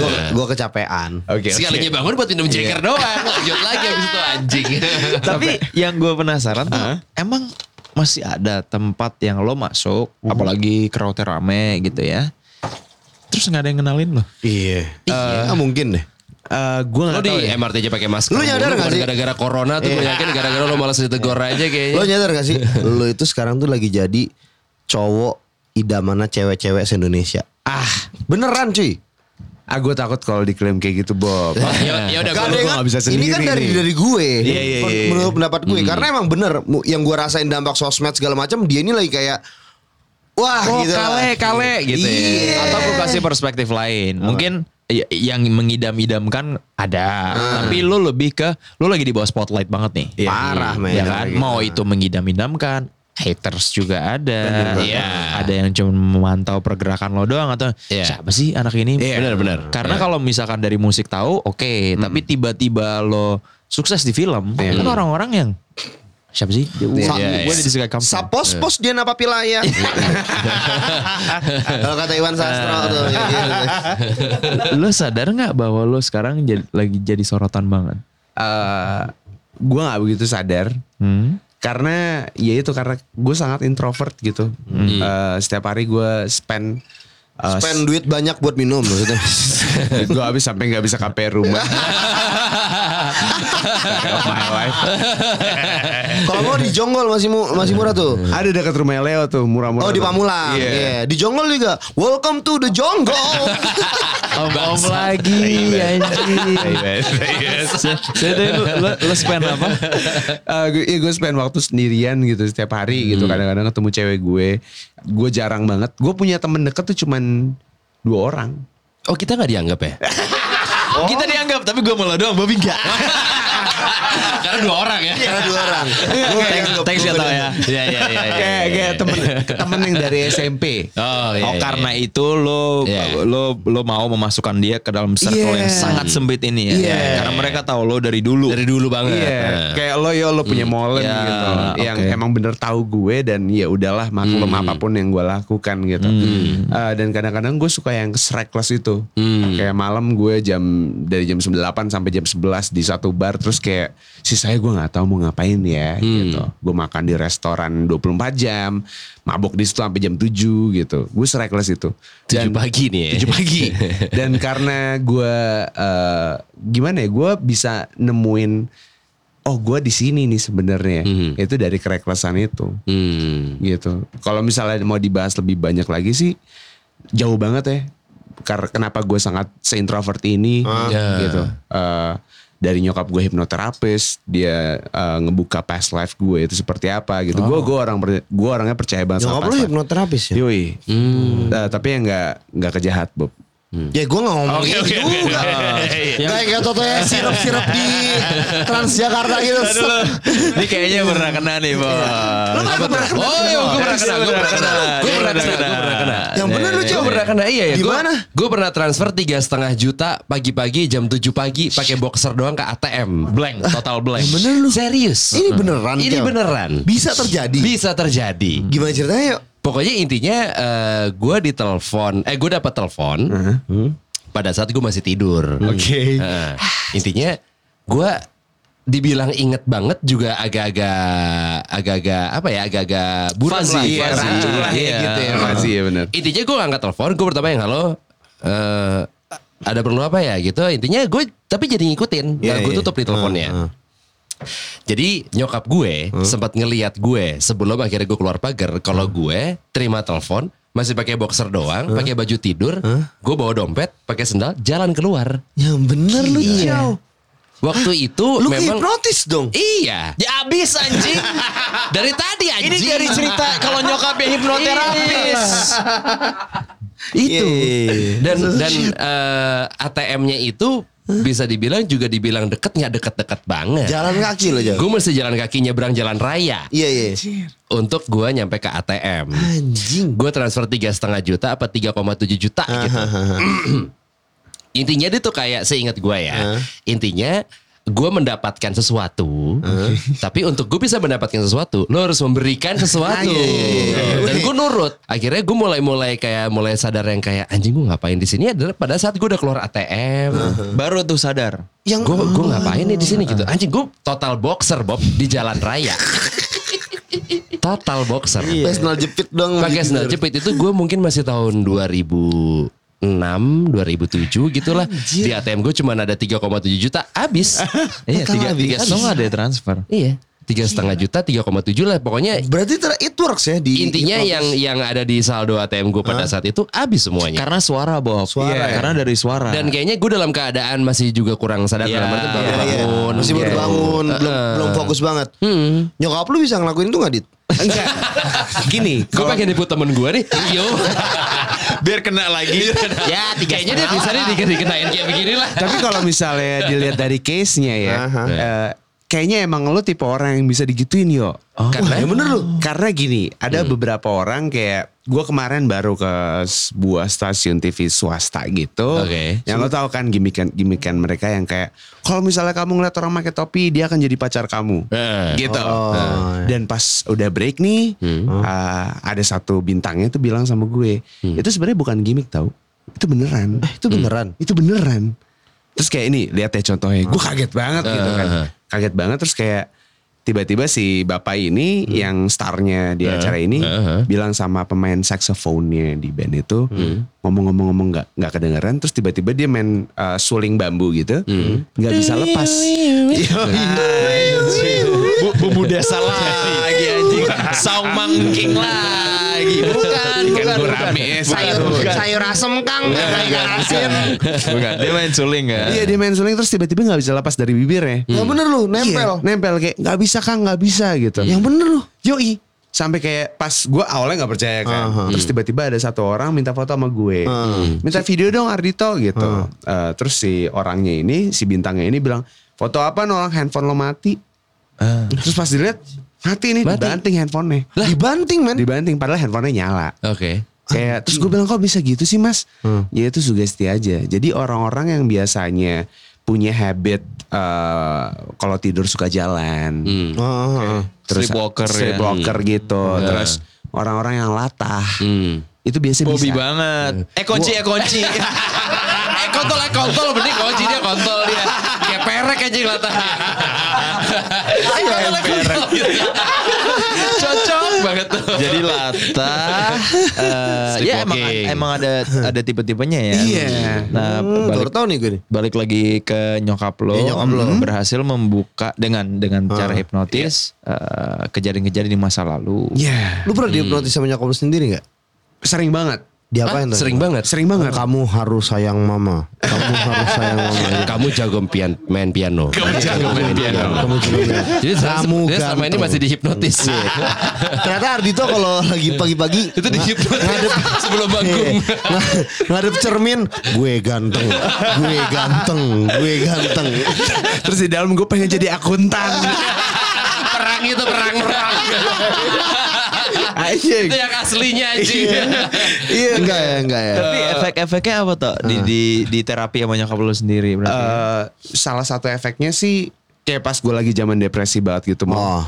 [SPEAKER 1] Gue gue kecapean.
[SPEAKER 4] Oke. oke.
[SPEAKER 2] Sekalinya bangun buat minum jeker doang. Lanjut lagi abis itu anjing.
[SPEAKER 3] tapi yang gue penasaran tuh emang masih ada tempat yang lo masuk apalagi crowdnya rame gitu ya terus nggak ada yang kenalin lo
[SPEAKER 1] Iya. Iya, mungkin deh.
[SPEAKER 4] Eh, gue
[SPEAKER 2] Lo
[SPEAKER 4] gak
[SPEAKER 2] di
[SPEAKER 4] tau ya.
[SPEAKER 2] MRT aja pakai masker.
[SPEAKER 1] Lu nyadar
[SPEAKER 2] mulu,
[SPEAKER 1] nggak sih?
[SPEAKER 2] bukan
[SPEAKER 1] Iya.
[SPEAKER 2] Gara-gara corona tuh gue yakin gara-gara lo malas ditegur aja
[SPEAKER 1] Lo
[SPEAKER 2] kayaknya.
[SPEAKER 3] Iya.
[SPEAKER 1] nyadar gak sih? lo itu sekarang tuh lagi jadi cowok idamannya cewek-cewek se-Indonesia. Ah, beneran cuy.
[SPEAKER 4] Ah gue takut kalau diklaim kayak gitu Bob.
[SPEAKER 2] Ya ya udah
[SPEAKER 1] Gak
[SPEAKER 2] gue
[SPEAKER 1] ada
[SPEAKER 4] gua
[SPEAKER 1] yang-
[SPEAKER 4] gak bisa
[SPEAKER 1] Ini kan
[SPEAKER 4] sendiri
[SPEAKER 1] dari
[SPEAKER 4] nih.
[SPEAKER 1] dari gue.
[SPEAKER 4] Iya, iya,
[SPEAKER 1] Men-
[SPEAKER 4] iya.
[SPEAKER 1] Menurut pendapat gue karena emang bener mu- yang gue rasain dampak sosmed segala macam dia ini lagi kayak wah
[SPEAKER 3] Oh
[SPEAKER 1] gitu. lah.
[SPEAKER 3] kale kale gitu
[SPEAKER 1] Iya.
[SPEAKER 3] ya. Atau gue kasih perspektif lain. Mungkin y- yang mengidam-idamkan ada. Tapi lu lebih ke lu lagi di bawah spotlight banget nih.
[SPEAKER 4] Iya.
[SPEAKER 1] Parah, men.
[SPEAKER 3] Ya kan?
[SPEAKER 4] Lagi.
[SPEAKER 3] Mau itu mengidam-idamkan haters juga ada.
[SPEAKER 2] Bener. Iya.
[SPEAKER 3] Ada yang cuma memantau pergerakan lo doang atau
[SPEAKER 2] Iya.
[SPEAKER 3] siapa sih anak ini?
[SPEAKER 2] Iya. Bener-bener.
[SPEAKER 3] Karena kalau misalkan dari musik tahu oke, tapi tiba-tiba lo sukses di film, kan orang-orang yang siapa sih?
[SPEAKER 1] Sa-
[SPEAKER 3] Gue di Sky Kampung.
[SPEAKER 4] Iya.
[SPEAKER 1] Sapos-pos iya. dia napa pilaya. Kalau kata Iwan Sastro tuh. ya gitu.
[SPEAKER 3] lo sadar nggak bahwa lo sekarang jadi- lagi jadi sorotan banget?
[SPEAKER 4] Eh, gue gak begitu sadar.
[SPEAKER 3] Hmm?
[SPEAKER 4] Karena ya itu karena gue sangat introvert gitu. Eh, setiap hari gue spend eh,
[SPEAKER 1] Spend duit banyak buat minum gitu. maksudnya.
[SPEAKER 4] gue habis sampai nggak bisa KPR rumah. Of my life.
[SPEAKER 1] Kalau mau di Jonggol masih mu- masih murah tuh.
[SPEAKER 4] Ada dekat rumah Leo tuh murah-murah.
[SPEAKER 1] Oh di
[SPEAKER 4] tuh.
[SPEAKER 1] Pamulang.
[SPEAKER 4] Iya.
[SPEAKER 1] Iya, di Jonggol juga. Welcome to the Jonggol.
[SPEAKER 3] Om-om lagi
[SPEAKER 4] Iya,
[SPEAKER 3] anjing.
[SPEAKER 2] iya.
[SPEAKER 3] Jadi lo, lo, lo spend apa?
[SPEAKER 4] Eh, gue, iya, gue spend waktu sendirian gitu setiap hari gitu. Kadang-kadang ketemu cewek gue. Gue jarang banget. Gue punya temen deket tuh cuman dua orang.
[SPEAKER 2] Oh kita nggak dianggap ya?
[SPEAKER 3] Kita dianggap tapi gue malah doang Bobby enggak.
[SPEAKER 2] Karena dua orang ya.
[SPEAKER 1] Iya,
[SPEAKER 4] Iya,
[SPEAKER 1] Karena dua orang. Gua
[SPEAKER 3] Thanks,
[SPEAKER 1] nganggep
[SPEAKER 3] thanks
[SPEAKER 1] gua
[SPEAKER 3] ya tau
[SPEAKER 1] bener.
[SPEAKER 3] ya. Iya iya iya. iya,
[SPEAKER 6] kayak
[SPEAKER 3] iya,
[SPEAKER 6] kayak
[SPEAKER 3] iya.
[SPEAKER 6] temen temen yang dari SMP
[SPEAKER 2] Oh, iya,
[SPEAKER 3] oh
[SPEAKER 2] iya.
[SPEAKER 3] karena itu lo
[SPEAKER 2] Iya.
[SPEAKER 3] lo lo mau memasukkan dia ke dalam circle
[SPEAKER 6] Iya.
[SPEAKER 3] yang sangat sempit ini ya.
[SPEAKER 6] Iya.
[SPEAKER 3] Karena mereka tahu lo dari dulu.
[SPEAKER 2] dari dulu banget.
[SPEAKER 4] Iya,
[SPEAKER 2] Nah.
[SPEAKER 4] kayak lo yo lo punya molen
[SPEAKER 3] ya,
[SPEAKER 4] gitu, yang
[SPEAKER 3] oke.
[SPEAKER 4] emang bener tahu gue dan ya udahlah maklum apapun yang gue lakukan gitu. Eh, dan kadang-kadang gue suka yang reckless itu, kayak malam gue jam dari jam 9 sampai jam 11 di satu bar, terus kayak sisanya gue nggak tahu mau ngapain ya gitu. Gue makan di restoran 24 jam, mabok di situ sampai jam 7 gitu. Gue reckless itu.
[SPEAKER 2] Tujuh
[SPEAKER 4] Dan-
[SPEAKER 2] pagi nih ya.
[SPEAKER 4] tujuh pagi Iya. dan karena gue eh, gimana ya gue bisa nemuin oh gue di sini nih sebenarnya itu dari kereklesan itu
[SPEAKER 2] Hmm.
[SPEAKER 4] gitu kalau misalnya mau dibahas lebih banyak lagi sih jauh banget ya karena kenapa gue sangat seintrovert ini
[SPEAKER 1] Ah.
[SPEAKER 2] Ya.
[SPEAKER 4] gitu Eh, dari nyokap gue hipnoterapis dia eh, ngebuka past life gue itu seperti apa gitu gue gue orang gue orangnya percaya banget
[SPEAKER 1] Nyokap
[SPEAKER 4] sama
[SPEAKER 1] lu
[SPEAKER 4] past life
[SPEAKER 1] hipnoterapis ya?
[SPEAKER 4] Yoi. Eh, tapi yang nggak nggak kejahat Bob
[SPEAKER 1] Ya gue gak ngomong gitu juga.
[SPEAKER 2] Iya,
[SPEAKER 1] Kayak kayak toto ya sirup-sirup di Transjakarta gitu.
[SPEAKER 3] Ini kayaknya
[SPEAKER 2] Iya.
[SPEAKER 3] pernah kena nih, Bang.
[SPEAKER 1] Lu kan pernah kena.
[SPEAKER 2] Oh iya, gue pernah kena, gue pernah kena, gue pernah kena, gue pernah kena.
[SPEAKER 1] Yang bener lu,
[SPEAKER 2] Gue
[SPEAKER 1] Cok.
[SPEAKER 2] pernah kena iya ya.
[SPEAKER 1] Gimana?
[SPEAKER 2] Gue pernah transfer tiga setengah juta pagi-pagi jam 7 pagi pakai boxer doang ke ATM. Blank, total blank. Bener lu. Serius.
[SPEAKER 1] Ini beneran,
[SPEAKER 2] Ini
[SPEAKER 1] Kel.
[SPEAKER 2] beneran.
[SPEAKER 1] Bisa Hmm. terjadi.
[SPEAKER 2] Bisa terjadi.
[SPEAKER 1] Gimana ceritanya yuk?
[SPEAKER 2] Pokoknya intinya eh, gue ditelepon, eh gue dapat telepon pada saat gue masih tidur.
[SPEAKER 3] Hmm.
[SPEAKER 1] Oke.
[SPEAKER 2] Heeh. intinya gue dibilang inget banget juga agak-agak agak-agak apa ya agak-agak buram
[SPEAKER 3] Fuzzy,
[SPEAKER 2] lah,
[SPEAKER 3] iya,
[SPEAKER 2] fuzzy.
[SPEAKER 3] rancu
[SPEAKER 2] Iya.
[SPEAKER 3] lah ya gitu ya.
[SPEAKER 4] Masih ya bener
[SPEAKER 2] Intinya gue angkat telepon, gue pertama yang halo. eh, ada perlu apa ya gitu intinya gue tapi jadi ngikutin
[SPEAKER 1] Iya,
[SPEAKER 2] nah, gue
[SPEAKER 1] iya.
[SPEAKER 2] tutup nih teleponnya jadi nyokap gue sempat ngeliat gue sebelum akhirnya gue keluar pagar. Kalau gue terima telepon masih pakai boxer doang, pakai baju tidur, gue bawa dompet, pakai sendal, jalan keluar.
[SPEAKER 1] Yang Ya, bener lu,
[SPEAKER 2] Iya.
[SPEAKER 1] Cok.
[SPEAKER 2] Waktu itu
[SPEAKER 1] Lu
[SPEAKER 2] memang
[SPEAKER 1] hipnotis dong.
[SPEAKER 2] iya.
[SPEAKER 3] Ya abis anjing.
[SPEAKER 2] Dari tadi anjing. Iya.
[SPEAKER 3] Ini dari cerita kalau nyokapnya hipnoterapis.
[SPEAKER 2] itu.
[SPEAKER 1] Iya.
[SPEAKER 2] Dan dan eh, ATM-nya itu bisa dibilang juga dibilang deket nggak deket-deket banget.
[SPEAKER 1] Jalan kaki lo, Cok.
[SPEAKER 2] Gue mesti jalan kaki nyebrang jalan raya
[SPEAKER 1] Iya, iya.
[SPEAKER 2] untuk gue nyampe ke ATM.
[SPEAKER 1] Anjing.
[SPEAKER 2] gue transfer tiga setengah juta apa 3,7 juta gitu. Intinya dia tuh kayak seingat gue ya. Intinya gue mendapatkan sesuatu, tapi untuk gue bisa mendapatkan sesuatu, lo harus memberikan sesuatu. Dan gue nurut. Akhirnya gue mulai-mulai kayak mulai sadar yang kayak anjing gue ngapain di sini adalah pada saat gue udah keluar ATM,
[SPEAKER 3] Baru tuh sadar.
[SPEAKER 1] Yang
[SPEAKER 2] gue gue ngapain nih di sini gitu. Anjing gue total boxer Bob di jalan raya. total boxer
[SPEAKER 1] pakai sandal jepit dong.
[SPEAKER 3] Oh, iya,
[SPEAKER 1] Gitu.
[SPEAKER 2] pakai sandal jepit itu gue mungkin masih tahun 2006 2007 gitulah di ATM gue cuma ada 3,7 juta habis
[SPEAKER 3] Iya,
[SPEAKER 1] Bakal
[SPEAKER 3] tiga,
[SPEAKER 1] habis.
[SPEAKER 3] tiga setengah deh transfer.
[SPEAKER 2] iya tiga setengah juta 3,7 lah pokoknya
[SPEAKER 1] Berarti ter- it works ya di
[SPEAKER 2] intinya yang yang ada di saldo ATM gue pada saat itu habis semuanya
[SPEAKER 3] Karena Iya. suara, Bob.
[SPEAKER 1] Suara,
[SPEAKER 3] Iya,
[SPEAKER 1] ya.
[SPEAKER 3] Karena dari suara.
[SPEAKER 2] dan kayaknya gue dalam keadaan masih juga kurang sadar
[SPEAKER 3] Iya,
[SPEAKER 2] dalam arti baru
[SPEAKER 3] iya, iya.
[SPEAKER 2] bangun Hmm.
[SPEAKER 1] Masih baru
[SPEAKER 2] gitu.
[SPEAKER 1] bangun, belum belum fokus banget. Nyokap lu bisa ngelakuin itu gak, Dit?
[SPEAKER 4] Enggak. Gini,
[SPEAKER 2] gue pengen diput temen gue nih yo
[SPEAKER 3] biar kena lagi. ya, tiga
[SPEAKER 2] kayaknya dia bisa nih dikasih dikenain kayak begini lah
[SPEAKER 4] Tapi kalau misalnya dilihat dari case-nya ya,
[SPEAKER 1] Aha.
[SPEAKER 4] eh, kayaknya emang lo tipe orang yang bisa digituin yo.
[SPEAKER 2] Karena-
[SPEAKER 4] Wah, ya bener lo. Karena gini,
[SPEAKER 2] Hmm.
[SPEAKER 4] ada beberapa orang kayak gue kemarin baru ke sebuah stasiun TV swasta gitu.
[SPEAKER 2] Oke.
[SPEAKER 4] Yang lo tau kan gimikan-gimikan mereka yang kayak kalau misalnya kamu ngeliat orang pakai topi, dia akan jadi pacar kamu.
[SPEAKER 2] Eh.
[SPEAKER 4] Gitu.
[SPEAKER 1] Oh. Hmm.
[SPEAKER 4] Nah, Dan pas udah break nih, eh, ada satu bintangnya tuh bilang sama gue, itu sebenarnya bukan gimmick tau. Itu
[SPEAKER 1] Eh,
[SPEAKER 4] beneran. Hmm.
[SPEAKER 1] Itu beneran.
[SPEAKER 4] Itu beneran. Terus kayak ini lihat ya contohnya. Gue kaget banget gitu
[SPEAKER 1] Eh,
[SPEAKER 4] kan. Kaget banget terus kayak tiba-tiba si bapak
[SPEAKER 1] Hmm.
[SPEAKER 4] ini yang
[SPEAKER 1] Eh,
[SPEAKER 4] starnya di acara ini bilang sama pemain saksofonnya di band itu
[SPEAKER 1] Hmm.
[SPEAKER 4] ngomong-ngomong-ngomong nggak nggak kedengeran terus tiba-tiba dia main uh, suling bambu gitu
[SPEAKER 1] Hmm.
[SPEAKER 4] nggak bisa lepas
[SPEAKER 3] bumbu desa lagi anjing. Saung mangking lagi.
[SPEAKER 2] Kan
[SPEAKER 3] Bukan,
[SPEAKER 4] Ikan
[SPEAKER 3] bukan,
[SPEAKER 4] gurame,
[SPEAKER 3] bukan.
[SPEAKER 4] sayur-
[SPEAKER 3] Bukan.
[SPEAKER 5] sayur asem kang
[SPEAKER 3] Bukan, bukan. Bukan, dia main suling kan?
[SPEAKER 4] iya dia main suling terus tiba-tiba nggak bisa lepas dari bibirnya
[SPEAKER 1] Yang Oh, bener lu, nempel.
[SPEAKER 4] Iya, nempel kayak nggak bisa kang nggak bisa gitu
[SPEAKER 1] Yang bener lu.
[SPEAKER 4] Yoi. Sampai kayak pas gue awalnya nggak percaya kan. Terus tiba-tiba ada satu orang minta foto sama gue. Minta video dong Ardito gitu. Eh, terus si orangnya ini, si bintangnya ini bilang, Foto apa orang handphone lo mati. Terus pas dilihat mati nih
[SPEAKER 2] Mati. Kan?
[SPEAKER 4] dibanting handphonenya.
[SPEAKER 1] Dibanting men.
[SPEAKER 4] Dibanting padahal handphonenya nyala.
[SPEAKER 2] Oke.
[SPEAKER 4] Kayak terus gue bilang kok bisa gitu sih mas? Ya itu sugesti aja. Jadi orang-orang yang biasanya punya habit eh, kalau tidur suka jalan,
[SPEAKER 5] Iya.
[SPEAKER 2] Hmm.
[SPEAKER 1] Oh, oh, oh.
[SPEAKER 4] terus
[SPEAKER 3] Sleepwalker ya.
[SPEAKER 4] sleepwalker gitu, terus orang-orang yang latah
[SPEAKER 2] Hmm.
[SPEAKER 4] itu biasanya
[SPEAKER 3] Hobi
[SPEAKER 4] bisa.
[SPEAKER 3] banget. Eh kunci, eh kunci.
[SPEAKER 2] eh kontol eh kontol bener kunci dia kontol dia kayak perek aja kelihatan ayo eh, cocok banget tuh
[SPEAKER 3] Jadi latah. eh, ya emang
[SPEAKER 2] Sleepwalking.
[SPEAKER 3] emang ada ada tipe-tipenya ya.
[SPEAKER 4] Iya.
[SPEAKER 3] Nah,
[SPEAKER 1] Hmm,
[SPEAKER 3] balik
[SPEAKER 1] baru tahu nih gue nih.
[SPEAKER 3] balik lagi ke nyokap lo,
[SPEAKER 1] Ya, nyokap lo.
[SPEAKER 3] Hmm. berhasil membuka dengan dengan cara hipnotis eh, kejadian-kejadian di masa lalu.
[SPEAKER 4] Iya.
[SPEAKER 1] Lu pernah dihipnotis sama nyokap lu sendiri nggak?
[SPEAKER 4] Sering banget.
[SPEAKER 1] Diapain tuh?
[SPEAKER 2] sering banget
[SPEAKER 4] Sering banget.
[SPEAKER 1] Kamu harus sayang mama. Kamu harus sayang mama.
[SPEAKER 2] kamu jago pian, main piano kamu jago main piano
[SPEAKER 1] Kamu juga.
[SPEAKER 2] jadi
[SPEAKER 1] Kamu
[SPEAKER 2] kamu selama ini
[SPEAKER 1] ganteng.
[SPEAKER 2] masih dihipnotis
[SPEAKER 1] Iya. Ternyata Ardito kalau lagi pagi-pagi
[SPEAKER 2] itu dihipnotis sebelum bangun
[SPEAKER 1] Eh, ng- ngadep cermin gue ganteng gue ganteng gue ganteng
[SPEAKER 4] Terus di dalam gue pengen jadi akuntan.
[SPEAKER 2] perang itu perang perang itu
[SPEAKER 4] Aja.
[SPEAKER 2] yang aslinya anjing
[SPEAKER 1] iya enggak ya enggak ya
[SPEAKER 3] Tapi efek-efeknya apa toh di, di di terapi sama nyokap lo sendiri berarti?
[SPEAKER 4] Eh, salah satu efeknya sih kayak pas gue lagi zaman depresi banget gitu mau.
[SPEAKER 1] Oh.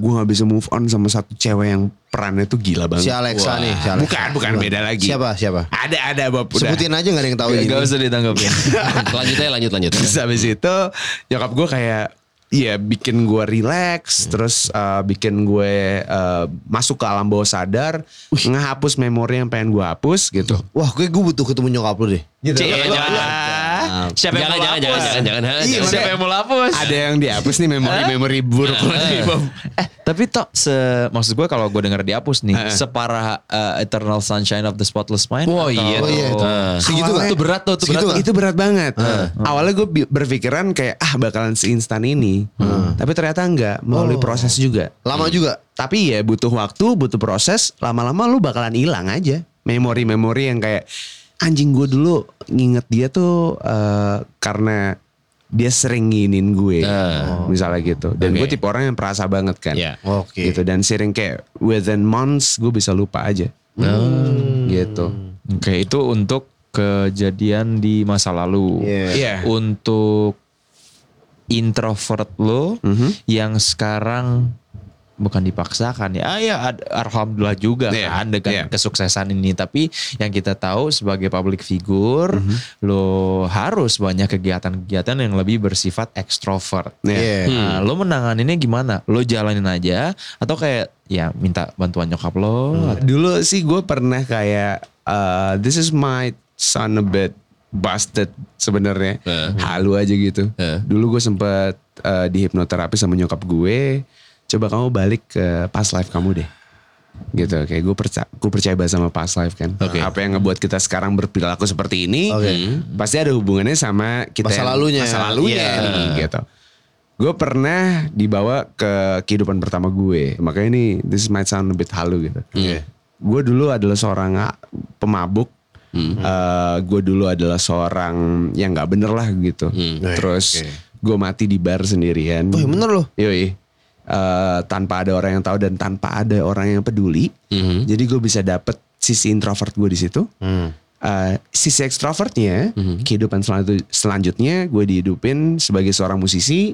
[SPEAKER 4] gue gak bisa move on sama satu cewek yang perannya tuh gila
[SPEAKER 1] si
[SPEAKER 4] banget.
[SPEAKER 1] Alexa
[SPEAKER 4] Wah.
[SPEAKER 1] nih si Alexa.
[SPEAKER 4] Bukan, bukan beda lagi.
[SPEAKER 1] siapa siapa
[SPEAKER 4] Ada ada Bob. Udah.
[SPEAKER 1] sebutin aja nggak ada yang tahu
[SPEAKER 3] Gak,
[SPEAKER 1] ini
[SPEAKER 3] gak usah ditanggapin.
[SPEAKER 2] lanjut aja lanjut lanjut
[SPEAKER 4] Terus habis itu nyokap gue kayak ya bikin gue relax, terus eh, bikin gue eh, masuk ke alam bawah sadar, ngehapus memori yang pengen gue hapus gitu.
[SPEAKER 1] wah gue gue butuh ketemu nyokap lu deh
[SPEAKER 3] Cek, jangan. Siapa yang
[SPEAKER 2] jangan
[SPEAKER 3] mau
[SPEAKER 2] jangan jangan
[SPEAKER 3] hapus?
[SPEAKER 2] jangan jangan
[SPEAKER 4] Iya,
[SPEAKER 2] jangan.
[SPEAKER 3] Siapa yang mau hapus?
[SPEAKER 4] Ada yang dihapus nih memori-memori buruk lo nih, Bob.
[SPEAKER 3] Eh, tapi toh se maksud gue kalau gue denger dihapus nih, separah eh, Eternal Sunshine of the Spotless Mind.
[SPEAKER 2] Oh,
[SPEAKER 3] atau-
[SPEAKER 2] iya
[SPEAKER 1] oh iya itu segitu
[SPEAKER 4] Awalnya-
[SPEAKER 1] nggak
[SPEAKER 2] Itu berat tuh, itu
[SPEAKER 1] Segitu
[SPEAKER 4] Berat-
[SPEAKER 1] nggak?
[SPEAKER 4] itu berat banget. Awalnya gue bi- berpikiran kayak ah bakalan seinstan ini, tapi ternyata enggak melalui
[SPEAKER 2] Oh.
[SPEAKER 4] proses juga.
[SPEAKER 1] lama
[SPEAKER 2] Hmm.
[SPEAKER 1] juga
[SPEAKER 4] Tapi ya butuh waktu, butuh proses. Lama-lama lu bakalan hilang aja memori-memori yang kayak anjing gue dulu nginget dia tuh eh, karena dia sering nginin gue, misalnya gitu. Dan
[SPEAKER 2] Eh.
[SPEAKER 4] gue
[SPEAKER 2] Oke.
[SPEAKER 4] tipe orang yang perasa banget kan.
[SPEAKER 2] Iya.
[SPEAKER 1] Oke.
[SPEAKER 4] Gitu dan sering kayak within months gue bisa lupa aja.
[SPEAKER 2] Hmm.
[SPEAKER 4] Gitu.
[SPEAKER 3] Oke, itu untuk kejadian di masa lalu.
[SPEAKER 4] Iya.
[SPEAKER 3] Untuk introvert lo yang sekarang bukan dipaksakan ya. Ah ya ad- alhamdulillah juga
[SPEAKER 4] Iya,
[SPEAKER 3] kan dengan
[SPEAKER 4] iya.
[SPEAKER 3] kesuksesan ini, tapi yang kita tahu sebagai public figure lo harus banyak kegiatan-kegiatan yang lebih bersifat ekstrovert.
[SPEAKER 1] Iya.
[SPEAKER 2] Hmm.
[SPEAKER 3] Nah, lo menanganinnya gimana? Lo jalanin aja atau kayak ya minta bantuan nyokap lo
[SPEAKER 4] Dulu sih gue pernah kayak uh, this is my son a bit busted sebenarnya
[SPEAKER 1] Eh.
[SPEAKER 4] halu aja gitu. Dulu gue sempet uh, di hipnoterapi sama nyokap gue. Coba kamu balik ke past life kamu deh. Gitu kayak gue percaya gue percaya banget sama past life kan. Apa yang ngebuat kita sekarang berperilaku seperti ini pasti ada hubungannya sama kita
[SPEAKER 1] Masa
[SPEAKER 4] yang-
[SPEAKER 1] lalunya.
[SPEAKER 4] masa lalunya
[SPEAKER 1] Iya.
[SPEAKER 4] nih, gitu. Gue pernah dibawa ke kehidupan pertama gue. Makanya ini this might sound a bit halu gitu.
[SPEAKER 1] Iya.
[SPEAKER 2] Iya.
[SPEAKER 4] Gue dulu adalah seorang ah, pemabuk. Eh, gue dulu adalah seorang yang nggak bener lah gitu. Terus gue mati di bar sendirian.
[SPEAKER 1] Nah, Wih, bener loh.
[SPEAKER 4] Yoi. Eh, tanpa ada orang yang tahu dan tanpa ada orang yang peduli. Jadi gue bisa dapet sisi introvert gue di situ. Eh, sisi ekstrovertnya, kehidupan selantu- selanjutnya gue dihidupin sebagai seorang musisi.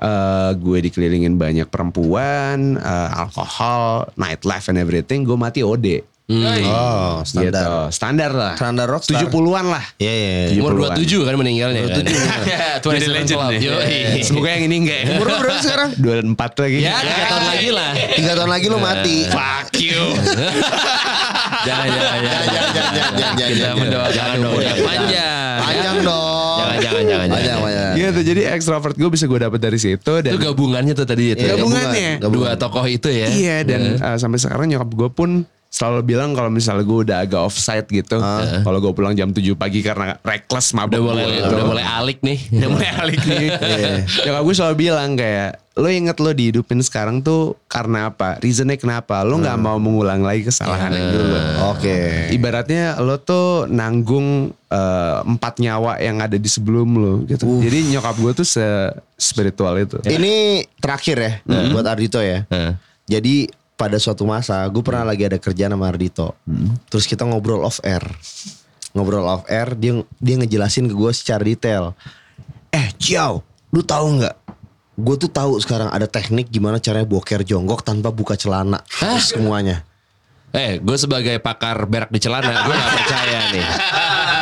[SPEAKER 4] Eh, gue dikelilingin banyak perempuan, eh, alkohol, nightlife and everything. Gue mati OD.
[SPEAKER 2] Hmm.
[SPEAKER 1] oh
[SPEAKER 4] Gitu.
[SPEAKER 1] standar
[SPEAKER 4] Standar lah.
[SPEAKER 1] Standar rockstar.
[SPEAKER 4] 70-an lah.
[SPEAKER 1] Iya, iya, iya.
[SPEAKER 2] umur
[SPEAKER 4] 70-an.
[SPEAKER 2] 27 kan meninggalnya kan 27
[SPEAKER 3] Jadi legend nih.
[SPEAKER 4] Semoga yang ini enggak ya. Umur lu berapa sekarang? 24 lagi.
[SPEAKER 2] Iya. ya 3 tahun lagi lah
[SPEAKER 1] tiga tahun lagi lu
[SPEAKER 2] Iya.
[SPEAKER 1] mati
[SPEAKER 4] Fuck you.
[SPEAKER 2] jangan jangan jangan
[SPEAKER 1] Jangan, jangan, jangan, jangan, jangan,
[SPEAKER 2] kita
[SPEAKER 1] jangan.
[SPEAKER 2] mendoakan umur yang
[SPEAKER 1] jangan.
[SPEAKER 2] panjang
[SPEAKER 1] panjang dong
[SPEAKER 2] Jangan, jangan, jangan, Iya.
[SPEAKER 1] panjang
[SPEAKER 2] jangan.
[SPEAKER 1] panjang
[SPEAKER 4] gitu, jadi extrovert gue bisa gue dapet dari situ
[SPEAKER 2] itu
[SPEAKER 4] dan
[SPEAKER 2] gabungannya tuh tadi
[SPEAKER 1] Iya,
[SPEAKER 2] itu ya.
[SPEAKER 4] gabungannya.
[SPEAKER 2] dua tokoh itu ya
[SPEAKER 4] Iya dan uh, sampai sekarang eh, nyokap gue pun selalu bilang kalau misalnya gue udah agak offside gitu. Kalau gue pulang jam 7 pagi karena reckless
[SPEAKER 2] Ah.
[SPEAKER 4] mabuk.
[SPEAKER 2] Udah boleh
[SPEAKER 4] gitu.
[SPEAKER 2] udah boleh alik nih. Iya.
[SPEAKER 4] Udah mulai alik nih. Nyokap gue selalu bilang kayak, lo inget lo dihidupin sekarang tuh karena apa? Reasonnya kenapa? Lo
[SPEAKER 2] Hmm.
[SPEAKER 4] nggak mau mengulang lagi kesalahan yang dulu.
[SPEAKER 2] Iya.
[SPEAKER 1] Oke.
[SPEAKER 4] Ibaratnya lo tuh nanggung eh, empat nyawa yang ada di sebelum lo gitu.
[SPEAKER 2] Uh.
[SPEAKER 4] Jadi nyokap gue tuh se spiritual itu.
[SPEAKER 2] Ya,
[SPEAKER 1] Ini terakhir ya
[SPEAKER 2] Hmm.
[SPEAKER 1] buat Ardito ya. Jadi pada suatu masa gue pernah
[SPEAKER 2] Hmm.
[SPEAKER 1] lagi ada kerjaan sama Ardito. Terus kita ngobrol off air. Ngobrol off air dia dia ngejelasin ke gue secara detail. Eh, Ciao, lu tahu nggak? Gue tuh tahu sekarang ada teknik gimana caranya boker jonggok tanpa buka celana semuanya.
[SPEAKER 2] Eh, gue sebagai pakar berak di celana, gue gak percaya nih.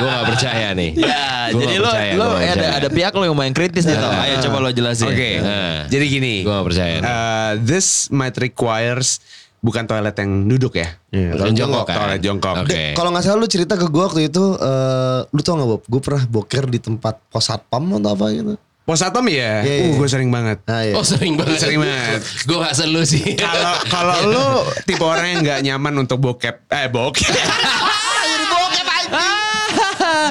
[SPEAKER 2] Gue gak percaya nih.
[SPEAKER 3] Ya,
[SPEAKER 2] Gua
[SPEAKER 3] jadi
[SPEAKER 2] nggak
[SPEAKER 3] lo
[SPEAKER 2] percaya,
[SPEAKER 3] lo
[SPEAKER 2] gua nggak
[SPEAKER 3] ada
[SPEAKER 2] percaya. Ah.
[SPEAKER 3] ada pihak lo yang main kritis nih Tom. Ayo coba lo jelasin.
[SPEAKER 4] Oke.
[SPEAKER 2] Nah,
[SPEAKER 6] Jadi gini,
[SPEAKER 2] gue gak percaya. nih.
[SPEAKER 4] Uh, this might requires bukan toilet yang duduk ya.
[SPEAKER 2] Toilet jongkok kan?
[SPEAKER 4] Toilet jongkok.
[SPEAKER 2] Oke.
[SPEAKER 1] Eh. Kalau nggak salah lu cerita ke gue waktu itu, eh, lu tau nggak Bob? Gue pernah boker di tempat pos satpam atau apa gitu.
[SPEAKER 4] Pos atom
[SPEAKER 1] Iya,
[SPEAKER 4] ya?
[SPEAKER 1] iya.
[SPEAKER 4] Uh, gue sering banget.
[SPEAKER 1] Nah, iya.
[SPEAKER 2] Oh sering banget.
[SPEAKER 4] Sering banget.
[SPEAKER 2] gue gak selu sih.
[SPEAKER 4] Kalau kalau lu tipe orang yang nggak nyaman untuk bokep, eh bokep,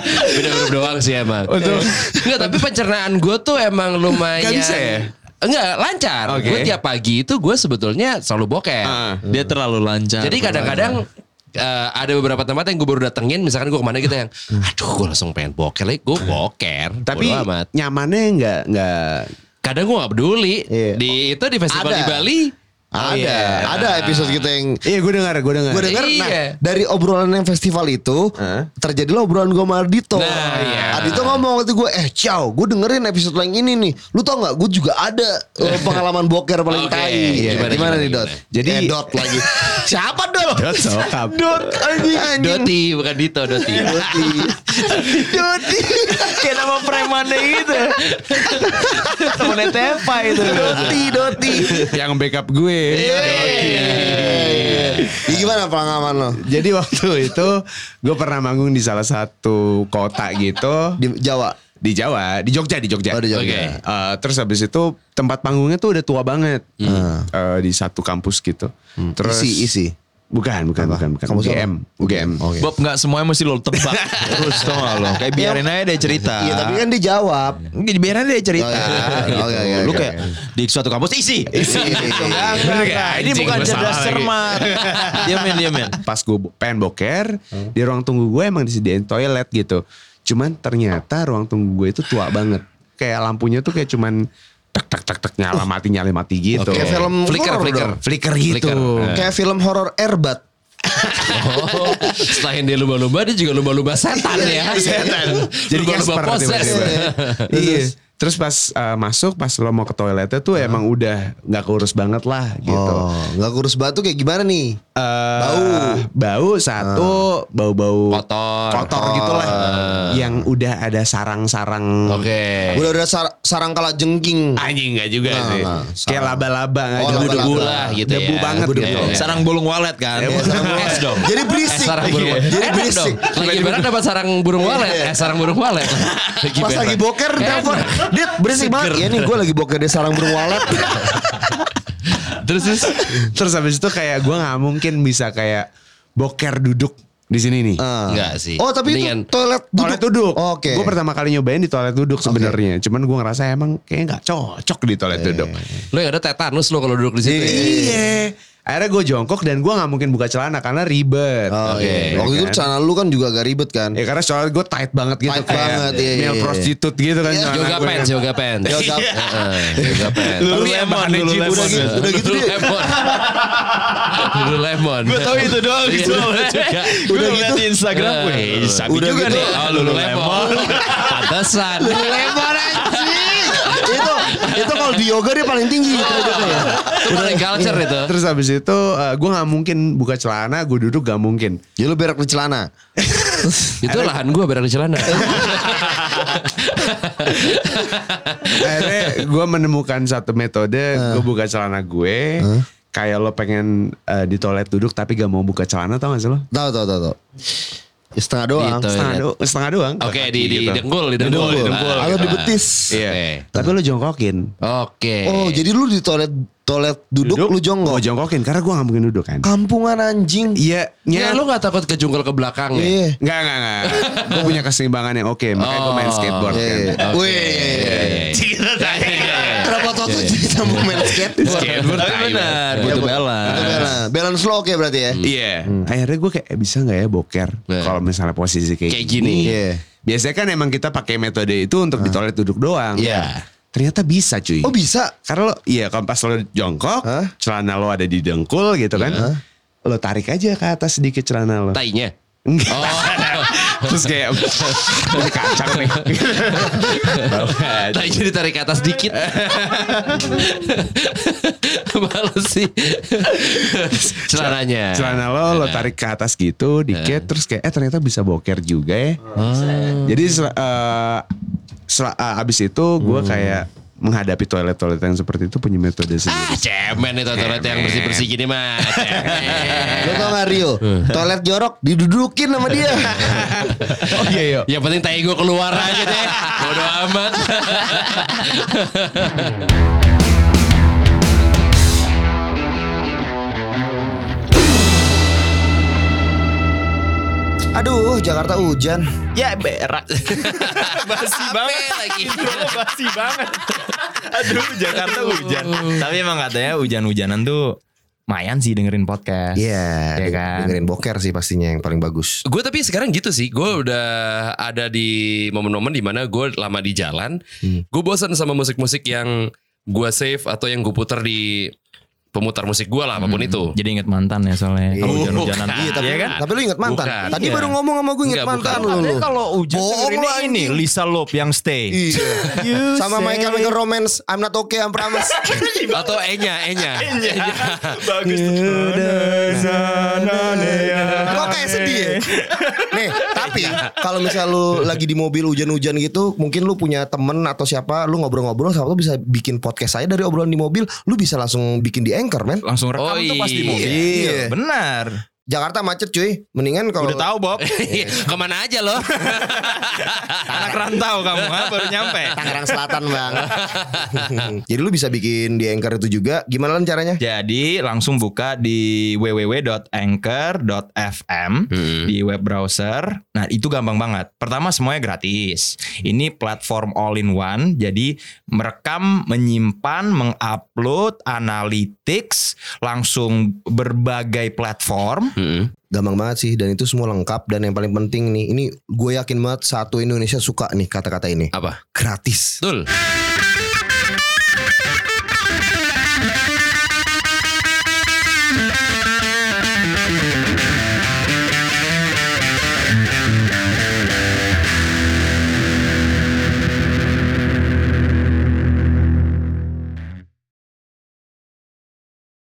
[SPEAKER 2] Bener-bener doang sih emang.
[SPEAKER 4] Untuk-
[SPEAKER 2] Enggak, tapi pencernaan gue tuh emang lumayan.
[SPEAKER 4] Nggak bisa ya?
[SPEAKER 2] Enggak, lancar.
[SPEAKER 4] Oke.
[SPEAKER 2] Gue tiap pagi itu gue sebetulnya selalu boker.
[SPEAKER 4] Ah.
[SPEAKER 3] Dia terlalu
[SPEAKER 1] Nah,
[SPEAKER 3] lancar.
[SPEAKER 2] Jadi kadang-kadang eh, ada beberapa tempat yang gue baru datengin, misalkan gue kemana gitu yang,
[SPEAKER 1] Hmm.
[SPEAKER 2] aduh gue langsung pengen boker lagi, gue boker.
[SPEAKER 4] tapi
[SPEAKER 2] Bodo amat.
[SPEAKER 4] nyamannya nggak nggak.
[SPEAKER 2] kadang gue gak peduli.
[SPEAKER 1] Iya.
[SPEAKER 2] Di itu di festival
[SPEAKER 1] Ada.
[SPEAKER 2] di Bali. Nah,
[SPEAKER 1] ada, ada episode gitu yang
[SPEAKER 4] Oh Iya gue dengar, gue dengar.
[SPEAKER 1] Gue denger,
[SPEAKER 2] Iya.
[SPEAKER 1] nah dari obrolan yang festival itu
[SPEAKER 4] Hah?
[SPEAKER 1] terjadilah obrolan gue sama Ardito.
[SPEAKER 2] Nah, iya.
[SPEAKER 1] Ardito ngomong waktu gue, eh ciao, gue dengerin episode yang ini nih. Lu tau nggak? Gue juga ada eh, pengalaman boker paling
[SPEAKER 2] Oke,
[SPEAKER 1] tai.
[SPEAKER 2] iya.
[SPEAKER 1] Gimana,
[SPEAKER 2] Gimana,
[SPEAKER 1] gimana,
[SPEAKER 2] gimana,
[SPEAKER 1] nih Dot?
[SPEAKER 2] gimana?
[SPEAKER 1] Jadi
[SPEAKER 4] Eh,
[SPEAKER 1] Dot lagi. Siapa Dot?
[SPEAKER 4] Dot sokap.
[SPEAKER 1] Dot anjing anjing.
[SPEAKER 2] Doti bukan Dito, Doti.
[SPEAKER 1] Doti. Doti.
[SPEAKER 3] kayak nama preman gitu. Temennya Tepa itu.
[SPEAKER 1] Doti. Doti.
[SPEAKER 4] yang backup gue.
[SPEAKER 1] Eh, Iya, ya gimana pengalaman lo?
[SPEAKER 4] Jadi waktu itu gue pernah manggung di salah satu kota gitu
[SPEAKER 1] Di Jawa.
[SPEAKER 4] di Jawa, di Jogja, di Jogja.
[SPEAKER 1] Oh, di Jogja.
[SPEAKER 2] Oke.
[SPEAKER 4] Eh, terus habis itu tempat panggungnya tuh udah tua banget Eh, di satu kampus gitu. Terus
[SPEAKER 1] Isi, Hmm. isi.
[SPEAKER 4] Bukan, bukan, bukan, bukan.
[SPEAKER 1] Kampus apa? Oh, iya.
[SPEAKER 4] UGM, UGM.
[SPEAKER 1] Oke.
[SPEAKER 3] Bob nggak semuanya mesti lo tebak terus tau gak lo kayak biarin aja dia cerita
[SPEAKER 1] Iya tapi kan dia jawab.
[SPEAKER 3] Jadi biarin aja dia
[SPEAKER 1] Oh,
[SPEAKER 3] cerita
[SPEAKER 1] iya, iya.
[SPEAKER 3] gitu.
[SPEAKER 1] Oke, oke,
[SPEAKER 3] lu
[SPEAKER 1] oke.
[SPEAKER 3] kayak di suatu kampus isi isi
[SPEAKER 1] Iya.
[SPEAKER 3] ini
[SPEAKER 2] Anjing,
[SPEAKER 3] bukan
[SPEAKER 2] gua
[SPEAKER 3] cerdas
[SPEAKER 2] salah lagi.
[SPEAKER 3] cermat diamin diamin
[SPEAKER 4] Nah, Pas gue pengen boker,
[SPEAKER 1] Hmm.
[SPEAKER 4] di ruang tunggu gue emang disediain toilet gitu. Cuman ternyata ruang tunggu gue itu tua banget. Kayak lampunya tuh kayak cuman tak tak tak tak nyala mati nyala mati gitu.
[SPEAKER 1] Kayak film
[SPEAKER 2] flicker,
[SPEAKER 1] horror
[SPEAKER 2] flicker.
[SPEAKER 1] dong.
[SPEAKER 4] Flicker gitu.
[SPEAKER 1] Kayak film horor Erbat.
[SPEAKER 2] Oh, selain dia lumba-lumba, dia juga lumba-lumba setan ya. Setan.
[SPEAKER 4] Jadi
[SPEAKER 2] lumba-lumba
[SPEAKER 4] Casper
[SPEAKER 2] poses.
[SPEAKER 4] tiba-tiba.
[SPEAKER 1] Iya.
[SPEAKER 4] Terus, terus pas uh, masuk pas lo mau ke toiletnya tuh emang udah nggak kurus banget lah gitu.
[SPEAKER 1] Oh, nggak kurus batu kayak gimana nih?
[SPEAKER 4] Eh,
[SPEAKER 1] Bau.
[SPEAKER 4] bau satu bau-bau
[SPEAKER 2] Kotor.
[SPEAKER 4] kotor gitulah yang udah ada sarang-sarang
[SPEAKER 2] Oke. Eh,
[SPEAKER 1] Udah udah sar- sarang kala jengking.
[SPEAKER 2] Ah,
[SPEAKER 4] anjing nggak
[SPEAKER 1] Nah,
[SPEAKER 4] juga sih
[SPEAKER 1] nah,
[SPEAKER 4] kayak
[SPEAKER 1] sarang.
[SPEAKER 4] laba-laba nggak
[SPEAKER 1] Oh,
[SPEAKER 4] juga.
[SPEAKER 1] laba-laba.
[SPEAKER 4] Debu.
[SPEAKER 2] Lah, gitu
[SPEAKER 4] debu
[SPEAKER 2] ya.
[SPEAKER 4] banget
[SPEAKER 2] Debu.
[SPEAKER 4] gitu.
[SPEAKER 2] Iya.
[SPEAKER 3] sarang bulung walet kan
[SPEAKER 1] Iya, sarang burung.
[SPEAKER 3] es dong
[SPEAKER 1] Jadi
[SPEAKER 2] Eh,
[SPEAKER 1] berisik.
[SPEAKER 2] sarang burung walet.
[SPEAKER 1] Jadi
[SPEAKER 2] Enak
[SPEAKER 1] berisik.
[SPEAKER 2] dong. Lagi berat dapat sarang burung walet. Eh, sarang burung walet. Lagi
[SPEAKER 1] Pas lagi
[SPEAKER 2] berak.
[SPEAKER 1] boker telepon. Dit, berisik banget. Iya nih gue lagi boker di sarang burung walet.
[SPEAKER 2] Terus, terus.
[SPEAKER 4] Terus habis itu kayak gue nggak mungkin bisa kayak boker duduk di sini nih.
[SPEAKER 2] Enggak sih.
[SPEAKER 1] Oh tapi
[SPEAKER 2] Mendingan-
[SPEAKER 1] itu toilet duduk.
[SPEAKER 4] Toilet duduk.
[SPEAKER 1] Oke.
[SPEAKER 4] Gue pertama kali nyobain di toilet duduk sebenarnya. Cuman gue ngerasa emang kayaknya nggak cocok di toilet duduk.
[SPEAKER 2] Lo yang ada tetanus lo kalau duduk di situ.
[SPEAKER 4] Iya. Akhirnya gue jongkok dan gue nggak mungkin buka celana karena ribet.
[SPEAKER 1] Oh, iya.
[SPEAKER 4] Ya
[SPEAKER 1] Waktu itu
[SPEAKER 4] kan?
[SPEAKER 1] celana lu kan juga agak ribet kan.
[SPEAKER 2] Eh.
[SPEAKER 4] Ya karena soalnya gue tight banget gitu
[SPEAKER 1] Tight
[SPEAKER 4] kayak
[SPEAKER 1] banget, iya, iya,
[SPEAKER 4] male
[SPEAKER 1] iya.
[SPEAKER 4] prostitute gitu kan. celana
[SPEAKER 2] Yoga
[SPEAKER 4] gue.
[SPEAKER 2] pants, yoga pants.
[SPEAKER 1] Yoga-
[SPEAKER 2] Heeh, yoga pants.
[SPEAKER 4] Lu
[SPEAKER 3] Tapi
[SPEAKER 4] lemon,
[SPEAKER 3] emang
[SPEAKER 4] lu
[SPEAKER 3] dulu lemon.
[SPEAKER 4] lemon.
[SPEAKER 1] Udah gitu, udah gitu
[SPEAKER 2] Dulu
[SPEAKER 1] dia.
[SPEAKER 2] lemon. Dulu lemon. Iya,
[SPEAKER 3] Gua tahu itu doang gitu juga. Gue
[SPEAKER 1] Udah
[SPEAKER 3] ngeliat
[SPEAKER 1] gitu.
[SPEAKER 3] di Instagram gue.
[SPEAKER 2] Eh,
[SPEAKER 3] "Ih, Sabi
[SPEAKER 1] udah
[SPEAKER 3] juga
[SPEAKER 1] gitu.
[SPEAKER 3] nih.
[SPEAKER 2] Ah,
[SPEAKER 3] Oh, Lulu Lemon.
[SPEAKER 2] Pantesan.
[SPEAKER 1] Lebar anjing. Itu itu kalau di yoga dia paling tinggi. ya. Terus
[SPEAKER 2] Itu paling culture itu.
[SPEAKER 4] Iya. Terus habis itu gue nggak mungkin buka celana, gue duduk nggak mungkin.
[SPEAKER 1] Ya lu berak di celana.
[SPEAKER 2] Itu lahan gue berada di celana.
[SPEAKER 4] Akhirnya gue menemukan satu metode,
[SPEAKER 1] Eh.
[SPEAKER 4] gue buka celana gue. Kayak lo pengen eh, di toilet duduk tapi gak mau buka celana tau gak sih lo?
[SPEAKER 1] Tahu tahu tahu tahu. Ya, Setengah doang.
[SPEAKER 2] Gitu.
[SPEAKER 4] Setengah, do- setengah doang.
[SPEAKER 2] Oke,
[SPEAKER 4] Kaki
[SPEAKER 2] di di
[SPEAKER 4] gitu.
[SPEAKER 2] dengkul, di dengkul. Ah.
[SPEAKER 1] Dengkul. Atau di betis.
[SPEAKER 4] Iya.
[SPEAKER 2] Oke.
[SPEAKER 4] Tapi lo jongkokin.
[SPEAKER 2] Oke.
[SPEAKER 1] Oh, jadi lu di toilet toilet Eh. duduk, Oh, lu
[SPEAKER 4] Gue
[SPEAKER 1] jongkok.
[SPEAKER 4] jongkokin karena gue gak mungkin duduk kan.
[SPEAKER 1] Kampungan anjing.
[SPEAKER 4] Iya,
[SPEAKER 2] Ya,
[SPEAKER 4] nyet.
[SPEAKER 2] lu gak takut kejungkel ke belakang ya?
[SPEAKER 1] Iya.
[SPEAKER 4] Enggak, enggak, enggak. gue punya keseimbangan yang oke, makanya gue main
[SPEAKER 2] Oh,
[SPEAKER 4] skateboard
[SPEAKER 1] Iya,
[SPEAKER 4] kan.
[SPEAKER 1] iya. Wih.
[SPEAKER 2] iya,
[SPEAKER 1] Kenapa tau tuh cerita mau main skateboard?
[SPEAKER 3] Skateboard tapi benar, butuh
[SPEAKER 1] Itu
[SPEAKER 3] balance.
[SPEAKER 1] balance. Balance lo oke berarti ya?
[SPEAKER 4] Iya. Akhirnya gue kayak eh, bisa nggak ya boker
[SPEAKER 2] Nah.
[SPEAKER 4] kalau misalnya posisi kayak,
[SPEAKER 2] Kayak gini.
[SPEAKER 1] Iya.
[SPEAKER 4] Biasanya kan emang kita pakai metode itu untuk di toilet duduk doang. kan?
[SPEAKER 2] Iya.
[SPEAKER 4] Ternyata bisa cuy.
[SPEAKER 1] Oh bisa?
[SPEAKER 4] Karena lo iya kalau pas lo jongkok,
[SPEAKER 1] Hah?
[SPEAKER 4] celana lo ada di dengkul gitu kan. Lo tarik aja ke atas sedikit celana lo.
[SPEAKER 2] Tainya.
[SPEAKER 4] Enggak.
[SPEAKER 2] Oh,
[SPEAKER 4] Terus kayak ini kacang nih.
[SPEAKER 2] tainya ditarik ke atas dikit. Males sih. Celananya.
[SPEAKER 4] Celana lo lo tarik ke atas gitu dikit terus kayak eh ternyata bisa boker juga ya. Jadi sel- eh, sel- eh, abis itu gue kayak menghadapi toilet-toilet yang seperti itu punya metode
[SPEAKER 2] Ah,
[SPEAKER 4] sendiri.
[SPEAKER 2] cemen itu toilet yang bersih-bersih gini mah. Cemen.
[SPEAKER 1] Lo tau gak Rio? Toilet jorok didudukin sama dia.
[SPEAKER 4] Oh iya iya.
[SPEAKER 2] Yang penting tai gue keluar aja deh. Bodo amat.
[SPEAKER 1] Aduh, Jakarta hujan.
[SPEAKER 3] Ya berak.
[SPEAKER 2] Basi banget lagi.
[SPEAKER 3] basi banget. Aduh, Jakarta hujan. Tapi emang katanya hujan-hujanan tuh mayan sih dengerin podcast.
[SPEAKER 1] Iya,
[SPEAKER 3] Iya kan?
[SPEAKER 1] dengerin boker sih pastinya yang paling bagus.
[SPEAKER 2] Gue tapi sekarang gitu sih, gue udah ada di momen-momen dimana gue lama di jalan, gue bosan sama musik-musik yang gue save atau yang gue putar di pemutar musik gue lah apapun itu.
[SPEAKER 3] Jadi inget mantan ya soalnya. Kalau
[SPEAKER 2] Bukan.
[SPEAKER 3] hujan-hujanan.
[SPEAKER 2] Iya,
[SPEAKER 1] Tapi,
[SPEAKER 3] Iya kan?
[SPEAKER 1] tapi lu inget mantan.
[SPEAKER 2] Bukan.
[SPEAKER 1] Tadi
[SPEAKER 2] Iya.
[SPEAKER 1] baru ngomong sama gue inget
[SPEAKER 2] Enggak,
[SPEAKER 1] mantan
[SPEAKER 2] bukan.
[SPEAKER 1] lu.
[SPEAKER 3] Tapi kalau hujan
[SPEAKER 1] Bohong lu,
[SPEAKER 3] dengerinnya ini
[SPEAKER 1] anjing.
[SPEAKER 3] Lisa Lop yang stay.
[SPEAKER 1] Iya. Sama
[SPEAKER 3] say-
[SPEAKER 1] Michael Michael Romance, I'm not okay, I'm promise.
[SPEAKER 2] Atau Enya, Enya.
[SPEAKER 3] Bagus Nah.
[SPEAKER 1] Kok kayak sedih ya? Nih, tapi kalau misal lu lagi di mobil hujan-hujan gitu, mungkin lu punya temen atau siapa, lu ngobrol-ngobrol sama lu bisa bikin podcast saya dari obrolan di mobil, lu bisa langsung bikin di anchor, men.
[SPEAKER 3] Langsung rekam
[SPEAKER 2] Oh,
[SPEAKER 3] tuh pas di
[SPEAKER 2] iya.
[SPEAKER 3] mobil.
[SPEAKER 1] Iya.
[SPEAKER 3] Benar.
[SPEAKER 1] Jakarta macet cuy, mendingan kalau
[SPEAKER 3] Udah tahu Bob.
[SPEAKER 2] Iya, Kemana aja loh?
[SPEAKER 3] Anak rantau kamu ha? baru nyampe.
[SPEAKER 1] Tangerang Selatan bang. Jadi lu bisa bikin di anchor itu juga. Gimana lan caranya?
[SPEAKER 3] Jadi langsung buka di www.anchor.fm di web browser. Nah, itu gampang banget. Pertama semuanya gratis. Ini platform all in one. Jadi merekam, menyimpan, mengupload, analytics langsung berbagai platform.
[SPEAKER 2] Hmm.
[SPEAKER 1] Gampang banget sih dan itu semua lengkap dan yang paling penting nih, ini gue yakin banget satu Indonesia suka nih kata-kata ini.
[SPEAKER 2] Apa?
[SPEAKER 1] Gratis.
[SPEAKER 2] Betul.